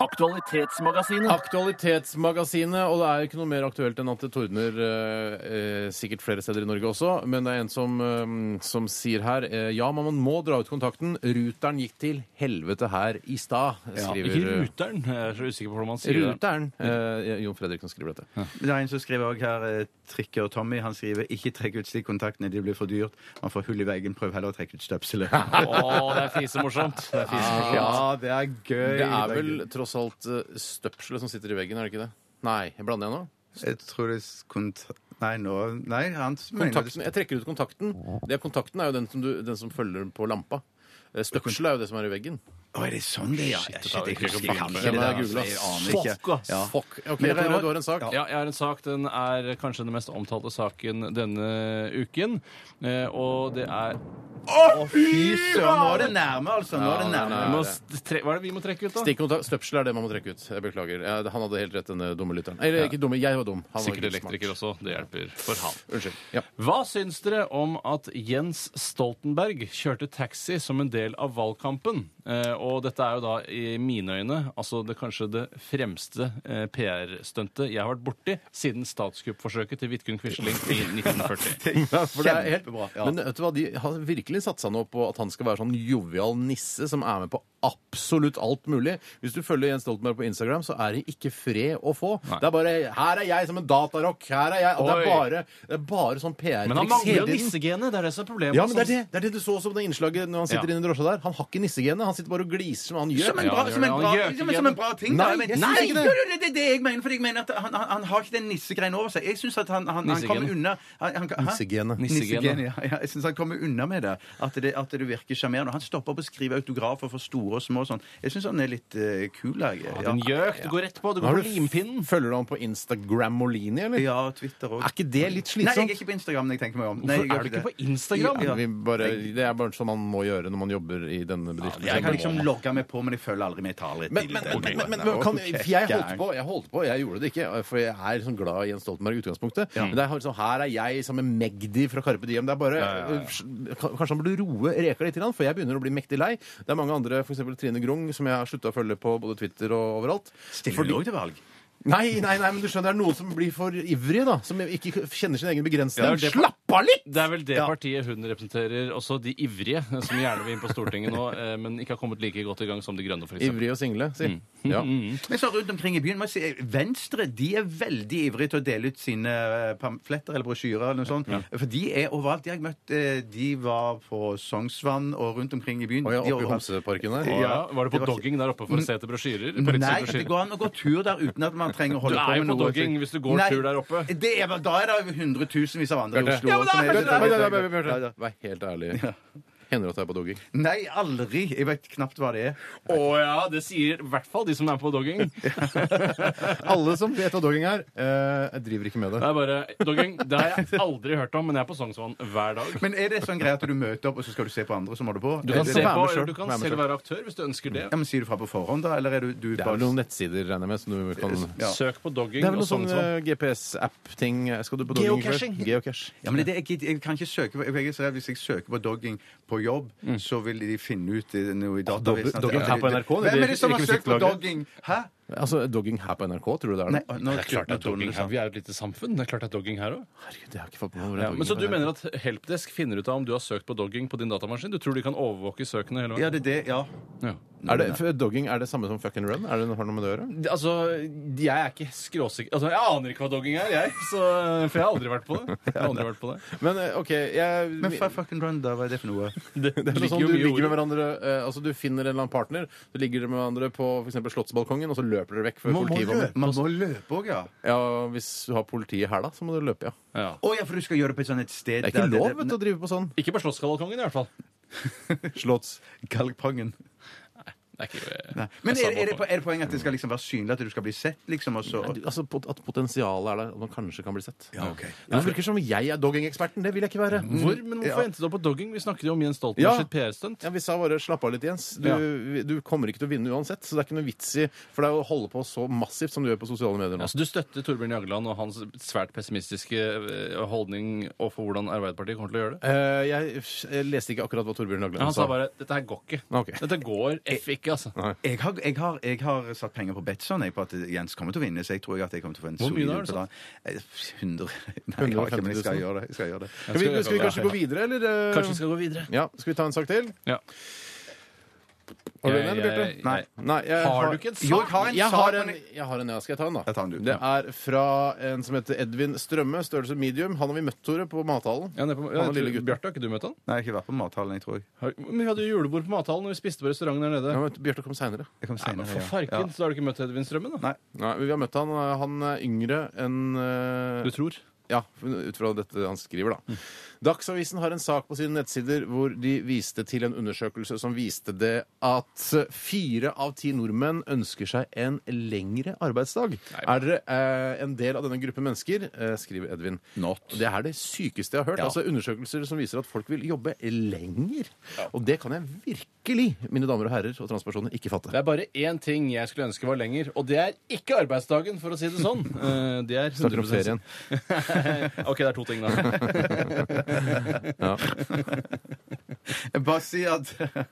Speaker 4: Aktualitetsmagasinet.
Speaker 3: Aktualitetsmagasinet, og det er ikke noe mer aktuelt enn at det tordner eh, eh, sikkert flere steder i Norge også, men det er en som, eh, som sier her eh, Ja, men man må dra ut kontakten. Ruteren gikk til helvete her i stad, skriver
Speaker 4: Ikke Ruteren. eh, Jeg er så usikker på hvordan man sier det.
Speaker 3: Ruteren. Eh, Jon Fredrik som skriver dette.
Speaker 5: Det er en som skriver også her eh, Trikke og Tommy. Han skriver 'ikke trekk ut slik kontaktene, de blir for dyrt'. Man får hull i veggen, prøv heller å trekke ut støpselet.
Speaker 4: Å, det er fisemorsomt. Det er fisemorsomt.
Speaker 5: ja, det er gøy.
Speaker 3: Det er vel tross alt eh, støpselet som sitter i veggen, er det ikke det? Nei, jeg blander jeg nå?
Speaker 5: Jeg tror det er kontakt... Nei, nå Nei, han mener
Speaker 3: Kontakten, jeg trekker ut kontakten. Det er kontakten er jo den som, du, den som følger på lampa. Eh, Støpselet er jo det som er i veggen.
Speaker 5: Å, er det sånn det er? Ja,
Speaker 4: Shit, det
Speaker 5: Shit, jeg
Speaker 4: tar vi ikke
Speaker 5: husker ikke
Speaker 4: på
Speaker 5: det
Speaker 3: Det må
Speaker 5: der,
Speaker 3: jeg
Speaker 5: altså.
Speaker 3: google,
Speaker 5: Jeg
Speaker 3: ass.
Speaker 5: aner ikke.
Speaker 4: Fuck, ass.
Speaker 5: Ja.
Speaker 3: Fuck. Ok,
Speaker 5: Men jeg
Speaker 3: Tore,
Speaker 5: har-
Speaker 3: du har en sak.
Speaker 4: Ja, jeg har en sak. Den er kanskje den mest omtalte saken denne uken. Eh, og det er
Speaker 5: Fy søren, nå er det nærme, altså. Nå er det
Speaker 3: Ja,
Speaker 5: nærme.
Speaker 3: nei,
Speaker 4: eh, Vi må
Speaker 3: det.
Speaker 4: st- tre, Hva er det vi må trekke ut, da?
Speaker 3: Stikkontakt. Støpsel er det man må trekke ut. Jeg beklager. Ja, Han hadde helt rett, den dumme lytteren. Eller ikke dumme, jeg var dum. Han var
Speaker 4: Sikkert
Speaker 3: ikke smart.
Speaker 4: elektriker også. Det hjelper for han.
Speaker 3: Unnskyld. Ja.
Speaker 4: Hva syns dere om at Jens Stoltenberg kjørte taxi som en del av valgkampen? Eh, og dette er jo da i mine øyne altså det kanskje det fremste eh, PR-stuntet jeg har vært borti siden statskuppforsøket til Vidkun Quisling i 1940.
Speaker 3: For det er helt,
Speaker 5: Kjempebra, ja.
Speaker 3: Men vet du hva, de har virkelig satsa nå på at han skal være sånn jovial nisse som er med på absolutt alt mulig. Hvis du følger Jens Stoltenberg på Instagram, så er det ikke fred å få. Det er bare 'Her er jeg som en datarock', 'Her er jeg' og det er,
Speaker 4: Oi.
Speaker 3: bare, det er bare sånn
Speaker 4: Men han
Speaker 3: PR-triks
Speaker 4: mangler
Speaker 3: hele
Speaker 4: jo
Speaker 3: tiden.
Speaker 4: nissegenet. Det er det som er problemet. sånn
Speaker 3: Ja, men det er det. det er det du så også på det innslaget når han sitter
Speaker 4: Ja.
Speaker 3: inne i drosja der. Han har ikke nissegenet. Han sitter bare og gliser som han gjør.
Speaker 5: Som en
Speaker 4: Ja, det
Speaker 5: bra,
Speaker 4: gjør
Speaker 5: som en
Speaker 4: det.
Speaker 5: bra,
Speaker 4: Han gjør
Speaker 5: som,
Speaker 4: ikke
Speaker 5: som en
Speaker 4: det.
Speaker 5: bra ting.
Speaker 3: Nei,
Speaker 5: da. men,
Speaker 3: jeg synes ikke det.
Speaker 5: Jo, jo, jo, det er det jeg mener. Fordi jeg mener at han, han, han har ikke den nissegreien over seg. Jeg syns at han, han, han
Speaker 4: Nissegen.
Speaker 5: kommer unna han, han, hæ?
Speaker 3: Nissegenet.
Speaker 5: Nissegen,
Speaker 4: Nissegenet.
Speaker 5: ja, ja. Jeg syns han kommer unna med det. At det, at det virker sjarmerende. Og Han stopper opp å skrive autografer for store og små og sånn. Jeg syns han er litt eh, kul. Jeg.
Speaker 4: Ja,
Speaker 5: Ja,
Speaker 4: Den gjøk. Det går rett på. Det
Speaker 3: Har
Speaker 4: går
Speaker 3: du-
Speaker 4: på limpinnen.
Speaker 3: Følger du han på Instagram-Molini, eller?
Speaker 5: ja, Twitter òg.
Speaker 3: Er ikke det litt
Speaker 5: Nei, jeg er
Speaker 3: slitsomt?
Speaker 5: ikke på Instagram. når jeg tenker meg om. Nei,
Speaker 4: sånn- Hvorfor
Speaker 5: jeg
Speaker 4: er du ikke på Instagram?
Speaker 5: Ja,
Speaker 3: Vi bare, det er bare sånn man må gjøre når man jobber i denne bedriften.
Speaker 5: Jeg kan liksom logge meg på, men jeg følger aldri med. Jeg tar litt
Speaker 3: men, men, men, men, men, men kan, for jeg holdt på, jeg holdt på, jeg gjorde det ikke, for jeg er liksom glad i Jens Stoltenberg i utgangspunktet. Men det er liksom, her er jeg som en Magdi fra Carpe Diem. Det er bare, øh, Kanskje han burde roe reka litt, grann, for jeg begynner å bli mektig lei. Det er mange andre, f.eks. Trine Grung, som jeg har slutta å følge på både Twitter og overalt.
Speaker 5: Stiller du òg til valg?
Speaker 3: Nei, nei, nei, men du skjønner, det er noen som blir for ivrige, da. Som ikke kjenner sin egen
Speaker 4: Ja,
Speaker 3: begrensning.
Speaker 4: det er det-
Speaker 3: Slapp av litt!
Speaker 4: Det er vel det
Speaker 3: Ja.
Speaker 4: partiet hun representerer, også de ivrige, som gjerne vil inn på Stortinget nå, eh, men ikke har kommet like godt i gang som De grønne, f.eks.
Speaker 3: Ivrige og single, si. Ja.
Speaker 5: Men så rundt omkring i byen, må jeg si, Venstre de er veldig ivrige til å dele ut sine eh, pamfletter eller brosjyrer. eller noe sånt. For de er overalt. De har jeg møtt eh, De var på Sognsvann og rundt omkring i byen.
Speaker 3: Og jeg
Speaker 5: De er
Speaker 3: oppe i
Speaker 5: overalt.
Speaker 3: Homseparken
Speaker 4: Å,
Speaker 3: der.
Speaker 4: Ja,
Speaker 5: Ja,
Speaker 4: var du på
Speaker 5: det var ikke-
Speaker 4: dogging der oppe for å se etter brosjyrer? På
Speaker 5: Nei,
Speaker 4: rettsidens
Speaker 5: det
Speaker 4: brosjyrer?
Speaker 5: går an å gå tur der uten at man trenger å holde
Speaker 4: Du
Speaker 5: på
Speaker 4: er
Speaker 5: med
Speaker 4: jo på
Speaker 5: noe.
Speaker 4: dogging hvis du går tur der oppe.
Speaker 5: Det er, da er det jo hundretusenvis av andre i
Speaker 3: Bjarte.
Speaker 5: Oslo.
Speaker 3: Ja,
Speaker 5: også som er-
Speaker 3: Bjarte, Bjarte, Bjarte, Bjarte, Vær helt ærlig. Hender det at jeg er på dogging?
Speaker 5: Nei, aldri. Jeg vet knapt hva det er.
Speaker 4: Å ja, det sier i hvert fall de som er på dogging. Det
Speaker 3: Alle som vet hva dogging er, eh, driver ikke med det.
Speaker 4: er bare, dogging, det har jeg aldri hørt om, men jeg er på Sognsvann hver dag.
Speaker 5: Men er det sånn greie at du møter opp, og så skal du se på andre som holder på?
Speaker 4: Du
Speaker 5: Er
Speaker 4: kan,
Speaker 5: det
Speaker 4: se
Speaker 5: det?
Speaker 3: Vær
Speaker 4: på,
Speaker 3: med selv,
Speaker 4: du kan
Speaker 3: vær med
Speaker 4: selv
Speaker 3: selv.
Speaker 4: være aktør hvis du ønsker det.
Speaker 5: Ja, men Sier du fra på forhånd, da? Eller er du, du
Speaker 3: Det er
Speaker 5: bare
Speaker 3: vel noen nettsider, regner jeg med, som du kan
Speaker 5: Ja.
Speaker 4: Søk på dogging
Speaker 3: Det er vel
Speaker 4: og
Speaker 3: noe sånn
Speaker 4: Sognsvann.
Speaker 3: eh, GPS-app-ting. Skal du på dogging? i kveld?
Speaker 4: Geocaching.
Speaker 3: Geocache.
Speaker 5: Ja, men det, er det jeg, gidder- jeg kan ikke søke på, jeg er så redd Hvis jeg søker på dogging på jobb, så vil de finne ut i- noe i databasen.
Speaker 3: Mm. Altså, dogging her på NRK, det
Speaker 5: Hvem er
Speaker 3: virker
Speaker 5: det som har
Speaker 3: ikke
Speaker 5: søkt på
Speaker 3: musikklaget.
Speaker 5: dogging? Hæ?
Speaker 3: Altså, Dogging her på NRK, tror du det er
Speaker 5: Nei,
Speaker 3: det?
Speaker 5: nå
Speaker 4: Det er klart det er
Speaker 5: nå toner
Speaker 4: dogging
Speaker 5: det
Speaker 4: her.
Speaker 5: seg.
Speaker 4: Vi er jo et lite samfunn. Det er klart det er dogging her òg.
Speaker 3: Herregud, jeg har ikke fått med meg hvor liksom. det er
Speaker 4: Ja, men så du
Speaker 3: dogging.
Speaker 4: mener at Helpdesk finner ut av om du har søkt på dogging på din datamaskin? Du tror de kan overvåke søkene hele
Speaker 5: Ja,
Speaker 4: veien?
Speaker 5: det er det. Ja.
Speaker 4: Ja.
Speaker 3: er det, for Dogging er det samme som fuck and run? Er det noe- har det noe med det å gjøre?
Speaker 4: Det- Altså, jeg er ikke skråsikker altså, Jeg aner ikke hva dogging er, jeg. Så, for jeg har aldri vært på det. Jeg har aldri vært på det.
Speaker 3: Men eh, OK jeg,
Speaker 5: Men fa- fucking run, da. Hva er det for noe?
Speaker 4: Det,
Speaker 3: Det er sånn, du ligger med hverandre, eh, altså du finner en eller annen partner, så ligger dere med hverandre på for eksempel Slottsbalkongen, og så løper dere vekk før
Speaker 5: Man må
Speaker 3: politiet
Speaker 5: løpe-
Speaker 3: kommer.
Speaker 5: man må løpe òg, ja.
Speaker 3: Ja, Hvis du har politiet her, da, så må du løpe, ja.
Speaker 4: Ja.
Speaker 5: Å ja, for du skal gjøre det på et sånt et sted
Speaker 3: Det er ikke
Speaker 5: der-
Speaker 3: lov
Speaker 5: det-
Speaker 3: vet du, å drive på sånn.
Speaker 4: Ikke på Slottskalkongen, i hvert fall.
Speaker 3: Slotts.
Speaker 5: Galgpangen.
Speaker 4: Det er ikke, eh,
Speaker 5: Nei. Men
Speaker 4: jeg
Speaker 5: er,
Speaker 4: sa
Speaker 5: er,
Speaker 4: bare-
Speaker 5: det, po- er det poenget at det skal liksom være synlig at du skal bli sett, liksom? Og så
Speaker 3: Altså pot- At potensialet er der, at man kanskje kan bli sett.
Speaker 5: Ja, ok.
Speaker 3: Det virker som jeg er dogging-eksperten. Det vil jeg ikke være.
Speaker 4: Hvor, men hvorfor
Speaker 5: Ja.
Speaker 4: endte du opp på dogging? Vi snakket jo om Jens
Speaker 3: Ja.
Speaker 4: Stoltenberg sitt PR-stunt.
Speaker 3: Ja, Vi sa bare 'slapp av litt, Jens'. Du, du kommer ikke til å vinne uansett. Så det er ikke noe vits i For det er å holde på så massivt som du gjør på sosiale medier nå.
Speaker 4: Altså, du støtter Torbjørn Jagland og hans svært pessimistiske eh, holdning overfor hvordan Arbeiderpartiet kommer til å gjøre det?
Speaker 3: Eh, jeg, jeg leste ikke akkurat hva Torbjørn Jagland
Speaker 4: Han sa bare 'dette her går ikke'.
Speaker 3: Ok.
Speaker 4: Dette går f ikke, altså.
Speaker 5: jeg har, jeg, har, jeg har satt penger på Betson jeg, på at Jens kommer til å vinne. Så jeg tror jeg at jeg kommer til å få en
Speaker 4: Hvor mye da har du
Speaker 5: utbetaling. Eh, 100 Nei, jeg har ikke, men jeg skal gjøre det. Jeg skal gjøre det.
Speaker 3: Skal vi, skal vi kanskje gå videre, eller? eh?
Speaker 4: Kanskje vi skal gå videre?
Speaker 3: Ja, Skal vi ta en sak til?
Speaker 4: Ja.
Speaker 3: Har du
Speaker 4: Jeg-
Speaker 3: en, eller,
Speaker 4: jeg-
Speaker 3: Bjarte?
Speaker 5: Nei.
Speaker 3: Nei, jeg
Speaker 4: Har du ikke en
Speaker 5: Jo, jeg har en
Speaker 3: jeg
Speaker 5: sak,
Speaker 3: har en,
Speaker 5: men
Speaker 3: jeg har en, ja. Skal jeg ta en, da?
Speaker 5: Jeg tar den, du.
Speaker 3: Det er fra en som heter Edvin Strømme, størrelse medium. Han har vi møtt, Tore, på mathallen.
Speaker 4: Ja, ned på, ja,
Speaker 3: Han er lille
Speaker 4: jeg tror-
Speaker 3: gutten.
Speaker 4: Bjarte, har ikke du møtt han?
Speaker 5: Nei, jeg har ikke vært på mathallen, jeg tror jeg.
Speaker 4: Har- Men Vi hadde jo julebord på mathallen når vi spiste på restauranten der nede.
Speaker 3: Ja, men Bjarte kom seinere.
Speaker 5: jeg kom
Speaker 4: Nei, men
Speaker 5: senere,
Speaker 4: for
Speaker 5: ja.
Speaker 4: farken,
Speaker 5: Ja.
Speaker 4: så har du ikke møtt Edvin Strømmen, da?
Speaker 5: Nei.
Speaker 3: Nei, vi har møtt han. eh, Han er yngre enn eh,
Speaker 4: Du tror?
Speaker 3: Ja, ut fra dette han skriver, da. Dagsavisen har en sak på sine nettsider hvor de viste til en undersøkelse som viste det at fire av ti nordmenn ønsker seg en lengre arbeidsdag. Er dere eh, en del av denne gruppen mennesker? Eh, skriver Edvin.
Speaker 5: Not.
Speaker 3: Det er det sykeste jeg har hørt. Altså Undersøkelser som viser at folk vil jobbe lenger. Og det kan jeg virkelig, mine damer og herrer og transpersoner, ikke fatte.
Speaker 4: Det er bare én ting jeg skulle ønske var lenger, og det er ikke arbeidsdagen, for å si det sånn. Eh, Det er
Speaker 3: Snakker om
Speaker 4: 100%
Speaker 3: ferien.
Speaker 4: OK, det er to ting, da.
Speaker 5: Jeg bare si at,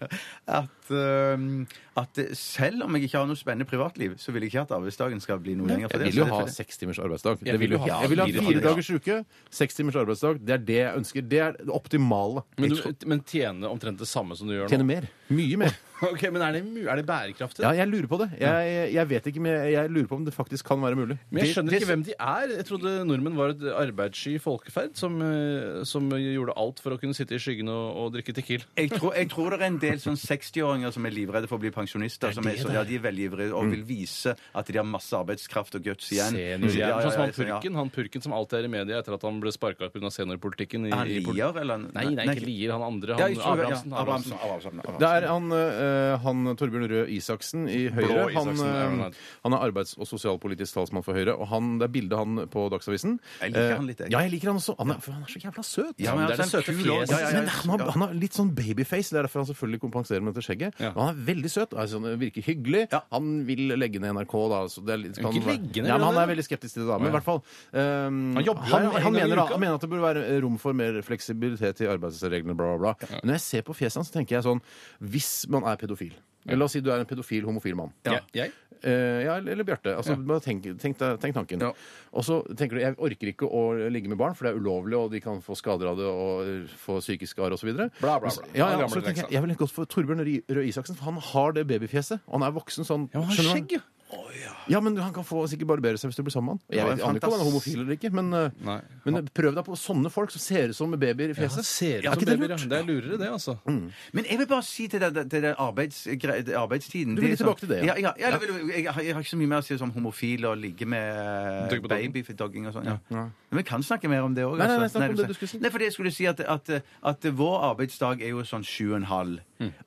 Speaker 5: at, um, at selv om jeg ikke har noe spennende privatliv, så vil jeg ikke at arbeidsdagen skal bli noe lenger. for
Speaker 3: Jeg
Speaker 5: det,
Speaker 3: vil jo
Speaker 5: så det er
Speaker 3: ha
Speaker 5: for det.
Speaker 3: seks timers arbeidsdag.
Speaker 4: Jeg
Speaker 3: Det vil
Speaker 4: vil
Speaker 3: jo
Speaker 4: jo
Speaker 3: ha.
Speaker 4: ha
Speaker 3: Jeg vil ha
Speaker 4: fire
Speaker 3: fire
Speaker 4: dager.
Speaker 3: dagers uke, seks timers arbeidsdag. Det er det jeg ønsker. Det er det optimale.
Speaker 4: Men, du, men tjene omtrent det samme som du gjør nå?
Speaker 3: Tjene mer. Mye mer.
Speaker 4: Ok, Men er det, mu- er det bærekraftig?
Speaker 3: Ja, jeg lurer på det. Jeg, jeg vet ikke, men jeg- jeg lurer på om det faktisk kan være mulig.
Speaker 4: Men jeg skjønner
Speaker 3: Det-
Speaker 4: ikke hvem de er. Jeg trodde nordmenn var et arbeidssky folkeferd som, eh, som gjorde alt for å kunne sitte i skyggen og, og drikke Tequil.
Speaker 5: Jeg tror, jeg tror det er en del sånn 60-åringer som er livredde for å bli pensjonister. Som er, så, ja, de er veldig ivrige
Speaker 4: Mm.
Speaker 5: og vil vise at de har masse arbeidskraft og guts igjen.
Speaker 4: Seniorhjernen.
Speaker 5: Ja, ja, ja,
Speaker 4: Sånn som han
Speaker 5: ja, ja.
Speaker 4: purken, han purken som alltid er i media etter at han ble sparka pga. seniorpolitikken. I,
Speaker 5: Er han
Speaker 4: i pol-
Speaker 5: Lier, eller?
Speaker 4: Nei, nei, ikke Lier. Han andre.
Speaker 5: Ja,
Speaker 4: Han,
Speaker 5: jeg tror- ja,
Speaker 4: Abrahamsen.
Speaker 5: Abrahamsen.
Speaker 4: Abrahamsen.
Speaker 5: Abrahamsen. Abrahamsen.
Speaker 3: Det er han, eh, han Torbjørn Røe Isaksen i Høyre.
Speaker 4: Blå
Speaker 3: Han,
Speaker 4: Isaksen, ja,
Speaker 3: eh,
Speaker 4: men-
Speaker 3: han er arbeids- og sosialpolitisk talsmann for Høyre. Og han, det er bildet han på Dagsavisen.
Speaker 5: Jeg liker
Speaker 3: Eh,
Speaker 5: han litt, jeg.
Speaker 3: Ja, jeg liker han også. Han er, for han er så jævla søt.
Speaker 5: Ja, men
Speaker 4: Det er
Speaker 5: altså,
Speaker 4: det søte
Speaker 5: en kul år.
Speaker 4: fjeset.
Speaker 5: Ja, ja, ja,
Speaker 3: Men han, har-
Speaker 5: ja.
Speaker 3: han har litt sånn babyface. Det er derfor han selvfølgelig kompenserer med dette skjegget.
Speaker 4: Ja.
Speaker 3: Men han er veldig søt. Altså, han virker hyggelig. Han vil legge ned NRK, da. Så det er litt, sånn-
Speaker 4: Ikke legge ned,
Speaker 3: ja, men han
Speaker 4: eller?
Speaker 3: er veldig skeptisk til det, da. Men
Speaker 4: Å,
Speaker 3: i
Speaker 4: ja.
Speaker 3: hvert fall ehm,
Speaker 4: Han jobber jo
Speaker 3: han,
Speaker 4: her en
Speaker 3: han
Speaker 4: gang i
Speaker 3: mener, da-
Speaker 4: uka.
Speaker 3: han mener at det burde være rom for mer fleksibilitet i arbeidsreglene, bla, bla, bla. Men når jeg ser på fjeset hans, så tenker jeg sånn Hvis man er pedofil La oss si du er en pedofil, homofil mann.
Speaker 4: Ja. Jeg?
Speaker 3: Eh, ja, eller eller Bjarte. Altså, bare tenk, tenk, deg- tenk tanken.
Speaker 5: Ja.
Speaker 3: Og så tenker du jeg orker ikke å ligge med barn, for det er ulovlig, og de kan få skader av det og eh, få psykiske arr osv. Ja,
Speaker 4: Bla, bla, bla.
Speaker 3: ja,
Speaker 4: Gamle
Speaker 3: så tenker
Speaker 4: leksa.
Speaker 3: jeg, jeg ville gått for Torbjørn Ry- Røe Isaksen, for han har det babyfjeset. Og han er voksen sånn.
Speaker 4: Ja, men han har
Speaker 3: skjønner du
Speaker 4: skjegg, ja.
Speaker 3: hva? ja, men han kan få sikkert barbere seg hvis du blir sammen med han. Jeg
Speaker 5: Ja,
Speaker 3: vet jeg aner ikke om han er homofil eller ikke, men, eh,
Speaker 4: Nei.
Speaker 3: men prøv deg på sånne folk som ser ut som babyer i
Speaker 4: Han
Speaker 3: fjeset.
Speaker 4: ser ut
Speaker 3: Er
Speaker 4: som
Speaker 3: ikke det
Speaker 4: babyer. ja.
Speaker 3: lurt?
Speaker 4: Det er lurere, det, altså.
Speaker 3: Mm.
Speaker 5: Men jeg vil bare si til det, det, det arbeids, gre- det arbeidstiden
Speaker 3: Du vil
Speaker 5: er
Speaker 3: tilbake
Speaker 5: sånn-
Speaker 3: til det, ja.
Speaker 5: Ja, ja, ja, jeg, vil, jeg, har- jeg har ikke så mye mer å si som homofil og ligge med
Speaker 4: Dogg på doggen.
Speaker 5: babydogging og sånn. Ja. Men vi kan snakke mer om det òg.
Speaker 3: Nei, nei, nei, snakk om det du skulle si.
Speaker 5: Nei, for det jeg skulle si at, at, at vår arbeidsdag er jo sånn sju og en halv.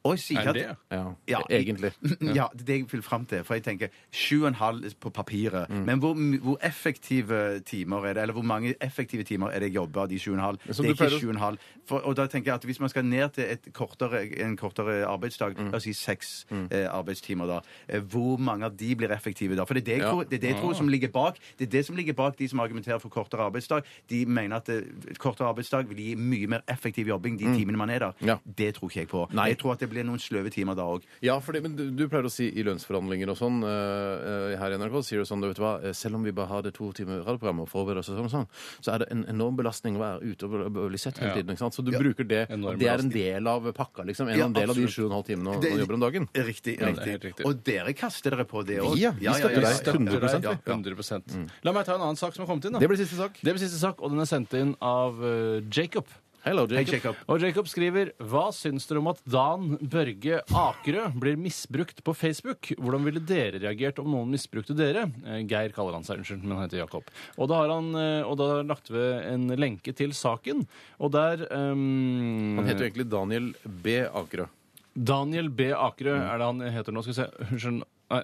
Speaker 5: Og jeg sier
Speaker 4: Er
Speaker 5: at
Speaker 4: det? ja?
Speaker 3: Ja, e-
Speaker 5: Ja.
Speaker 3: egentlig.
Speaker 5: ja, det er det jeg vil fram til. For jeg tenker sju og en halv på papiret.
Speaker 3: Mm.
Speaker 5: Men hvor, my- hvor effektive timer er det? Eller hvor mange effektive timer er det jeg jobber av de sju og en halv? Det
Speaker 3: Som
Speaker 5: er
Speaker 3: du pleier
Speaker 5: ikke
Speaker 3: å-
Speaker 5: sju og en halv. For, og da tenker jeg at hvis man skal ned til et kortere, en kortere arbeidsdag,
Speaker 3: Mm.
Speaker 5: la oss si seks eh, arbeidstimer da, eh, hvor mange av de blir effektive da? For det er det jeg
Speaker 3: Ja. Ah.
Speaker 5: tror, det er det jeg tror som ligger bak. Det er det som ligger bak de som argumenterer for kortere arbeidsdag. De mener at eh, kortere arbeidsdag vil gi mye mer effektiv jobbing de timene man er der.
Speaker 3: Mm. Ja.
Speaker 5: Det tror ikke jeg på.
Speaker 3: Nei.
Speaker 5: Jeg tror at det blir noen sløve timer da òg.
Speaker 3: Ja, for det, men du, du pleier å si i lønnsforhandlinger og sånn eh, eh, her i NRK sier jo sånn, vet du hva, eh, selv om vi bare har det to timer radioprogram og forbereder oss og sånn, og sånn, så er det en enorm belastning å være ute og bl- bli sett hele
Speaker 4: Ja.
Speaker 3: tiden. ikke sant? Så du bruker det.
Speaker 4: Enorm
Speaker 3: Det er en del av pakka, liksom. En,
Speaker 5: Ja,
Speaker 3: en del av de
Speaker 5: absolutt.
Speaker 3: sju og en halv timene man
Speaker 5: Det-
Speaker 3: man jobber om dagen.
Speaker 5: Riktig.
Speaker 3: Ja, det er
Speaker 5: riktig.
Speaker 4: helt riktig.
Speaker 5: Og dere kaster dere på det òg?
Speaker 3: Ja, vi støtter
Speaker 4: Vi
Speaker 3: deg.
Speaker 4: støtter deg
Speaker 3: 100%, ja.
Speaker 4: 100%. La meg ta en annen sak som har kommet inn. da.
Speaker 3: Det blir siste sak.
Speaker 4: Det blir siste sak, og den er sendt inn av eh, Jacob.
Speaker 3: Hello, Jacob.
Speaker 5: Jacob.
Speaker 4: Og Jacob skriver Hva syns dere om at Dan Børge Akerø blir misbrukt på Facebook? Hvordan ville dere reagert om noen misbrukte dere? Eh, Geir kaller han seg, unnskyld, men han heter Jacob. Og da har han eh, og da har han lagt ved en lenke til saken, og der ehm,
Speaker 3: Han heter jo egentlig Daniel B. Akerø.
Speaker 4: Daniel B. Akerø
Speaker 3: Mm.
Speaker 4: er det han heter nå. Skal vi se Unnskyld. Nei.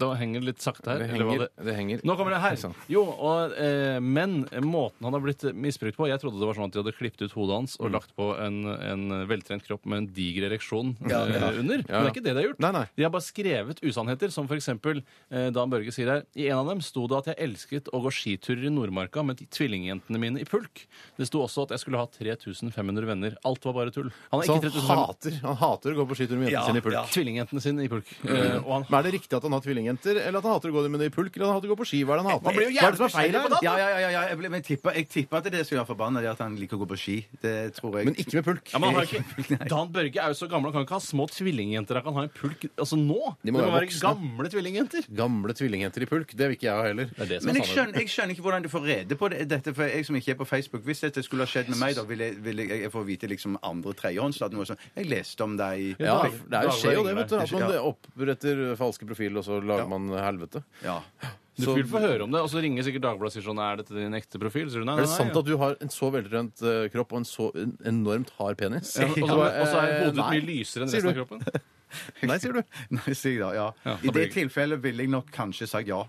Speaker 4: Da henger det litt sakte her.
Speaker 3: Det
Speaker 4: eller hva
Speaker 3: henger, det henger.
Speaker 4: nå kommer det her.
Speaker 3: Ikke sant.
Speaker 4: Jo, og, eh, Men måten han har blitt misbrukt på Jeg trodde det var sånn at de hadde klippet ut hodet hans
Speaker 3: Mm.
Speaker 4: og lagt på en, en veltrent kropp med en diger ereksjon eh, under. Men det er ikke det de har gjort.
Speaker 3: Nei, nei.
Speaker 4: De har bare skrevet usannheter, som f.eks. Eh, Dan Børge sier her I en av dem sto det at jeg elsket å gå skiturer i Nordmarka med tvillingjentene mine i pulk. Det sto også at jeg skulle ha 3500 venner. Alt var bare tull. Han har
Speaker 3: Så
Speaker 4: ikke
Speaker 3: han
Speaker 4: 3500
Speaker 3: hater, han hater å gå på skitur med jentene sine i pulk.
Speaker 4: Tvillingjentene sine i pulk. Eh, og han
Speaker 3: Men Er det riktig at han har tvillingjenter, eller at han hater å gå med det i pulk, eller at han hater å gå på ski? Hva er det han hater?
Speaker 5: Man blir jo
Speaker 3: Hva er det som er feil
Speaker 5: jævlig
Speaker 3: her?
Speaker 5: Ja, ja, ja, ja, jeg, ble, men jeg, tipper, jeg tipper at det er det som gjør forbanna, det er at han liker å gå på ski. Det tror jeg.
Speaker 3: Men ikke med pulk.
Speaker 4: Ja, men han har ikke, Dan Børge er jo så gammel, han kan ikke ha små tvillingjenter. Han kan ha en pulk altså
Speaker 3: De
Speaker 4: nå.
Speaker 3: må
Speaker 4: det må
Speaker 3: være
Speaker 4: være
Speaker 3: voksne.
Speaker 4: gamle tvillingjenter.
Speaker 3: Gamle tvillingjenter i pulk, det vil ikke jeg ha heller.
Speaker 4: Det er det som
Speaker 5: Men
Speaker 4: er
Speaker 5: jeg
Speaker 4: sannheten.
Speaker 5: skjønner, jeg skjønner ikke hvordan du får rede på det, dette, for jeg som ikke er på Facebook Hvis dette skulle ha skjedd med meg, da ville jeg, ville jeg, jeg få vite liksom andre tredjehånds at noe sånt. Jeg leste om deg i
Speaker 3: Ja, det er
Speaker 4: Ja,
Speaker 3: jo,
Speaker 4: Dagbladet
Speaker 3: skjer jo det,
Speaker 4: ringer
Speaker 3: vet du. At
Speaker 5: deg.
Speaker 3: man oppretter falske profiler, og så lager man helvete.
Speaker 5: ja.
Speaker 4: Du
Speaker 3: Så-
Speaker 4: vil få høre om det, og så ringer sikkert Dagbladet og sier sånn Er dette din ekte profil? Så sier du nei,
Speaker 3: Er
Speaker 4: nei,
Speaker 3: det sant
Speaker 4: nei.
Speaker 3: at du har en så veltrent eh, kropp og en så en enormt hard penis?
Speaker 4: Ja, og så-
Speaker 3: Du bare,
Speaker 4: og så er
Speaker 3: eh,
Speaker 4: hodet
Speaker 3: nei.
Speaker 4: mye lysere enn
Speaker 3: Sier
Speaker 4: resten av
Speaker 3: du.
Speaker 4: kroppen.
Speaker 3: Nei, sier du.
Speaker 5: Nei, si da, ja.
Speaker 4: Ja, da
Speaker 5: I
Speaker 4: blir
Speaker 5: det
Speaker 4: jeg-
Speaker 5: tilfellet ville jeg nok kanskje sagt ja.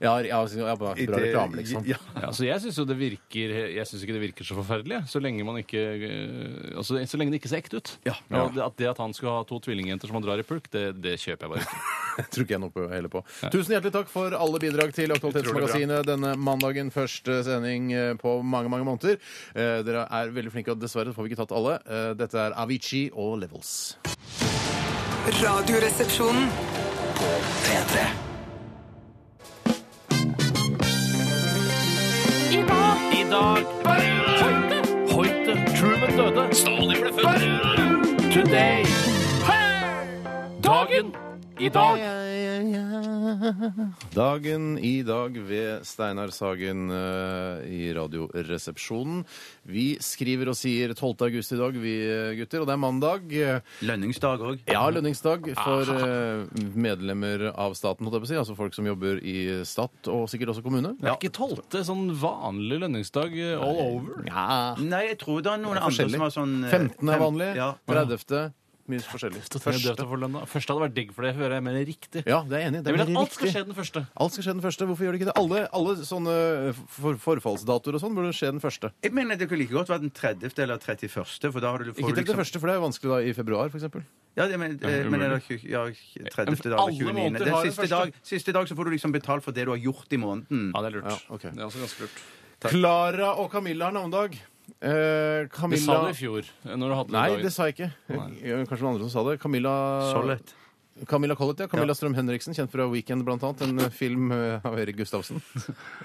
Speaker 3: Ja, ja, altså, ja, ja bra
Speaker 5: I
Speaker 3: bra
Speaker 5: det-
Speaker 3: reklame, liksom.
Speaker 5: Ja.
Speaker 4: Ja, så jeg syns jo det virker Jeg synes ikke det virker så forferdelig. jeg. Så lenge man ikke eh, altså, Så lenge det ikke ser ekte ut.
Speaker 5: Ja.
Speaker 4: Og det, at det at han skulle ha to tvillingjenter som han drar i pulk, det, det kjøper jeg bare ikke.
Speaker 3: tror ikke jeg noe på heller på. Tusen hjertelig takk for alle bidrag til Aktualitetsmagasinet denne mandagen. Første sending eh, på mange, mange måneder. Eh, Dere er veldig flinke, og dessverre får vi ikke tatt alle. Eh, Dette er Avicii og Levels.
Speaker 2: Radioresepsjonen.
Speaker 1: P3
Speaker 4: I dag Hoite Truman døde. Stalin ble født. Today. Dagen i dag.
Speaker 3: Dagen i dag ved Steinar Sagen eh, i Radioresepsjonen. Vi skriver og sier 12. august i dag, vi eh, gutter, og det er mandag. Eh,
Speaker 5: Lønningsdag òg.
Speaker 3: Ja, lønningsdag for eh, medlemmer av staten, holdt jeg på å si. Altså folk som jobber i stat, og sikkert også kommune.
Speaker 4: Det er ikke tolvte sånn vanlig lønningsdag eh, all over.
Speaker 3: Ja,
Speaker 5: Nei, jeg tror det er noen andre
Speaker 3: forskjellig.
Speaker 5: som har sånn eh,
Speaker 3: 15. er
Speaker 5: fem-
Speaker 3: vanlig.
Speaker 5: Ja.
Speaker 3: 30. Mye forskjellig.
Speaker 4: Første. første hadde vært digg for det, hører jeg, men det er riktig.
Speaker 3: Ja, det er jeg enig. i. Det er
Speaker 4: Jeg vil at
Speaker 3: veldig
Speaker 4: alt skal
Speaker 3: riktig.
Speaker 4: skje den første.
Speaker 3: Alt skal skje den første. Hvorfor gjør det ikke det? Alle, alle sånne eh, for, forfallsdatoer og sånn burde skje den første.
Speaker 5: Jeg mener det kunne like godt vært den 30. eller 31., for da har du får
Speaker 3: Ikke
Speaker 5: du
Speaker 3: tenk det
Speaker 5: liksom
Speaker 3: første, for det er jo vanskelig da i februar, for eksempel.
Speaker 5: Ja, det, men, eh, men er det ikke- ja, 30. dag
Speaker 4: Alle
Speaker 5: eller 29.
Speaker 4: måneder
Speaker 5: Det er
Speaker 4: har det
Speaker 5: siste
Speaker 4: første.
Speaker 5: dag, siste dag så får du liksom betalt for det du har gjort i måneden.
Speaker 4: Ja, det er lurt.
Speaker 3: Ja, ok.
Speaker 4: Det er også ganske lurt.
Speaker 3: Klara og Camilla har navnedag. Eh,
Speaker 4: Det sa
Speaker 3: Camilla
Speaker 4: du i fjor. eh, Når du hadde
Speaker 3: Nei,
Speaker 4: dagen.
Speaker 3: det sa jeg ikke. Eh, Kanskje noen andre som sa det. Camilla
Speaker 5: Solett.
Speaker 3: Camilla Collett, ja. Camilla Strøm Henriksen, kjent fra Weekend blant annet. En eh, film eh, av Erik Gustavsen.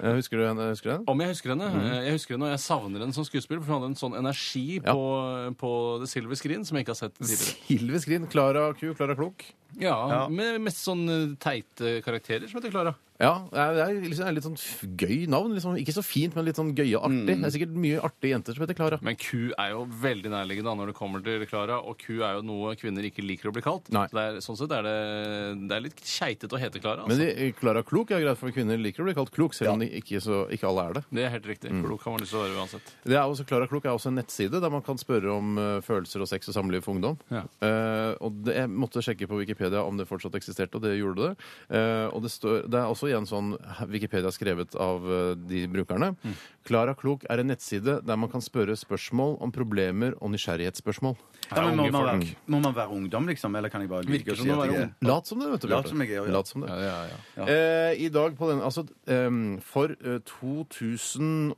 Speaker 3: Eh, Husker du henne? Husker du henne?
Speaker 4: Om jeg husker henne? Eh, Jeg husker henne, og jeg savner henne som skuespiller, for hun hadde en sånn energi
Speaker 3: Ja.
Speaker 4: på, på The Silver Screen som jeg ikke har sett tidligere.
Speaker 3: Hilve Skrin. Klara Q. Klara Klok.
Speaker 4: Ja, med mest sånn eh, teite karakterer som heter Klara.
Speaker 3: Ja, det er- det er liksom det er litt sånn f- gøy navn. Liksom. Ikke så fint, men litt sånn gøy og
Speaker 4: Mm.
Speaker 3: artig. Det er sikkert mye artige jenter som heter Klara.
Speaker 4: Men Q er jo veldig nærliggende da, når det kommer til Klara, og Q er jo noe kvinner ikke liker å bli kalt.
Speaker 3: Nei.
Speaker 4: Så Det er, sånn sett er det, det er litt keitete å hete Klara.
Speaker 3: Men
Speaker 4: Altså.
Speaker 3: de- eh, Klara Klok er greit, for kvinner liker å bli kalt klok, selv om de ikke, så, ikke alle er det.
Speaker 4: Det er helt riktig.
Speaker 3: Mm.
Speaker 4: Klok har man lyst til å være uansett.
Speaker 3: Det er også, Klara Klok er også en nettside der man kan spørre om eh, følelser og sex og samliv for ungdom.
Speaker 4: Ja.
Speaker 3: Eh, og det, Jeg måtte sjekke på Wikipedia om det fortsatt eksisterte, og det gjorde det. Eh, og det, står, det er også igjen sånn Wikipedia skrevet av eh, de brukerne. Klara Klok er en nettside der man kan spørre spørsmål om problemer og nysgjerrighetsspørsmål.
Speaker 5: Ja, men må,
Speaker 4: unge
Speaker 5: man
Speaker 4: folk.
Speaker 5: være, må man være ungdom, liksom? Eller kan jeg bare lyve
Speaker 4: Virker
Speaker 5: og
Speaker 4: som
Speaker 5: si
Speaker 4: å
Speaker 5: at
Speaker 4: være
Speaker 5: jeg er-
Speaker 4: ung.
Speaker 3: Lat som det, vet du.
Speaker 5: Lat
Speaker 3: Bjarte.
Speaker 5: som jeg gjør, ja.
Speaker 3: Lat som det.
Speaker 4: Ja, ja, ja.
Speaker 3: Eh, I dag på den Altså, ehm, for eh,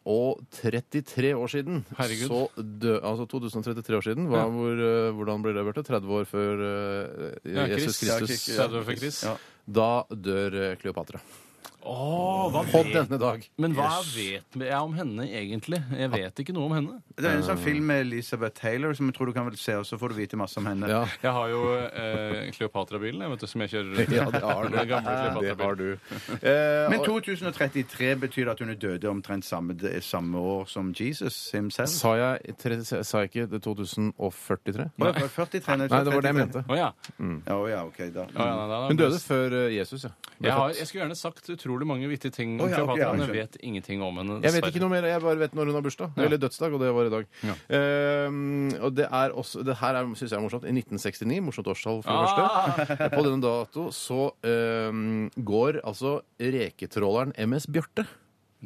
Speaker 3: 2033 år siden
Speaker 4: Herregud.
Speaker 3: Så dø, altså 2033 år siden, hva, hvor, eh, hvordan blir det, Bjarte? 30 år før eh,
Speaker 4: Ja, Kristus.
Speaker 3: Jesus Kristus.
Speaker 5: Ja,
Speaker 4: 30 år før Krist.
Speaker 5: Ja.
Speaker 3: Da dør eh, Kleopatra.
Speaker 4: Åh, hva
Speaker 3: På
Speaker 4: vet
Speaker 3: denne dag.
Speaker 4: Men hva vet jeg om henne egentlig? Jeg vet ikke noe om henne.
Speaker 5: Det er en sånn film med Elizabeth Taylor som jeg tror du kan vel se, og så får du vite masse om henne.
Speaker 3: Ja.
Speaker 4: Jeg har jo eh, Kleopatra-bilen jeg vet du, som jeg kjører rundt i.
Speaker 3: Ja, det har du.
Speaker 4: Den gamle
Speaker 3: Det
Speaker 4: Kleopatra-bilen.
Speaker 3: har du. Eh,
Speaker 5: Men
Speaker 3: og-
Speaker 5: 2033 betyr det at hun er døde omtrent samme, det- samme år som Jesus himself?
Speaker 3: Sa jeg, tre, sa jeg ikke det 2043?
Speaker 5: Å, det var 43,
Speaker 3: Nei, det var det jeg mente.
Speaker 4: Å ja.
Speaker 5: Ja, å ja, ok, da.
Speaker 4: Å, ja, nei, nei, nei,
Speaker 3: Hun døde før eh, Jesus, ja. Ble
Speaker 4: Jeg, har,
Speaker 3: født.
Speaker 4: jeg skulle gjerne sagt utrolig mange vittige ting om
Speaker 5: Å, ja, ok,
Speaker 4: Kleopatra,
Speaker 5: ja,
Speaker 4: men jeg
Speaker 5: skjønner.
Speaker 4: vet ingenting om henne.
Speaker 3: Jeg vet ikke noe mer, jeg bare vet når hun har bursdag. Eller dødsdag, og det var i dag. Eh, og det er også Det her syns jeg er morsomt. I 1969, morsomt årstall for det første,
Speaker 5: Ah!
Speaker 3: på denne dato så eh, går altså reketråleren MS Bjarte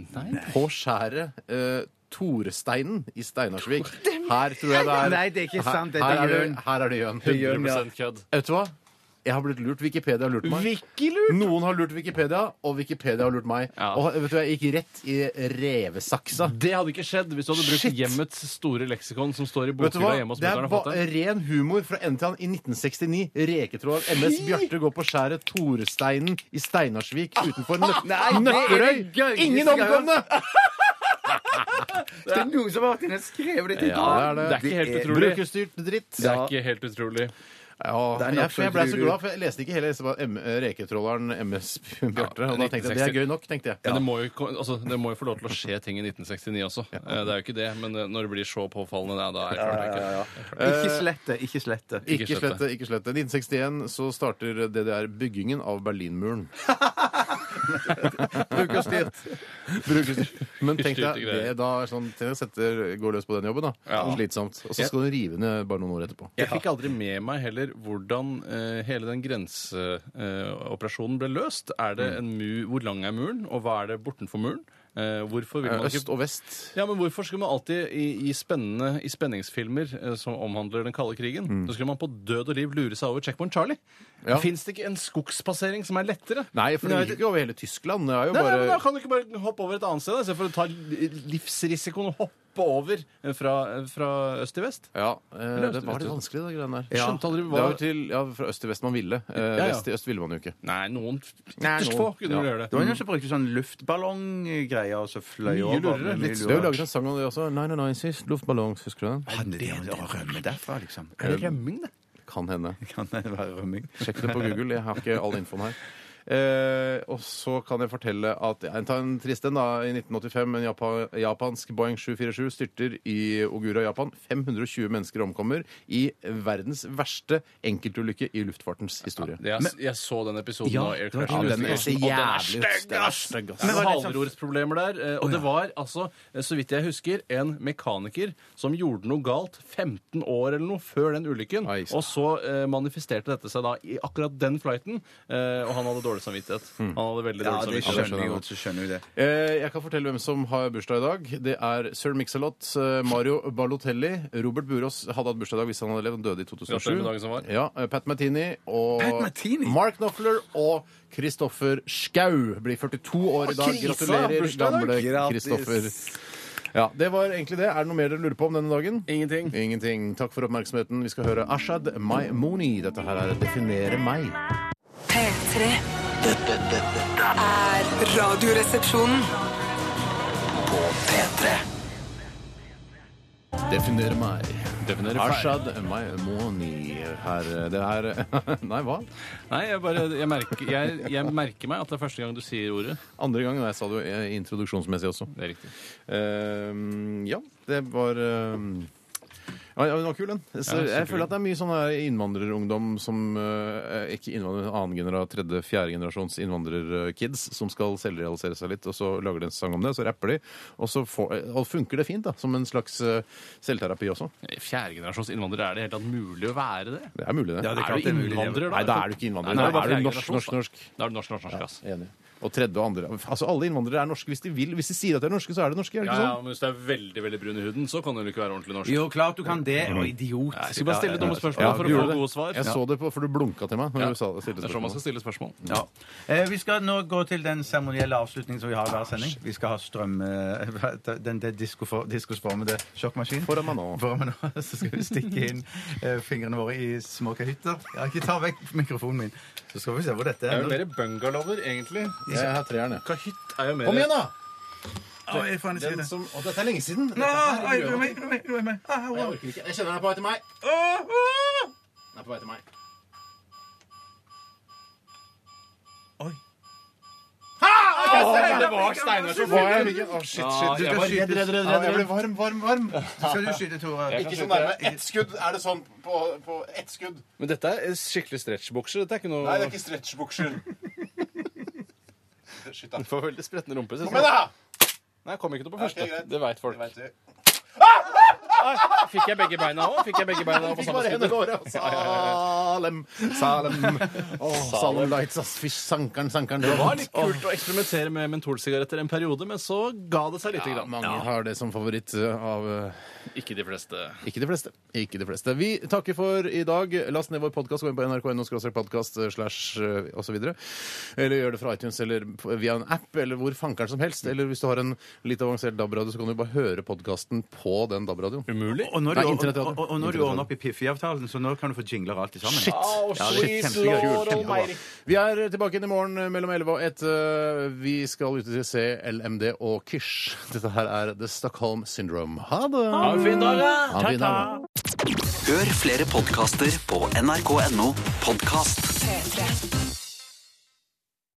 Speaker 4: Nei.
Speaker 3: på skjæret eh, Toresteinen i Steinarsvik. Her tror jeg det er
Speaker 5: Nei, det er ikke sant, det er
Speaker 3: Her, her er
Speaker 5: Jørn.
Speaker 3: det- her er det Jørn.
Speaker 5: Jørn.
Speaker 4: 100 kødd.
Speaker 3: Vet du hva? Jeg har blitt lurt. Wikipedia har lurt meg. Noen har lurt Wikipedia, og Wikipedia har lurt meg.
Speaker 4: Ja.
Speaker 3: Og vet du, hva, jeg gikk rett i revesaksa.
Speaker 4: Det hadde ikke skjedd hvis du hadde brukt
Speaker 3: Shit.
Speaker 4: hjemmets store leksikon som står i
Speaker 3: Vet du
Speaker 4: bokhylla
Speaker 3: hva?
Speaker 4: hjemme hos
Speaker 3: Det er
Speaker 4: mutter'n og
Speaker 3: ba
Speaker 4: fatter'n.
Speaker 3: ren humor fra ende til annen. I 1969, reketråd MS Bjarte går på skjæret Toresteinen i Steinarsvik utenfor Nø Nøtterøy. Ingen omkomne!
Speaker 5: Det er noen som har vært inne og skrevet det til
Speaker 3: Ja, det er det.
Speaker 4: Det er ikke helt utrolig.
Speaker 3: Brukerstyrt dritt.
Speaker 4: Det er ikke helt utrolig.
Speaker 3: Ja,
Speaker 5: Det er
Speaker 3: jeg,
Speaker 5: nok så
Speaker 3: for jeg ble så
Speaker 5: utrolig.
Speaker 3: glad, for jeg leste ikke hele jeg leste bare M- reketråleren MS Bjarte. Og da tenkte jeg det er gøy nok, tenkte jeg.
Speaker 4: Men det må, jo, ko- altså, det må jo få lov til å skje ting i 1969 også. Eh, Det er jo ikke det, men eh, når det blir så påfallende, nei, da er det klart det ikke.
Speaker 5: Ikke
Speaker 4: Eh,
Speaker 5: slett det. Ikke slett det.
Speaker 3: Ikke slett det. ikke slett det. 1961 så starter DDR byggingen av Berlinmuren.
Speaker 5: Brukerstyrt.
Speaker 3: Brukerstyrt. Men tenk
Speaker 4: Styrte
Speaker 3: deg
Speaker 4: greier.
Speaker 3: det da er sånn, tenk deg setter, går løs på den jobben, da.
Speaker 4: Ja.
Speaker 3: Slitsomt. Og så skal du rive ned bare noen år etterpå.
Speaker 4: Jeg fikk aldri med meg heller hvordan eh, hele den grenseoperasjonen ble løst. Er
Speaker 3: Mm.
Speaker 4: det en mur, Hvor lang er muren, og hva er det bortenfor muren? Eh, hvorfor vil man
Speaker 3: Øst
Speaker 4: ikke
Speaker 3: og vest.
Speaker 4: ja, men Hvorfor skulle man alltid i, i spennende i spenningsfilmer eh, som omhandler den kalde krigen, så skulle man på død og liv lure seg over Checkpoint Charlie?
Speaker 3: Mm. Ja.
Speaker 4: Fins det ikke en skogspassering som er lettere?
Speaker 3: Nei, for det gikk jo ikke over hele Tyskland. Det er jo
Speaker 4: Nei, nei, men da
Speaker 3: bare
Speaker 4: kan du ikke bare hoppe over et annet sted, da, istedenfor å ta li- livsrisikoen og hoppe over eh, fra, fra øst til vest?
Speaker 3: ja, eh,
Speaker 4: Eller
Speaker 3: det
Speaker 4: øst-
Speaker 3: var
Speaker 4: øst-
Speaker 3: litt vanskelig, det greiene der.
Speaker 4: Ja. Skjønte aldri hva-
Speaker 3: Det var jo til, ja, Fra øst til vest man ville. Eh,
Speaker 4: ja.
Speaker 3: Vest til øst ville man jo ikke.
Speaker 4: Nei, noen
Speaker 3: Nei,
Speaker 4: ytterst få
Speaker 3: noen.
Speaker 4: kunne vel
Speaker 3: Ja.
Speaker 4: gjøre
Speaker 5: Det var
Speaker 4: det.
Speaker 5: noen som brukte sånn luftballonggreier og så fløy
Speaker 4: Mye
Speaker 5: over.
Speaker 4: lurere, litt sånn
Speaker 3: Vi har jo laget en sang om det også. Nei, nei, nei, sist. Luftballong, husker du den?
Speaker 5: Handler det om det å rømme derfra, liksom?
Speaker 4: Er det rømming, det?
Speaker 3: Kan hende.
Speaker 5: Kan det være rømming?
Speaker 3: Sjekk det på Google. Jeg har ikke all infoen her. Eh, og så kan jeg fortelle at jeg tar en trist en, da. I 1985 en japa, japansk Boeing 747 styrter i Ogura, Japan. 520 mennesker omkommer i verdens verste enkeltulykke i luftfartens historie.
Speaker 4: Jeg, jeg så den episoden
Speaker 5: Ja,
Speaker 4: av Air
Speaker 5: det var
Speaker 4: Crash. Houston.
Speaker 5: den er
Speaker 3: så
Speaker 4: Og den er
Speaker 3: jævlig
Speaker 4: stygg,
Speaker 3: stygg,
Speaker 4: ass.
Speaker 3: stygg, ass.
Speaker 4: Det var Halvrorproblemer der. eh, Og det var altså, eh, så vidt jeg husker, en mekaniker som gjorde noe galt 15 år eller noe før den ulykken.
Speaker 3: Oi, sant.
Speaker 4: Og så eh, manifesterte dette seg da i akkurat den flighten, eh, og han hadde dårlig samvittighet. Han hadde veldig
Speaker 5: Ja,
Speaker 4: dårlig
Speaker 5: det
Speaker 4: samvittighet.
Speaker 5: skjønner jeg jo. Så skjønner jeg det.
Speaker 3: Eh, jeg kan fortelle hvem som har bursdag i dag. Det er Sir Mix-a-Lot, eh, Mario Balotelli. Robert Burås hadde hatt bursdag i dag hvis han hadde levd. Han døde i 2007.
Speaker 4: Gratulerer med dagen som var.
Speaker 3: Ja, eh, Pat Martini og
Speaker 5: Pat Metheny?
Speaker 3: Mark Knopfler og Kristoffer Schau blir 42 år i dag.
Speaker 4: Krisa,
Speaker 3: Gratulerer,
Speaker 4: bursdag i dag.
Speaker 3: gamle
Speaker 5: Grattis.
Speaker 3: Kristoffer. Ja, Det var egentlig det. Er det noe mer dere lurer på om denne dagen?
Speaker 4: Ingenting.
Speaker 3: Ingenting. Takk for oppmerksomheten. Vi skal høre Ashad Maimoni. Dette her er Definere meg.
Speaker 2: P3
Speaker 1: Dette, dette
Speaker 2: er Radioresepsjonen.
Speaker 1: på P3
Speaker 3: Definere meg.
Speaker 4: Definere meg.
Speaker 3: Ashad Maimoni her. eh, Det er Nei, hva?
Speaker 4: Nei, jeg, bare, jeg, merker, jeg, jeg merker meg at det er første gang du sier ordet.
Speaker 3: Andre gangen. Jeg sa det jo eh, introduksjonsmessig også.
Speaker 4: Det er riktig.
Speaker 3: Eh, ja, det var eh, ja, ja, den var kul, den. Så
Speaker 4: Ja,
Speaker 3: jeg
Speaker 4: superkul.
Speaker 3: føler at det er mye sånn her innvandrerungdom som eh, Ikke innvandrer, annen genera, tredje, fjerde generasjons innvandrerkids som skal selvrealisere seg litt, og så lager de en sang om det, så rapper de, og så får, eh, og funker det fint, da. Som en slags eh, selvterapi også.
Speaker 4: Fjerdegenerasjons innvandrere, er det i det hele tatt mulig å være det?
Speaker 3: Det er mulig, det.
Speaker 5: Ja, det
Speaker 4: Er
Speaker 5: klart
Speaker 4: du
Speaker 5: det er mulig, det.
Speaker 4: innvandrer, da?
Speaker 3: Nei, da er du ikke innvandrer.
Speaker 4: Nei,
Speaker 3: Da
Speaker 4: bare
Speaker 3: er du
Speaker 4: fjerde
Speaker 3: norsk,
Speaker 4: generasjons,
Speaker 3: norsk, norsk.
Speaker 4: Da Da er du norsk, norsk, norsk, ass.
Speaker 3: Enig. og tredje og andre. Altså Alle innvandrere er norske hvis de vil. Hvis de sier at de er norske, så er de norske. er det
Speaker 4: Ja,
Speaker 3: ikke
Speaker 4: ja,
Speaker 3: sånn?
Speaker 4: men Hvis du er veldig veldig brun i huden, så kan du ikke være ordentlig norsk.
Speaker 5: Jo, klart du kan det. Å, idiot.
Speaker 4: Mm. Jeg skal bare stille dumme spørsmål
Speaker 3: Ja,
Speaker 4: for
Speaker 3: du
Speaker 4: å
Speaker 3: gjorde
Speaker 4: få
Speaker 3: det.
Speaker 4: gode svar.
Speaker 3: Jeg så det, på, for du blunka til meg. når
Speaker 4: Ja.
Speaker 3: du sa det,
Speaker 4: Det
Speaker 3: stilte
Speaker 4: er sånn man
Speaker 3: spørsmål.
Speaker 4: skal stille spørsmål.
Speaker 5: Ja. Eh, vi skal nå gå til den seremonielle avslutningen som vi har i hver sending. Vi skal ha strøm... Eh, hva- den det diskofor- diskosformede sjokkmaskinen.
Speaker 3: Foran meg nå.
Speaker 5: Foran meg nå. Så skal vi stikke inn eh, fingrene våre i små kahytter. Ja, ikke ta vekk mikrofonen min. Så skal vi se hvor dette er.
Speaker 4: mer bungalower, egentlig.
Speaker 3: Jeg har treeren, jeg.
Speaker 4: Kahytt er jo mer
Speaker 3: Kom igjen, da!
Speaker 5: Å, jeg faen, jeg sier
Speaker 3: Den
Speaker 5: det.
Speaker 3: som, og dette er lenge siden. Dette
Speaker 5: Ah,
Speaker 3: her
Speaker 5: ai,
Speaker 3: er
Speaker 5: ro
Speaker 3: grønn.
Speaker 5: meg, ro meg, ro meg. Ah,
Speaker 3: Nei, Jeg
Speaker 5: wow.
Speaker 3: orker ikke. Jeg kjenner den er på vei til meg.
Speaker 5: Ah, ah.
Speaker 3: Den er på vei til meg.
Speaker 5: Oi.
Speaker 4: Det var Steinar som
Speaker 3: Var jeg hvilken? Å, shit,
Speaker 4: Ah,
Speaker 3: shit.
Speaker 5: jeg var redd, redd, redd,
Speaker 3: Ja, jeg ble varm, varm, varm.
Speaker 5: Skal du skyte, Tore?
Speaker 3: Ikke så nærme. Ett skudd. Er det sånn på, på ett skudd?
Speaker 4: Men dette er eh, skikkelig stretchbukser. Dette er ikke noe
Speaker 3: Nei, det er ikke stretchbukser. Shit, da.
Speaker 4: Du får veldig spretne rumper.
Speaker 3: Kom igjen, da!
Speaker 4: Nei, jeg kom ikke noe på
Speaker 3: Ja, ok,
Speaker 4: første.
Speaker 3: greit.
Speaker 4: det veit folk. Ah!
Speaker 3: Det vet vi.
Speaker 4: Fikk jeg begge beina òg? Fikk jeg begge beina på
Speaker 3: Fikk
Speaker 4: samme
Speaker 3: bare en
Speaker 4: skudd?
Speaker 3: av året. Salem, Salem. Åh, Salem Lights, ass. Fy sankeren, sankeren.
Speaker 4: Det var litt kult å eksperimentere med mentolsigaretter en periode, men så ga det seg lite
Speaker 3: Ja,
Speaker 4: grann.
Speaker 3: mange har det som favoritt uh, av uh,
Speaker 4: Ikke de fleste.
Speaker 3: Ikke de fleste. Ikke de fleste. Vi takker for i dag. Last ned vår podkast. Gå inn på nrk.no podkast slash uh, og så videre. Eller gjør det fra iTunes eller p- via en app eller hvor fankeren som helst. Eller hvis du har en litt avansert DAB-radio, så kan du bare høre podkasten på den DAB-radioen.
Speaker 4: Umulig.
Speaker 5: Og når
Speaker 3: Nei,
Speaker 5: du, og,
Speaker 3: internettradio.
Speaker 5: og, og når du ordner opp i Piffi-avtalen, så nå kan du få jingler og alt i sammen.
Speaker 3: Shit.
Speaker 4: Au,
Speaker 5: Ja, det
Speaker 4: sweet
Speaker 5: er kjempegøy.
Speaker 4: lord
Speaker 5: Kjempebra.
Speaker 4: almighty.
Speaker 3: Vi er tilbake igjen i morgen eh, mellom 11 og 1. Eh, Vi skal ut til se LMD og Kysh. Dette her er The Stockholm Syndrome. Ha det!
Speaker 4: Ha en fin dag, da!
Speaker 3: Ha en fin dag.
Speaker 1: Hør flere podkaster på nrk.no podkast.
Speaker 2: P3.